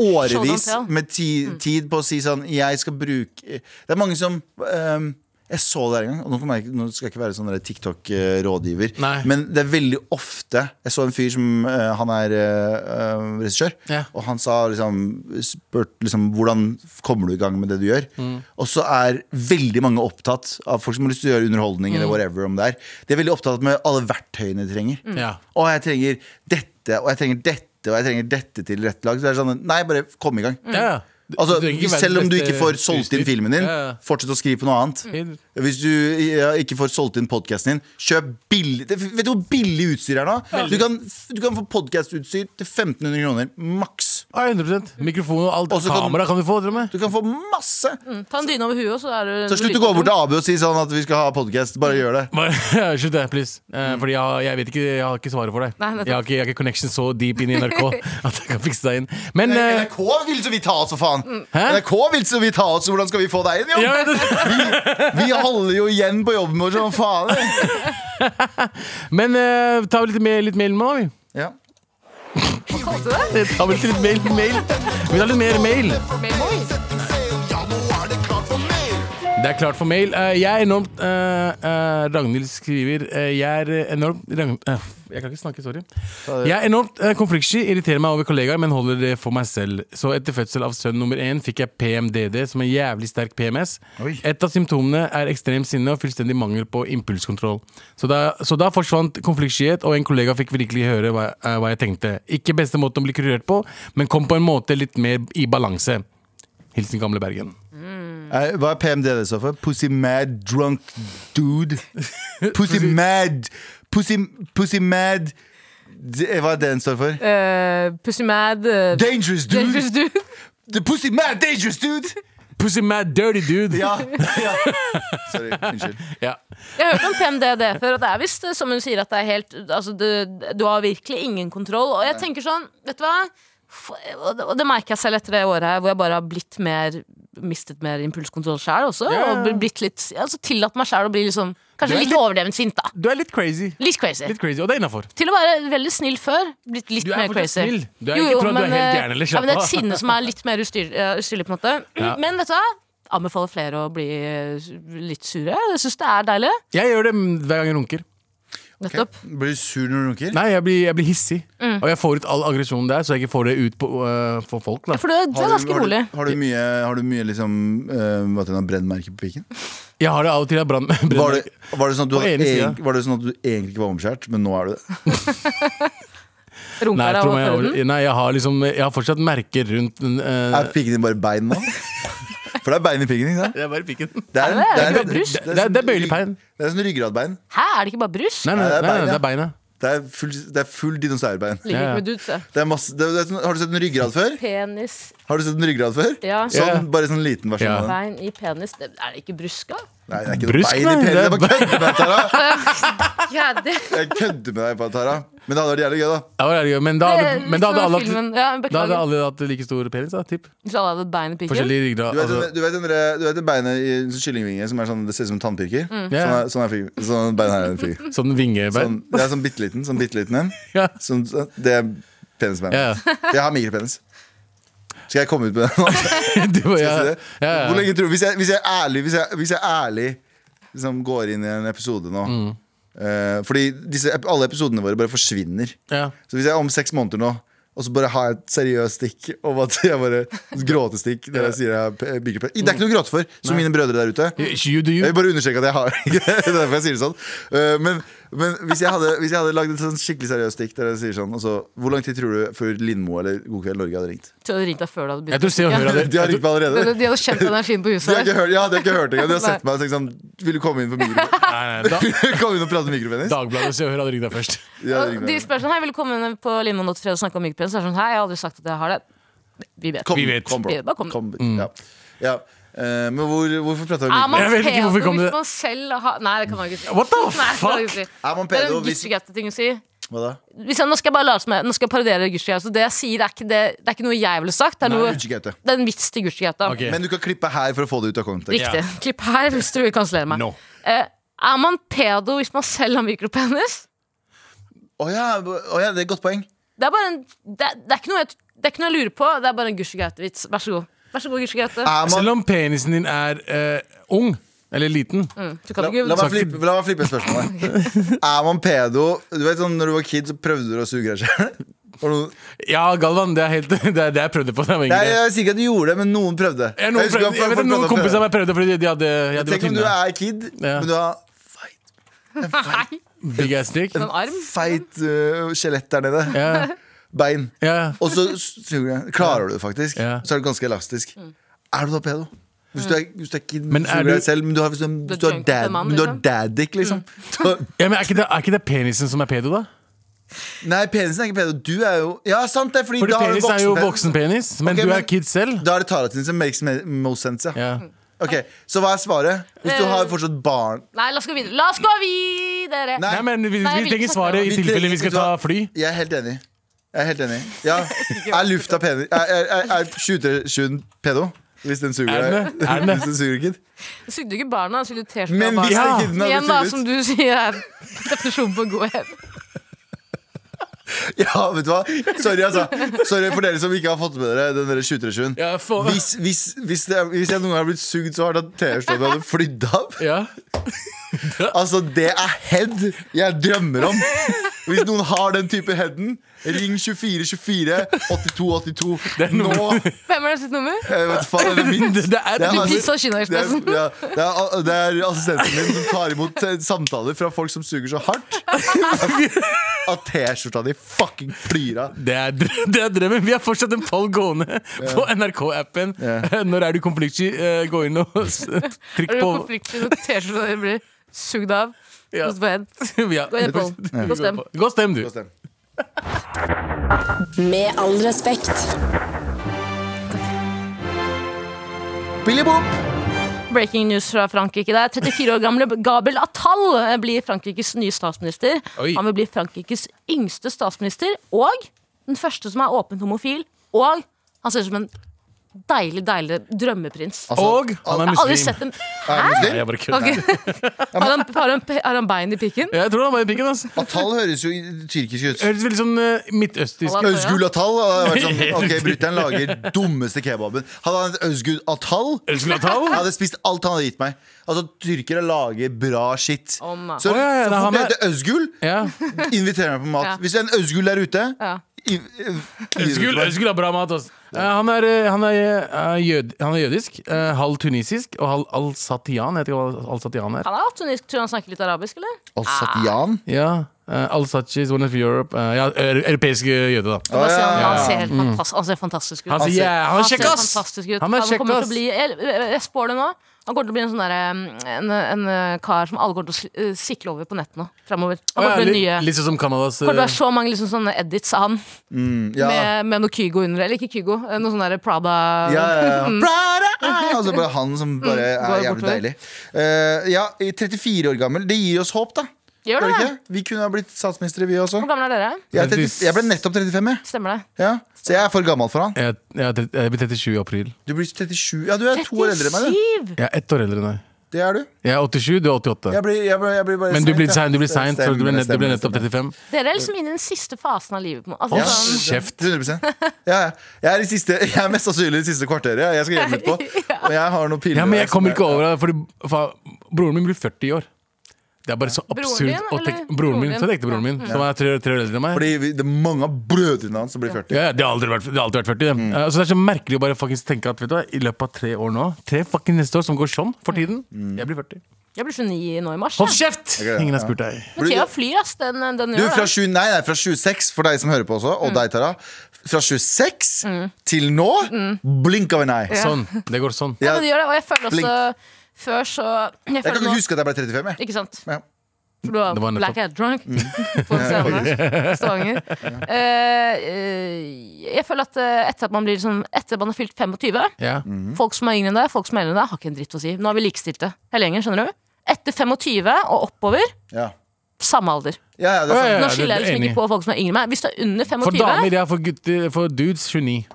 Speaker 4: årevis
Speaker 3: Show don't tell.
Speaker 4: med ti, tid på å si sånn Jeg skal bruke Det er mange som ehm, Jeg så det her en gang, og nå, kommer jeg, ikke- nå skal jeg ikke være sånn der TikTok-rådgiver,
Speaker 5: Nei.
Speaker 4: men det er veldig ofte Jeg så en fyr som eh, Han er eh, eh, regissør,
Speaker 5: Ja.
Speaker 4: og han sa liksom Spurt liksom hvordan kommer du i gang med det du gjør?
Speaker 5: Mm.
Speaker 4: Og så er veldig mange opptatt av folk som har lyst til å gjøre underholdning
Speaker 5: Mm.
Speaker 4: eller whatever om det er. De er veldig opptatt med alle verktøyene de trenger.
Speaker 5: Ja.
Speaker 4: Og jeg trenger dette, og jeg trenger dette, og jeg trenger dette til rett lag. Så det er sånn Nei, bare kom i gang.
Speaker 5: Ja, ja.
Speaker 4: Altså,
Speaker 5: Mm. trenger ikke verdens
Speaker 4: selv om du
Speaker 5: beste
Speaker 4: ikke får solgt inn
Speaker 5: utstyr.
Speaker 4: filmen din,
Speaker 5: Ja, Mm. ja.
Speaker 4: fortsett å skrive på noe annet.
Speaker 5: Helt-
Speaker 4: Hvis du ja, ikke får solgt inn podkasten din, kjøp billig det- Vet du hvor billig utstyr er nå? Du kan, du kan få podkastutstyr til 1500 kroner maks.
Speaker 5: Ja, 100 Mikrofon og alt.
Speaker 4: Og så kan-
Speaker 5: Kamera kan du få, til og med.
Speaker 4: Du kan få masse.
Speaker 5: Mm,
Speaker 3: Ta en dyne over huet, og så er du
Speaker 4: Så slutt å gå bort til Abu og si sånn at vi skal ha podkast.
Speaker 5: Mm.
Speaker 4: Bare gjør det.
Speaker 5: Bare- Slutt det, please. Eh, fordi jeg, har- jeg vet ikke Jeg har ikke svaret for deg.
Speaker 3: Mm. Nei, nettopp.
Speaker 5: jeg, har ikke, jeg har ikke connection så deep inn i NRK at jeg kan fikse deg inn. Men eh,
Speaker 4: NRK vil så vidt ha oss, for faen!
Speaker 5: Hæ?
Speaker 4: NRK vil så vidt ha oss, hvordan skal vi få deg inn? Jo?
Speaker 5: ja, jeg vet det.
Speaker 4: Vi holder jo igjen på jobben vår som faen.
Speaker 5: Men eh, ta vel litt, mer- litt mail nå, vi.
Speaker 4: Ja.
Speaker 5: Ta vel litt mail, mail. Vi tar litt mer mail. Det er klart for mail. Eh, jeg er enormt eh, eh, Ragnhild skriver eh, Jeg er enormt Ragn- eh, Jeg kan ikke snakke, sorry. Jeg er enormt eh, konfliktsky, irriterer meg over kollegaer, men holder det for meg selv. Så etter fødsel av sønn nummer én fikk jeg PMDD, som er jævlig sterk PMS.
Speaker 4: Oi.
Speaker 5: Et av symptomene er ekstrem sinne og fullstendig mangel på impulskontroll. Så da, så da forsvant konfliktskyhet, og en kollega fikk virkelig høre hva, eh, hva jeg tenkte. Ikke beste måten å bli kurert på, men kom på en måte litt mer i balanse. Hilsen gamle Bergen.
Speaker 4: Eh, Hva er PMD det står for? Pussy mad drunk dude. Pussy mad Pussy, pussy mad D- eh, Hva er det den står for?
Speaker 3: uh, Pussy Mad eh,
Speaker 4: Dangerous dude!
Speaker 3: Dangerous Dude.
Speaker 4: The pussy mad dangerous dude!
Speaker 5: Pussy mad dirty dude!
Speaker 4: Ja, ja. Sorry. Unnskyld.
Speaker 5: Ja.
Speaker 3: Jeg har hørt om PMDD før, og det er visst eh, som hun sier, at det er helt altså, du, du har virkelig ingen kontroll. Og jeg tenker sånn, vet du hva? F- Og det- og det merker jeg selv etter det året her, hvor jeg bare har blitt mer mistet mer impulskontroll sjæl også.
Speaker 5: Ja.
Speaker 3: Og blitt litt altså, Tillatt meg sjæl å bli liksom,
Speaker 5: Du er
Speaker 3: kanskje litt
Speaker 5: litt-
Speaker 3: overdrevent sint, da.
Speaker 5: Du er litt crazy.
Speaker 3: Litt crazy.
Speaker 5: Litt crazy, Og det er innafor.
Speaker 3: Til å være veldig snill før. Blitt litt
Speaker 5: Du er
Speaker 3: mer
Speaker 5: fortsatt
Speaker 3: crazy.
Speaker 5: snill. Du er ikke- tror at du er helt
Speaker 3: eh,
Speaker 5: gæren eller
Speaker 3: ja, men det er et
Speaker 5: slappa.
Speaker 3: sinne som er litt mer ustyr, eh, ustyrlig, på en måte.
Speaker 5: Ja.
Speaker 3: Men vet du hva? Anbefaler flere å bli eh, litt sure. Jeg syns det er deilig.
Speaker 5: Jeg gjør det hver gang jeg runker.
Speaker 3: Nettopp.
Speaker 4: Blir du sur når du runker?
Speaker 5: Nei, jeg blir, jeg blir hissig.
Speaker 3: Mm.
Speaker 5: Og jeg får ut all aggresjonen der, så jeg ikke får det ut på, øh, for folk. Da.
Speaker 3: For du, du er ganske
Speaker 4: har, du,
Speaker 3: rolig.
Speaker 4: har du mye, har du mye liksom, eh, hva heter det, brennmerker på pikken?
Speaker 5: Jeg har det av og til. Jeg brann, brenner-
Speaker 4: Var det, var, det sånn at du
Speaker 5: På
Speaker 4: hadde
Speaker 5: ene sida.
Speaker 4: egent- var det sånn at du egentlig ikke var omskjært, men nå er du det?
Speaker 5: Nei,
Speaker 3: Runker
Speaker 5: jeg
Speaker 3: deg
Speaker 5: tror
Speaker 3: over
Speaker 5: jeg,
Speaker 3: forhuden.
Speaker 5: nei, jeg har liksom Jeg har fortsatt merker rundt den, øh,
Speaker 4: Er pikken din bare bein nå? For det er bein i pikken, ikke sant?
Speaker 5: Det er bare pikken.
Speaker 4: Det er,
Speaker 3: det er
Speaker 4: det
Speaker 3: ikke bare brust.
Speaker 5: Det, det, er- det er bøyelig pein.
Speaker 4: Det er sånn ryggradbein.
Speaker 3: Hæ, er det ikke bare brus?
Speaker 5: Nei, nei,
Speaker 4: Nei, det er
Speaker 5: nei, nei,
Speaker 4: bein,
Speaker 5: det
Speaker 4: ja.
Speaker 5: er beina.
Speaker 4: Det er full, det er full dinosaurbein.
Speaker 3: Ligger
Speaker 5: Ja, ja.
Speaker 3: ikke med dudes, jeg.
Speaker 4: Det er masse, det, det er sånn, har du sett en ryggrad før?
Speaker 3: Penis,
Speaker 4: Har du sett en ryggrad før?
Speaker 3: ja.
Speaker 4: Sånn,
Speaker 5: Ja.
Speaker 4: Bare sånn liten versjon
Speaker 5: Ja.
Speaker 4: av den.
Speaker 3: Bein i penis. Det, er det ikke bruska?
Speaker 4: Nei, det er ikke
Speaker 5: Brusk,
Speaker 4: Brusk, bein i
Speaker 5: nei,
Speaker 4: penis.
Speaker 5: det
Speaker 4: Jeg
Speaker 5: er
Speaker 4: bare kødder med deg, Tara.
Speaker 3: Ja, det,
Speaker 4: Jeg kødder med deg, bare, Tara. Men det hadde vært jævlig gøy, da.
Speaker 5: Ja, det er gøy, Men da
Speaker 3: det,
Speaker 5: hadde, men da hadde alle hatt
Speaker 3: filmen, ja,
Speaker 5: da hadde
Speaker 3: Beklager.
Speaker 5: alle hatt like stor penis, da. Tipp.
Speaker 3: Hvis alle hadde et bein i pikken.
Speaker 5: Forskjellige ryggrad.
Speaker 4: Du vet,
Speaker 5: Altså,
Speaker 4: den- du vet, den der- du vet det beinet i en sånn kyllingvinge som er sånn, det ser ut som en tannpirker? Sånn,
Speaker 5: Ja,
Speaker 4: er, sånn, er fingeren- sånn bein her er en finger.
Speaker 5: sånn vingebein.
Speaker 4: Sånn, det er sånn bitte liten. Sånn bitte liten en.
Speaker 5: Ja.
Speaker 4: Sånn, sånn, det er penisbeinet.
Speaker 5: Ja, ja.
Speaker 4: Jeg har mikropenis. Skal jeg komme ut med det nå?
Speaker 5: Du,
Speaker 4: Skal jeg si
Speaker 5: ja,
Speaker 4: det?
Speaker 5: ja,
Speaker 4: Hvor
Speaker 5: ja.
Speaker 4: lenge tror du, hvis jeg, hvis jeg er ærlig, hvis jeg, hvis jeg er ærlig liksom går inn i en episode nå
Speaker 5: Mm.
Speaker 4: eh, Fordi disse, ep- alle episodene våre bare forsvinner.
Speaker 5: ja.
Speaker 4: Så hvis jeg om seks måneder nå og så bare har jeg et seriøst stikk om at jeg bare gråtestikk når jeg sier jeg har p- bygger pe- Det er ikke noe å gråte for, som mine brødre der ute.
Speaker 5: You do
Speaker 4: Jeg
Speaker 5: you.
Speaker 4: vil bare understreke at jeg har det. er derfor jeg sier det sånn. Eh, men men hvis, jeg hadde, hvis jeg hadde lagd et sånn skikkelig seriøst stikk der jeg sier sånn altså, Hvor lang tid tror du før Lindmo eller God kveld Norge hadde ringt?
Speaker 3: Tror du de ringte deg før du hadde
Speaker 5: Jeg tror
Speaker 3: begynt?
Speaker 5: Se og Hør
Speaker 4: De
Speaker 5: hadde
Speaker 4: har ringt meg allerede.
Speaker 3: De hadde kjent energien på
Speaker 4: De har
Speaker 3: huset.
Speaker 4: ikke hørt, ja, de har ikke hørt det engang. De har sett meg og tenkt sånn Vil du komme inn på mikropenis?
Speaker 5: Nei, nei, da,
Speaker 4: Kom inn og prate mikropenis?
Speaker 5: Dagbladet og Se og Hør hadde rygg deg først.
Speaker 4: Ja, det
Speaker 3: Og
Speaker 4: ringer
Speaker 3: de
Speaker 4: meg.
Speaker 3: spør sånn Hei, vil du komme inn på Limon og og snakke om myggpenn? Så er det sånn Hei, jeg har aldri sagt at jeg har det. Vi vet.
Speaker 4: Kom,
Speaker 5: Vi vet. Mm.
Speaker 4: Kom,
Speaker 3: Vi-
Speaker 4: bro.
Speaker 3: bare kom.
Speaker 4: Kom, ja. Ja. Eh, men hvor, hvorfor prata
Speaker 3: Er
Speaker 4: vi om
Speaker 3: Ah, man
Speaker 5: Jeg vet ikke
Speaker 3: pedo
Speaker 5: hvorfor kom det-
Speaker 3: hvis man selv har Nei, det kan man ikke si.
Speaker 5: What the
Speaker 3: Nei, det kan man
Speaker 5: fuck?
Speaker 3: ikke si.
Speaker 4: Er man
Speaker 3: Det er
Speaker 4: pedo
Speaker 3: en
Speaker 4: hvis-
Speaker 3: Gucci-ting å si.
Speaker 4: Hva da?
Speaker 3: Hvis jeg, nå skal jeg bare late som jeg Nå skal jeg parodiere Gucci. Altså. Det jeg sier, er ikke, det, det er ikke noe jeg ville sagt. Det er, noe,
Speaker 4: Gucci Gaute.
Speaker 3: det er en vits til Gucci Gauta.
Speaker 5: Ok.
Speaker 4: Men du kan klippe her for å få det ut av kontekst.
Speaker 3: Riktig. Klipp her hvis du vil kansellere meg.
Speaker 5: No.
Speaker 3: Eh, er man pedo hvis man selv har mikropenis?
Speaker 4: Å ja, å ja, det er et godt poeng.
Speaker 3: Det er bare en Det, det, er, ikke noe jeg, det er ikke noe jeg lurer på. Det er bare en Gucci Gaute-vits. Vær så god. Vær så god, Gucci Gaute.
Speaker 4: Er man,
Speaker 5: Selv om penisen din er eh, ung, eller liten
Speaker 3: Mm. Du kan
Speaker 4: la,
Speaker 3: ikke
Speaker 4: la, meg
Speaker 5: Sagt-
Speaker 4: flippe, la meg flippe spørsmålet. Er man pedo Du vet sånn, når du var kid, så prøvde du å suge deg sjøl?
Speaker 5: Ja, Galvan, det er helt, det, er, det jeg prøvde på da jeg var
Speaker 4: Jeg,
Speaker 5: yngre.
Speaker 4: jeg sier ikke at du gjorde det, men noen prøvde.
Speaker 5: Jeg, noen
Speaker 4: Jeg husker
Speaker 5: prøvde,
Speaker 4: at
Speaker 5: jeg
Speaker 4: folk
Speaker 5: vet at noen
Speaker 4: prøvde å
Speaker 5: kompiser av
Speaker 4: prøve.
Speaker 5: meg prøvde fordi de, de hadde ja, de var
Speaker 4: Tenk om du
Speaker 5: tynne.
Speaker 4: er kid,
Speaker 5: Ja.
Speaker 4: men du har
Speaker 3: Nei,
Speaker 5: Big ass dick.
Speaker 3: en arm.
Speaker 4: Mm.
Speaker 3: liksom?
Speaker 4: feit øh, skjelett der nede.
Speaker 5: Ja.
Speaker 4: bein.
Speaker 5: Ja.
Speaker 4: Og så suger jeg. Klarer du det faktisk,
Speaker 5: Ja.
Speaker 4: så er du ganske elastisk.
Speaker 3: Mm.
Speaker 4: Er du da pedo? Hvis du er, hvis du er kid,
Speaker 5: Men
Speaker 4: men
Speaker 5: er
Speaker 4: er
Speaker 5: du-
Speaker 4: deg selv, men du har, hvis du, er- hvis du har
Speaker 3: junkie
Speaker 4: dad,
Speaker 3: for mann,
Speaker 4: men du har
Speaker 3: liksom.
Speaker 4: daddick, liksom. Så,
Speaker 5: Ja, men er ikke, det, er ikke det penisen som er pedo, da?
Speaker 4: nei, penisen er ikke pedo. Du er jo Ja, sant det! Fordi,
Speaker 5: Fordi
Speaker 4: da har du
Speaker 5: penis er jo
Speaker 4: voksenpenis.
Speaker 5: voksenpenis, men
Speaker 4: Ok,
Speaker 5: du er
Speaker 4: men-
Speaker 5: kid selv.
Speaker 4: Da er det Tara sin som makes me- most sense, ja.
Speaker 5: Ja.
Speaker 4: Ok, Så hva er svaret? Hvis du
Speaker 3: Eh.
Speaker 4: har fortsatt barn
Speaker 3: Nei, la oss gå videre. La oss gå videre!
Speaker 4: Nei.
Speaker 5: Nei, men vi,
Speaker 3: Nei, jeg
Speaker 5: vi
Speaker 3: vil
Speaker 5: trenger
Speaker 3: ikke
Speaker 5: svaret
Speaker 3: snakke
Speaker 5: i
Speaker 4: om det.
Speaker 5: tilfelle vi
Speaker 4: Vi
Speaker 5: skal
Speaker 4: trenger-
Speaker 5: ta fly.
Speaker 4: Jeg er helt enig. Jeg er helt enig. Ja. Er lufta penis Er, er, er, er skytersjuen pedo? Hvis den suger
Speaker 5: Er den
Speaker 4: deg.
Speaker 5: det? Er den det?
Speaker 4: Hvis den suger kid.
Speaker 3: Du sugde jo ikke barna, du sugde T-skjorta
Speaker 4: Men
Speaker 3: av barna.
Speaker 4: hvis
Speaker 5: Ja.
Speaker 4: den kiden
Speaker 3: Igjen, da,
Speaker 4: hadde
Speaker 3: som
Speaker 4: suget
Speaker 3: du sier, er definisjonen på god hevn.
Speaker 4: Ja, vet du hva? Sorry, altså. Sorry for dere som ikke har fått med dere den derre skytersjuen.
Speaker 5: Ja, for-
Speaker 4: Hvis, hvis, hvis, det, er- hvis jeg noen gang har blitt sugd så hardt at T-skjorta hadde flydd av
Speaker 5: Ja.
Speaker 4: Altså, det er head jeg drømmer om. Hvis noen har den type headen, ring 2424 8282 nå.
Speaker 3: Hvem er det sitt nummer?
Speaker 4: Jeg vet faen, det er mitt.
Speaker 5: Det er,
Speaker 4: Det er
Speaker 3: Du
Speaker 4: bare-
Speaker 3: pissa
Speaker 4: Det er,
Speaker 3: Kinnaekspressen.
Speaker 4: ja, det, er, det er assistenten min som tar imot eh, samtaler fra folk som suger så hardt at T-skjorta di fucking flyr av.
Speaker 5: det, er, drø- det er drømmen. Vi har fortsatt en poll gående på NRK-appen.
Speaker 4: Ja.
Speaker 5: Når er du konfliktsky? Eh, Gå inn og s- trykk
Speaker 3: Er du
Speaker 5: på
Speaker 3: konfliktsky når T-skjorta di blir sugd av?
Speaker 5: Ja.
Speaker 3: Hos Vent.
Speaker 5: Ja.
Speaker 3: Gå inn på den. Gå og stem.
Speaker 5: Gå og stem, du.
Speaker 4: Gå og stem.
Speaker 1: Med all respekt.
Speaker 4: Billy Boop!
Speaker 3: Breaking news fra Frankrike der. 34 år gamle Gabel Attal eh, blir Frankrikes nye statsminister.
Speaker 5: Oi.
Speaker 3: Han vil bli Frankrikes yngste statsminister, og den første som er åpent homofil. Og han ser ut som en deilig, deilig drømmeprins.
Speaker 4: Altså,
Speaker 5: Og han
Speaker 3: Jeg
Speaker 5: er
Speaker 3: har aldri
Speaker 5: muslim.
Speaker 3: sett en
Speaker 4: er han
Speaker 5: Nei,
Speaker 4: muslim?
Speaker 5: jeg bare kødder.
Speaker 3: Ok. har, han, har, han, har han bein i pikken?
Speaker 5: Jeg tror han var i pikken. ass
Speaker 4: Atal høres jo i- tyrkisk ut.
Speaker 5: Høres veldig sånn eh, midtøstisk
Speaker 3: Hva-
Speaker 4: Øzgul Atal. og jeg har vært Sånn, ok, Brutter'n lager dummeste kebaben. Hadde han hett Øzgul Atal
Speaker 5: Øskulatall?
Speaker 4: jeg hadde spist alt han hadde gitt meg. Altså, Tyrkere lager bra skitt.
Speaker 3: Å, nei.
Speaker 4: Så,
Speaker 5: Å, ja, ja,
Speaker 4: så
Speaker 5: det er han
Speaker 4: fort jeg
Speaker 5: der.
Speaker 4: heter Øzgul,
Speaker 5: Ja.
Speaker 4: inviterer jeg meg på mat.
Speaker 3: Ja.
Speaker 4: Hvis det er en Øzgul der ute
Speaker 3: Ja.
Speaker 4: i- i-
Speaker 5: Øskul, Øskul har bra mat, ass. Eh, han, er, eh, han, er, eh, jød, han er jødisk, eh, halv tunisisk og halv alsatian. Jeg vet ikke hva alsatian er.
Speaker 3: Han er altunisisk. Tror du han snakker litt arabisk, eller?
Speaker 4: Alsatian?
Speaker 5: Ja, uh, Alsachi is one of Europe eh, ja, ø- Europeisk eh, jøde, da.
Speaker 3: Bare se,
Speaker 4: ja, ja,
Speaker 3: han, han,
Speaker 4: ja.
Speaker 3: ser fantastisk, han ser fantastisk ut.
Speaker 5: Mm. Han sier yeah, han er
Speaker 3: ser
Speaker 5: kjekk, ass!
Speaker 3: fantastisk ut.
Speaker 5: Han
Speaker 3: Han,
Speaker 5: er kjekk,
Speaker 3: kommer
Speaker 5: ass.
Speaker 3: til å bli jeg, jeg jeg spår det nå. Han kommer til å bli en sånn der, eh, en, en eh, kar som alle kommer til å sl- eh, sikle over på nett nå fremover. Han
Speaker 5: Å, ja,
Speaker 3: kommer til å bli
Speaker 5: litt-
Speaker 3: nye
Speaker 5: Litt sånn som Canadas
Speaker 3: Kommer til å
Speaker 5: eh,
Speaker 3: være så mange liksom, sånne edits av han
Speaker 4: Mm, Ja.
Speaker 3: med, med noe Kygo under. Eller ikke Kygo, eh, noe sånn der Prada
Speaker 4: Ja, ja, ja. Prada! Ah, Altså bare han som bare er
Speaker 3: Mm. går
Speaker 4: jævlig
Speaker 3: bortover.
Speaker 4: deilig. Eh, ja, i 34 år gammel. Det gir oss håp, da.
Speaker 3: Gjør
Speaker 4: Gjør
Speaker 3: det
Speaker 4: det
Speaker 3: det?
Speaker 4: ikke? Vi kunne ha blitt statsministre, vi også.
Speaker 3: Hvor gamle er dere?
Speaker 4: Jeg, er 30, jeg ble nettopp 35, jeg.
Speaker 3: Stemmer det?
Speaker 4: Ja. Så jeg er for gammel for han.
Speaker 5: jeg, jeg, er tre- jeg blir 37 i april.
Speaker 4: Du blir 37 Ja, du er to år eldre enn meg,
Speaker 3: 37!
Speaker 4: du.
Speaker 5: Jeg er ett år eldre enn deg.
Speaker 4: Det er du.
Speaker 5: Jeg er 87, du er 88.
Speaker 4: Jeg blir, jeg blir, jeg blir bare
Speaker 5: Men du
Speaker 4: sent,
Speaker 5: blir
Speaker 4: ja.
Speaker 5: sein, du blir sein, så du blir, nett, du blir
Speaker 4: Stemmer,
Speaker 5: nettopp
Speaker 4: stemmer.
Speaker 5: 35.
Speaker 3: Dere er liksom inne i den siste fasen av livet. på en måte. Altså,
Speaker 5: Ja.
Speaker 3: sånn-
Speaker 5: Kjeft.
Speaker 4: 100 ja, ja. jeg, er i siste, jeg er mest sannsynlig i det siste kvarteret. ja. Jeg skal hjem etterpå. Og jeg har noen piller.
Speaker 5: Ja, men jeg
Speaker 4: som
Speaker 5: kommer ikke over det, fordi faen, broren min blir 40 i år. Det er bare så absurd.
Speaker 3: din,
Speaker 5: å tenke-
Speaker 3: eller?
Speaker 5: broren
Speaker 3: Broren
Speaker 5: min,
Speaker 3: din.
Speaker 5: så det er ekte broren min, som er tre, tre år eldre enn meg.
Speaker 4: Fordi vi, det er mange av brødrene hans som blir 40.
Speaker 5: Ja, ja, det har, aldri vært, det har alltid vært 40. det.
Speaker 4: Mm.
Speaker 5: Eh, så det er så merkelig å bare faktisk tenke at vet du, hva, i løpet av tre år nå Tre fucking neste år som går sånn for tiden.
Speaker 4: Mm.
Speaker 5: Jeg blir 40.
Speaker 3: Jeg blir 29 nå i mars.
Speaker 5: Hold
Speaker 3: jeg.
Speaker 5: kjeft!
Speaker 4: Ok, ja.
Speaker 5: Ingen har spurt deg.
Speaker 3: Men Thea flyr, ass. Den, den
Speaker 4: Du,
Speaker 3: gjør
Speaker 4: fra,
Speaker 3: det.
Speaker 4: 7, nei, nei, fra 26, for deg som hører på også, og
Speaker 3: Mm.
Speaker 4: deg, Tara. Fra 26 til nå, blink av en eye.
Speaker 5: Sånn. Det går sånn.
Speaker 3: Mm. Ja,
Speaker 4: Ja,
Speaker 3: men det gjør det, og jeg føler også
Speaker 4: Blink.
Speaker 3: Før så Jeg føler
Speaker 4: jeg kan ikke
Speaker 3: nå
Speaker 4: huske at jeg ble 35. Jeg.
Speaker 3: Ikke sant?
Speaker 4: Ja. Mm.
Speaker 3: For du var,
Speaker 5: Det var nettopp-
Speaker 3: black hat drunk på scenen der, i Stavanger. Eh, eh, jeg føler at eh, etter at man blir liksom, Etter at man har fylt 25
Speaker 5: Ja.
Speaker 4: Mm.
Speaker 3: Folk som er yngre enn deg, folk som er eldre enn deg, har ikke en dritt å si. Nå har vi likestilte hele gjengen, skjønner du. Etter 25 og oppover,
Speaker 4: Ja.
Speaker 3: samme alder.
Speaker 4: Ja, ja, det er sant.
Speaker 5: Ja,
Speaker 3: Nå
Speaker 5: det-
Speaker 3: skiller jeg liksom
Speaker 5: enig.
Speaker 3: ikke på folk som er yngre enn meg. Hvis du er under
Speaker 5: For
Speaker 3: 25,
Speaker 5: damer, ja. For gutter, for dudes, 29.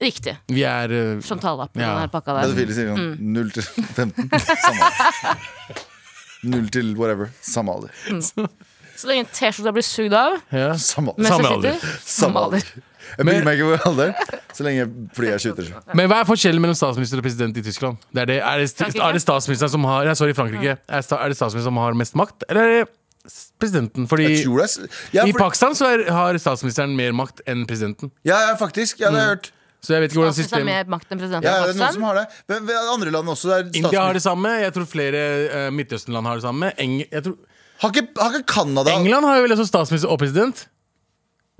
Speaker 3: riktig.
Speaker 5: Vi er eh,
Speaker 3: Frontalappen,
Speaker 5: Ja.
Speaker 3: den her pakka der.
Speaker 4: Pedofile sier sånn 0 til 15. Samme alder. 0 til whatever. Samme alder.
Speaker 3: Så lenge T-skjorta blir sugd av
Speaker 5: ja.
Speaker 4: Samme alder.
Speaker 3: mens
Speaker 5: Samme
Speaker 3: jeg
Speaker 5: alder.
Speaker 3: sitter,
Speaker 4: Samme
Speaker 3: samme alder.
Speaker 4: alder. Jeg bryr meg ikke om alderen, så lenge flyet er skyter.
Speaker 5: Men hva er forskjellen mellom statsminister og president i Tyskland? Det er, det, er, det, st-
Speaker 3: Frankrike?
Speaker 5: er det statsministeren som har ja, Sorry, Frankrike. Er, sta, er det statsministeren som har mest makt, eller er det s- presidenten? Fordi
Speaker 4: Jeg tror det. er s- Ja,
Speaker 5: i
Speaker 4: for,
Speaker 5: Pakistan så er, har statsministeren mer makt enn presidenten.
Speaker 4: ja, ja, faktisk. Ja, det
Speaker 5: Mm.
Speaker 4: har jeg hørt.
Speaker 5: Så jeg vet ikke hvordan
Speaker 3: Statsministeren har mer
Speaker 5: systemet
Speaker 3: makt enn presidenten
Speaker 4: Ja,
Speaker 3: i
Speaker 4: det er noen som
Speaker 3: Pakistan.
Speaker 4: har det. Men ved andre land også. Det er
Speaker 5: India har
Speaker 4: statsminister-
Speaker 5: det samme. Jeg tror flere eh, Midtøsten-land har det samme. Eng, jeg tror
Speaker 4: Har ikke, har ikke Canada
Speaker 5: England har jo vel også statsminister og president?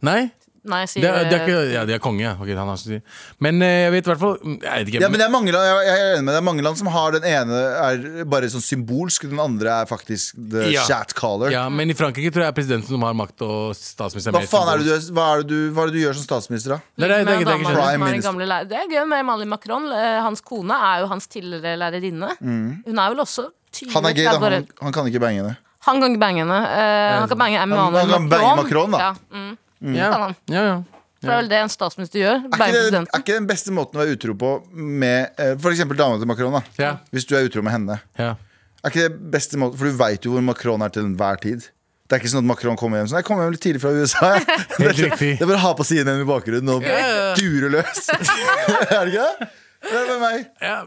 Speaker 5: Nei?
Speaker 3: Nei, sier eh,
Speaker 5: Det er, det er ikke, ja, de er konge, ja. Ok, han har så- Men eh, jeg vet i hvert fall Jeg vet ikke.
Speaker 4: Ja, men det er mange land, jeg jeg er enig med deg, det er mange land som har den ene er bare sånn symbolsk, den andre er faktisk the
Speaker 5: Ja.
Speaker 4: chat caller.
Speaker 5: Ja, men i Frankrike tror jeg er presidenten som har makt, og statsministeren
Speaker 4: Hva
Speaker 5: mer
Speaker 4: faen er det
Speaker 5: symbol.
Speaker 4: du, hva er det du, hva er det du gjør som statsminister, da?
Speaker 5: Nei, nei, det er ikke- det er ikke
Speaker 3: Med
Speaker 5: sant.
Speaker 3: dama
Speaker 4: Prime
Speaker 3: som er den
Speaker 4: Minister.
Speaker 3: gamle lærer- Det er gøy med Emmanuel Macron. Eh, Hans kone er jo hans tidligere lærerinne. Hun er vel også
Speaker 4: Mm. Han er gay, da.
Speaker 3: 30 år.
Speaker 4: Han, han kan ikke bange henne.
Speaker 3: Han kan ikke bange henne. Eh, han kan bange Emmanuel
Speaker 4: han kan bange Macron, da.
Speaker 3: Ja, mm.
Speaker 5: Ja, ja, ja.
Speaker 3: For det er vel det en statsminister gjør.
Speaker 4: Er
Speaker 3: Bange
Speaker 4: ikke, det,
Speaker 3: presidenten.
Speaker 4: er ikke den beste måten å være utro på med eh, for eksempel dama til Macron? da
Speaker 5: Ja.
Speaker 4: Hvis du er utro med henne.
Speaker 5: ja.
Speaker 4: Er ikke det beste måten, For du veit jo hvor Macron er til enhver tid. Det er ikke sånn at Macron kommer hjem sånn Jeg kommer hjem litt tidlig fra USA. jeg». det,
Speaker 5: Helt
Speaker 4: sånn,
Speaker 5: riktig.
Speaker 4: det er bare å ha på CNN i bakgrunnen og dure løs. er det ikke det? Det er med meg.
Speaker 5: Ja.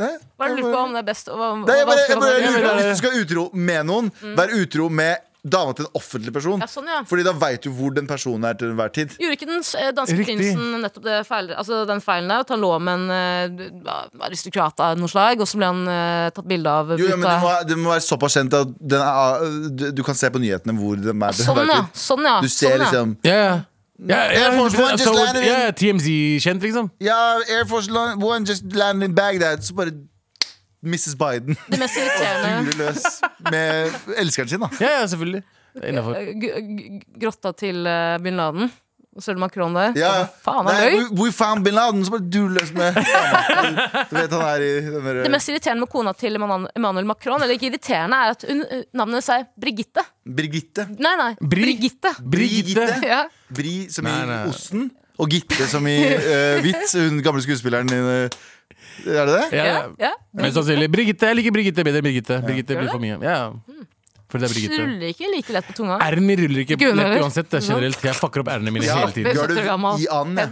Speaker 4: Nei?
Speaker 3: Hva er det du lurer på om det er best? Og, og,
Speaker 4: Nei, jeg bare, jeg bare
Speaker 5: men
Speaker 4: lurer på
Speaker 5: det er-
Speaker 4: Hvis du skal utro med noen, vær utro med dama til en offentlig person.
Speaker 3: Mm. Ja, sånn, ja.
Speaker 4: Fordi da veit du hvor den personen er til enhver tid.
Speaker 3: Gjorde ikke den eh, danske
Speaker 5: Riktig.
Speaker 3: prinsen nettopp det feil, altså den feilen der? At han lå med en eh, aristokrat av noe slag, og så ble han eh, tatt bilde av
Speaker 4: Jo, ja, men
Speaker 3: ut
Speaker 4: det
Speaker 3: av-
Speaker 4: må, det må være såpass kjent at den er, du, du kan se på nyhetene hvor de er. til
Speaker 3: Sånn,
Speaker 4: enhver
Speaker 3: ja.
Speaker 4: tid.
Speaker 3: Sånn, ja.
Speaker 4: Du ser
Speaker 3: sånn, ja.
Speaker 4: liksom
Speaker 5: Ja, ja. Ja, ja,
Speaker 4: Air Force One just
Speaker 5: så-
Speaker 4: landed in-
Speaker 5: ja, TMZ-kjent, liksom.
Speaker 4: Ja, Air Force Lon- One just landed in Baghdad. Så bare Mrs. Biden
Speaker 3: Det mest irriterende
Speaker 4: durer løs med elskeren sin, da.
Speaker 5: Ja, ja, selvfølgelig. Det er Innenfor.
Speaker 3: eh, g- g- grotta til eh, bin Laden. Og så er det Macron der.
Speaker 4: Ja.
Speaker 3: Hva Faen, han
Speaker 4: Nei,
Speaker 3: løy.
Speaker 4: we, we found bin Laden, så bare durer løs med Du vet han er i den der-
Speaker 3: Det mest irriterende med kona til Emmanuel Emmanuel Macron, eller ikke irriterende, er at hun, eh, navnet hennes er Brigitte.
Speaker 4: eh, Birgitte.
Speaker 3: Nei, nei.
Speaker 5: Bri-
Speaker 3: Brigitte.
Speaker 5: Brigitte.
Speaker 3: Ja.
Speaker 4: Bri som
Speaker 5: Nei,
Speaker 4: i
Speaker 5: nei.
Speaker 4: osten, og Gitte som i eh, hvitt. Hun gamle skuespilleren din. eh, er det det?
Speaker 5: Ja,
Speaker 3: Ja,
Speaker 5: ja.
Speaker 3: ja.
Speaker 5: Mest sannsynlig. Brigitte. Jeg liker Brigitte bedre. enn Brigitte Brigitte blir for mye. Ja, ja. For det er Brigitte.
Speaker 3: Ruller ikke like lett på tunga.
Speaker 5: R-en min ruller ikke
Speaker 3: Ikke hun
Speaker 5: lett
Speaker 3: heller.
Speaker 5: uansett. det er Generelt. Jeg fucker opp r-ene mine hele tiden.
Speaker 4: gulv
Speaker 3: Setter gammel
Speaker 4: i and. ja.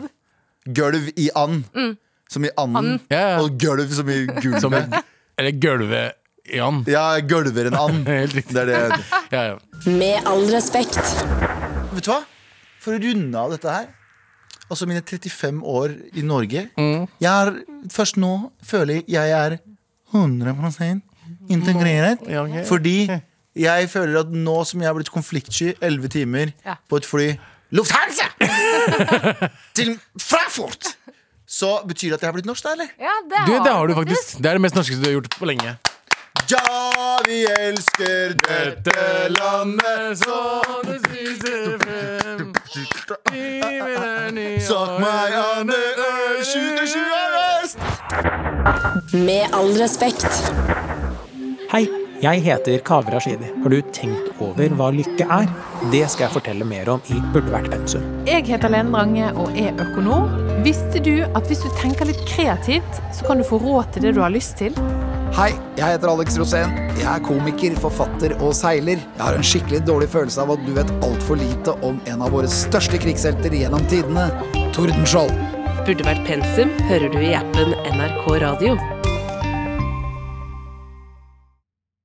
Speaker 4: Gulv i and. Som i anden.
Speaker 5: Ja, ja.
Speaker 4: Og gulv som i
Speaker 5: Som
Speaker 4: gulvet.
Speaker 5: Eller gulvet i han.
Speaker 4: Ja, gulver en and.
Speaker 5: Helt riktig.
Speaker 4: Det er det jeg heter.
Speaker 5: Ja, ja.
Speaker 1: Med all respekt.
Speaker 4: Vet du hva? For å runde av dette her Altså mine 35 år i Norge
Speaker 5: Mm.
Speaker 4: Jeg er, først nå føler jeg jeg er 100% integreret
Speaker 5: Ja, ok.
Speaker 4: Fordi jeg føler at nå som jeg har blitt konfliktsky 11 timer
Speaker 3: Ja.
Speaker 4: på et fly Lufthansa! Til Frankfurt Så betyr det at jeg har blitt norsk da, eller?
Speaker 3: Ja, det,
Speaker 5: Du, det har du faktisk. Det er det mest norskeste du har gjort på lenge.
Speaker 4: Ja, vi elsker dette landet
Speaker 5: så det spiser frem
Speaker 4: Sak meg an det øsjute øst
Speaker 1: Med all respekt.
Speaker 6: Hei, jeg heter Kaveh Rashidi. Har du tenkt over hva lykke er? Det skal jeg fortelle mer om i Burde vært pensum.
Speaker 7: Jeg heter Lene Drange og er økonom. Visste du at hvis du tenker litt kreativt, så kan du få råd til det du har lyst til?
Speaker 8: Hei, jeg heter Alex Rosén. Jeg er komiker, forfatter og seiler. Jeg har en skikkelig dårlig følelse av at du vet altfor lite om en av våre største krigshelter gjennom tidene, Tordenskjold.
Speaker 9: Burde vært pensum hører du i appen NRK Radio.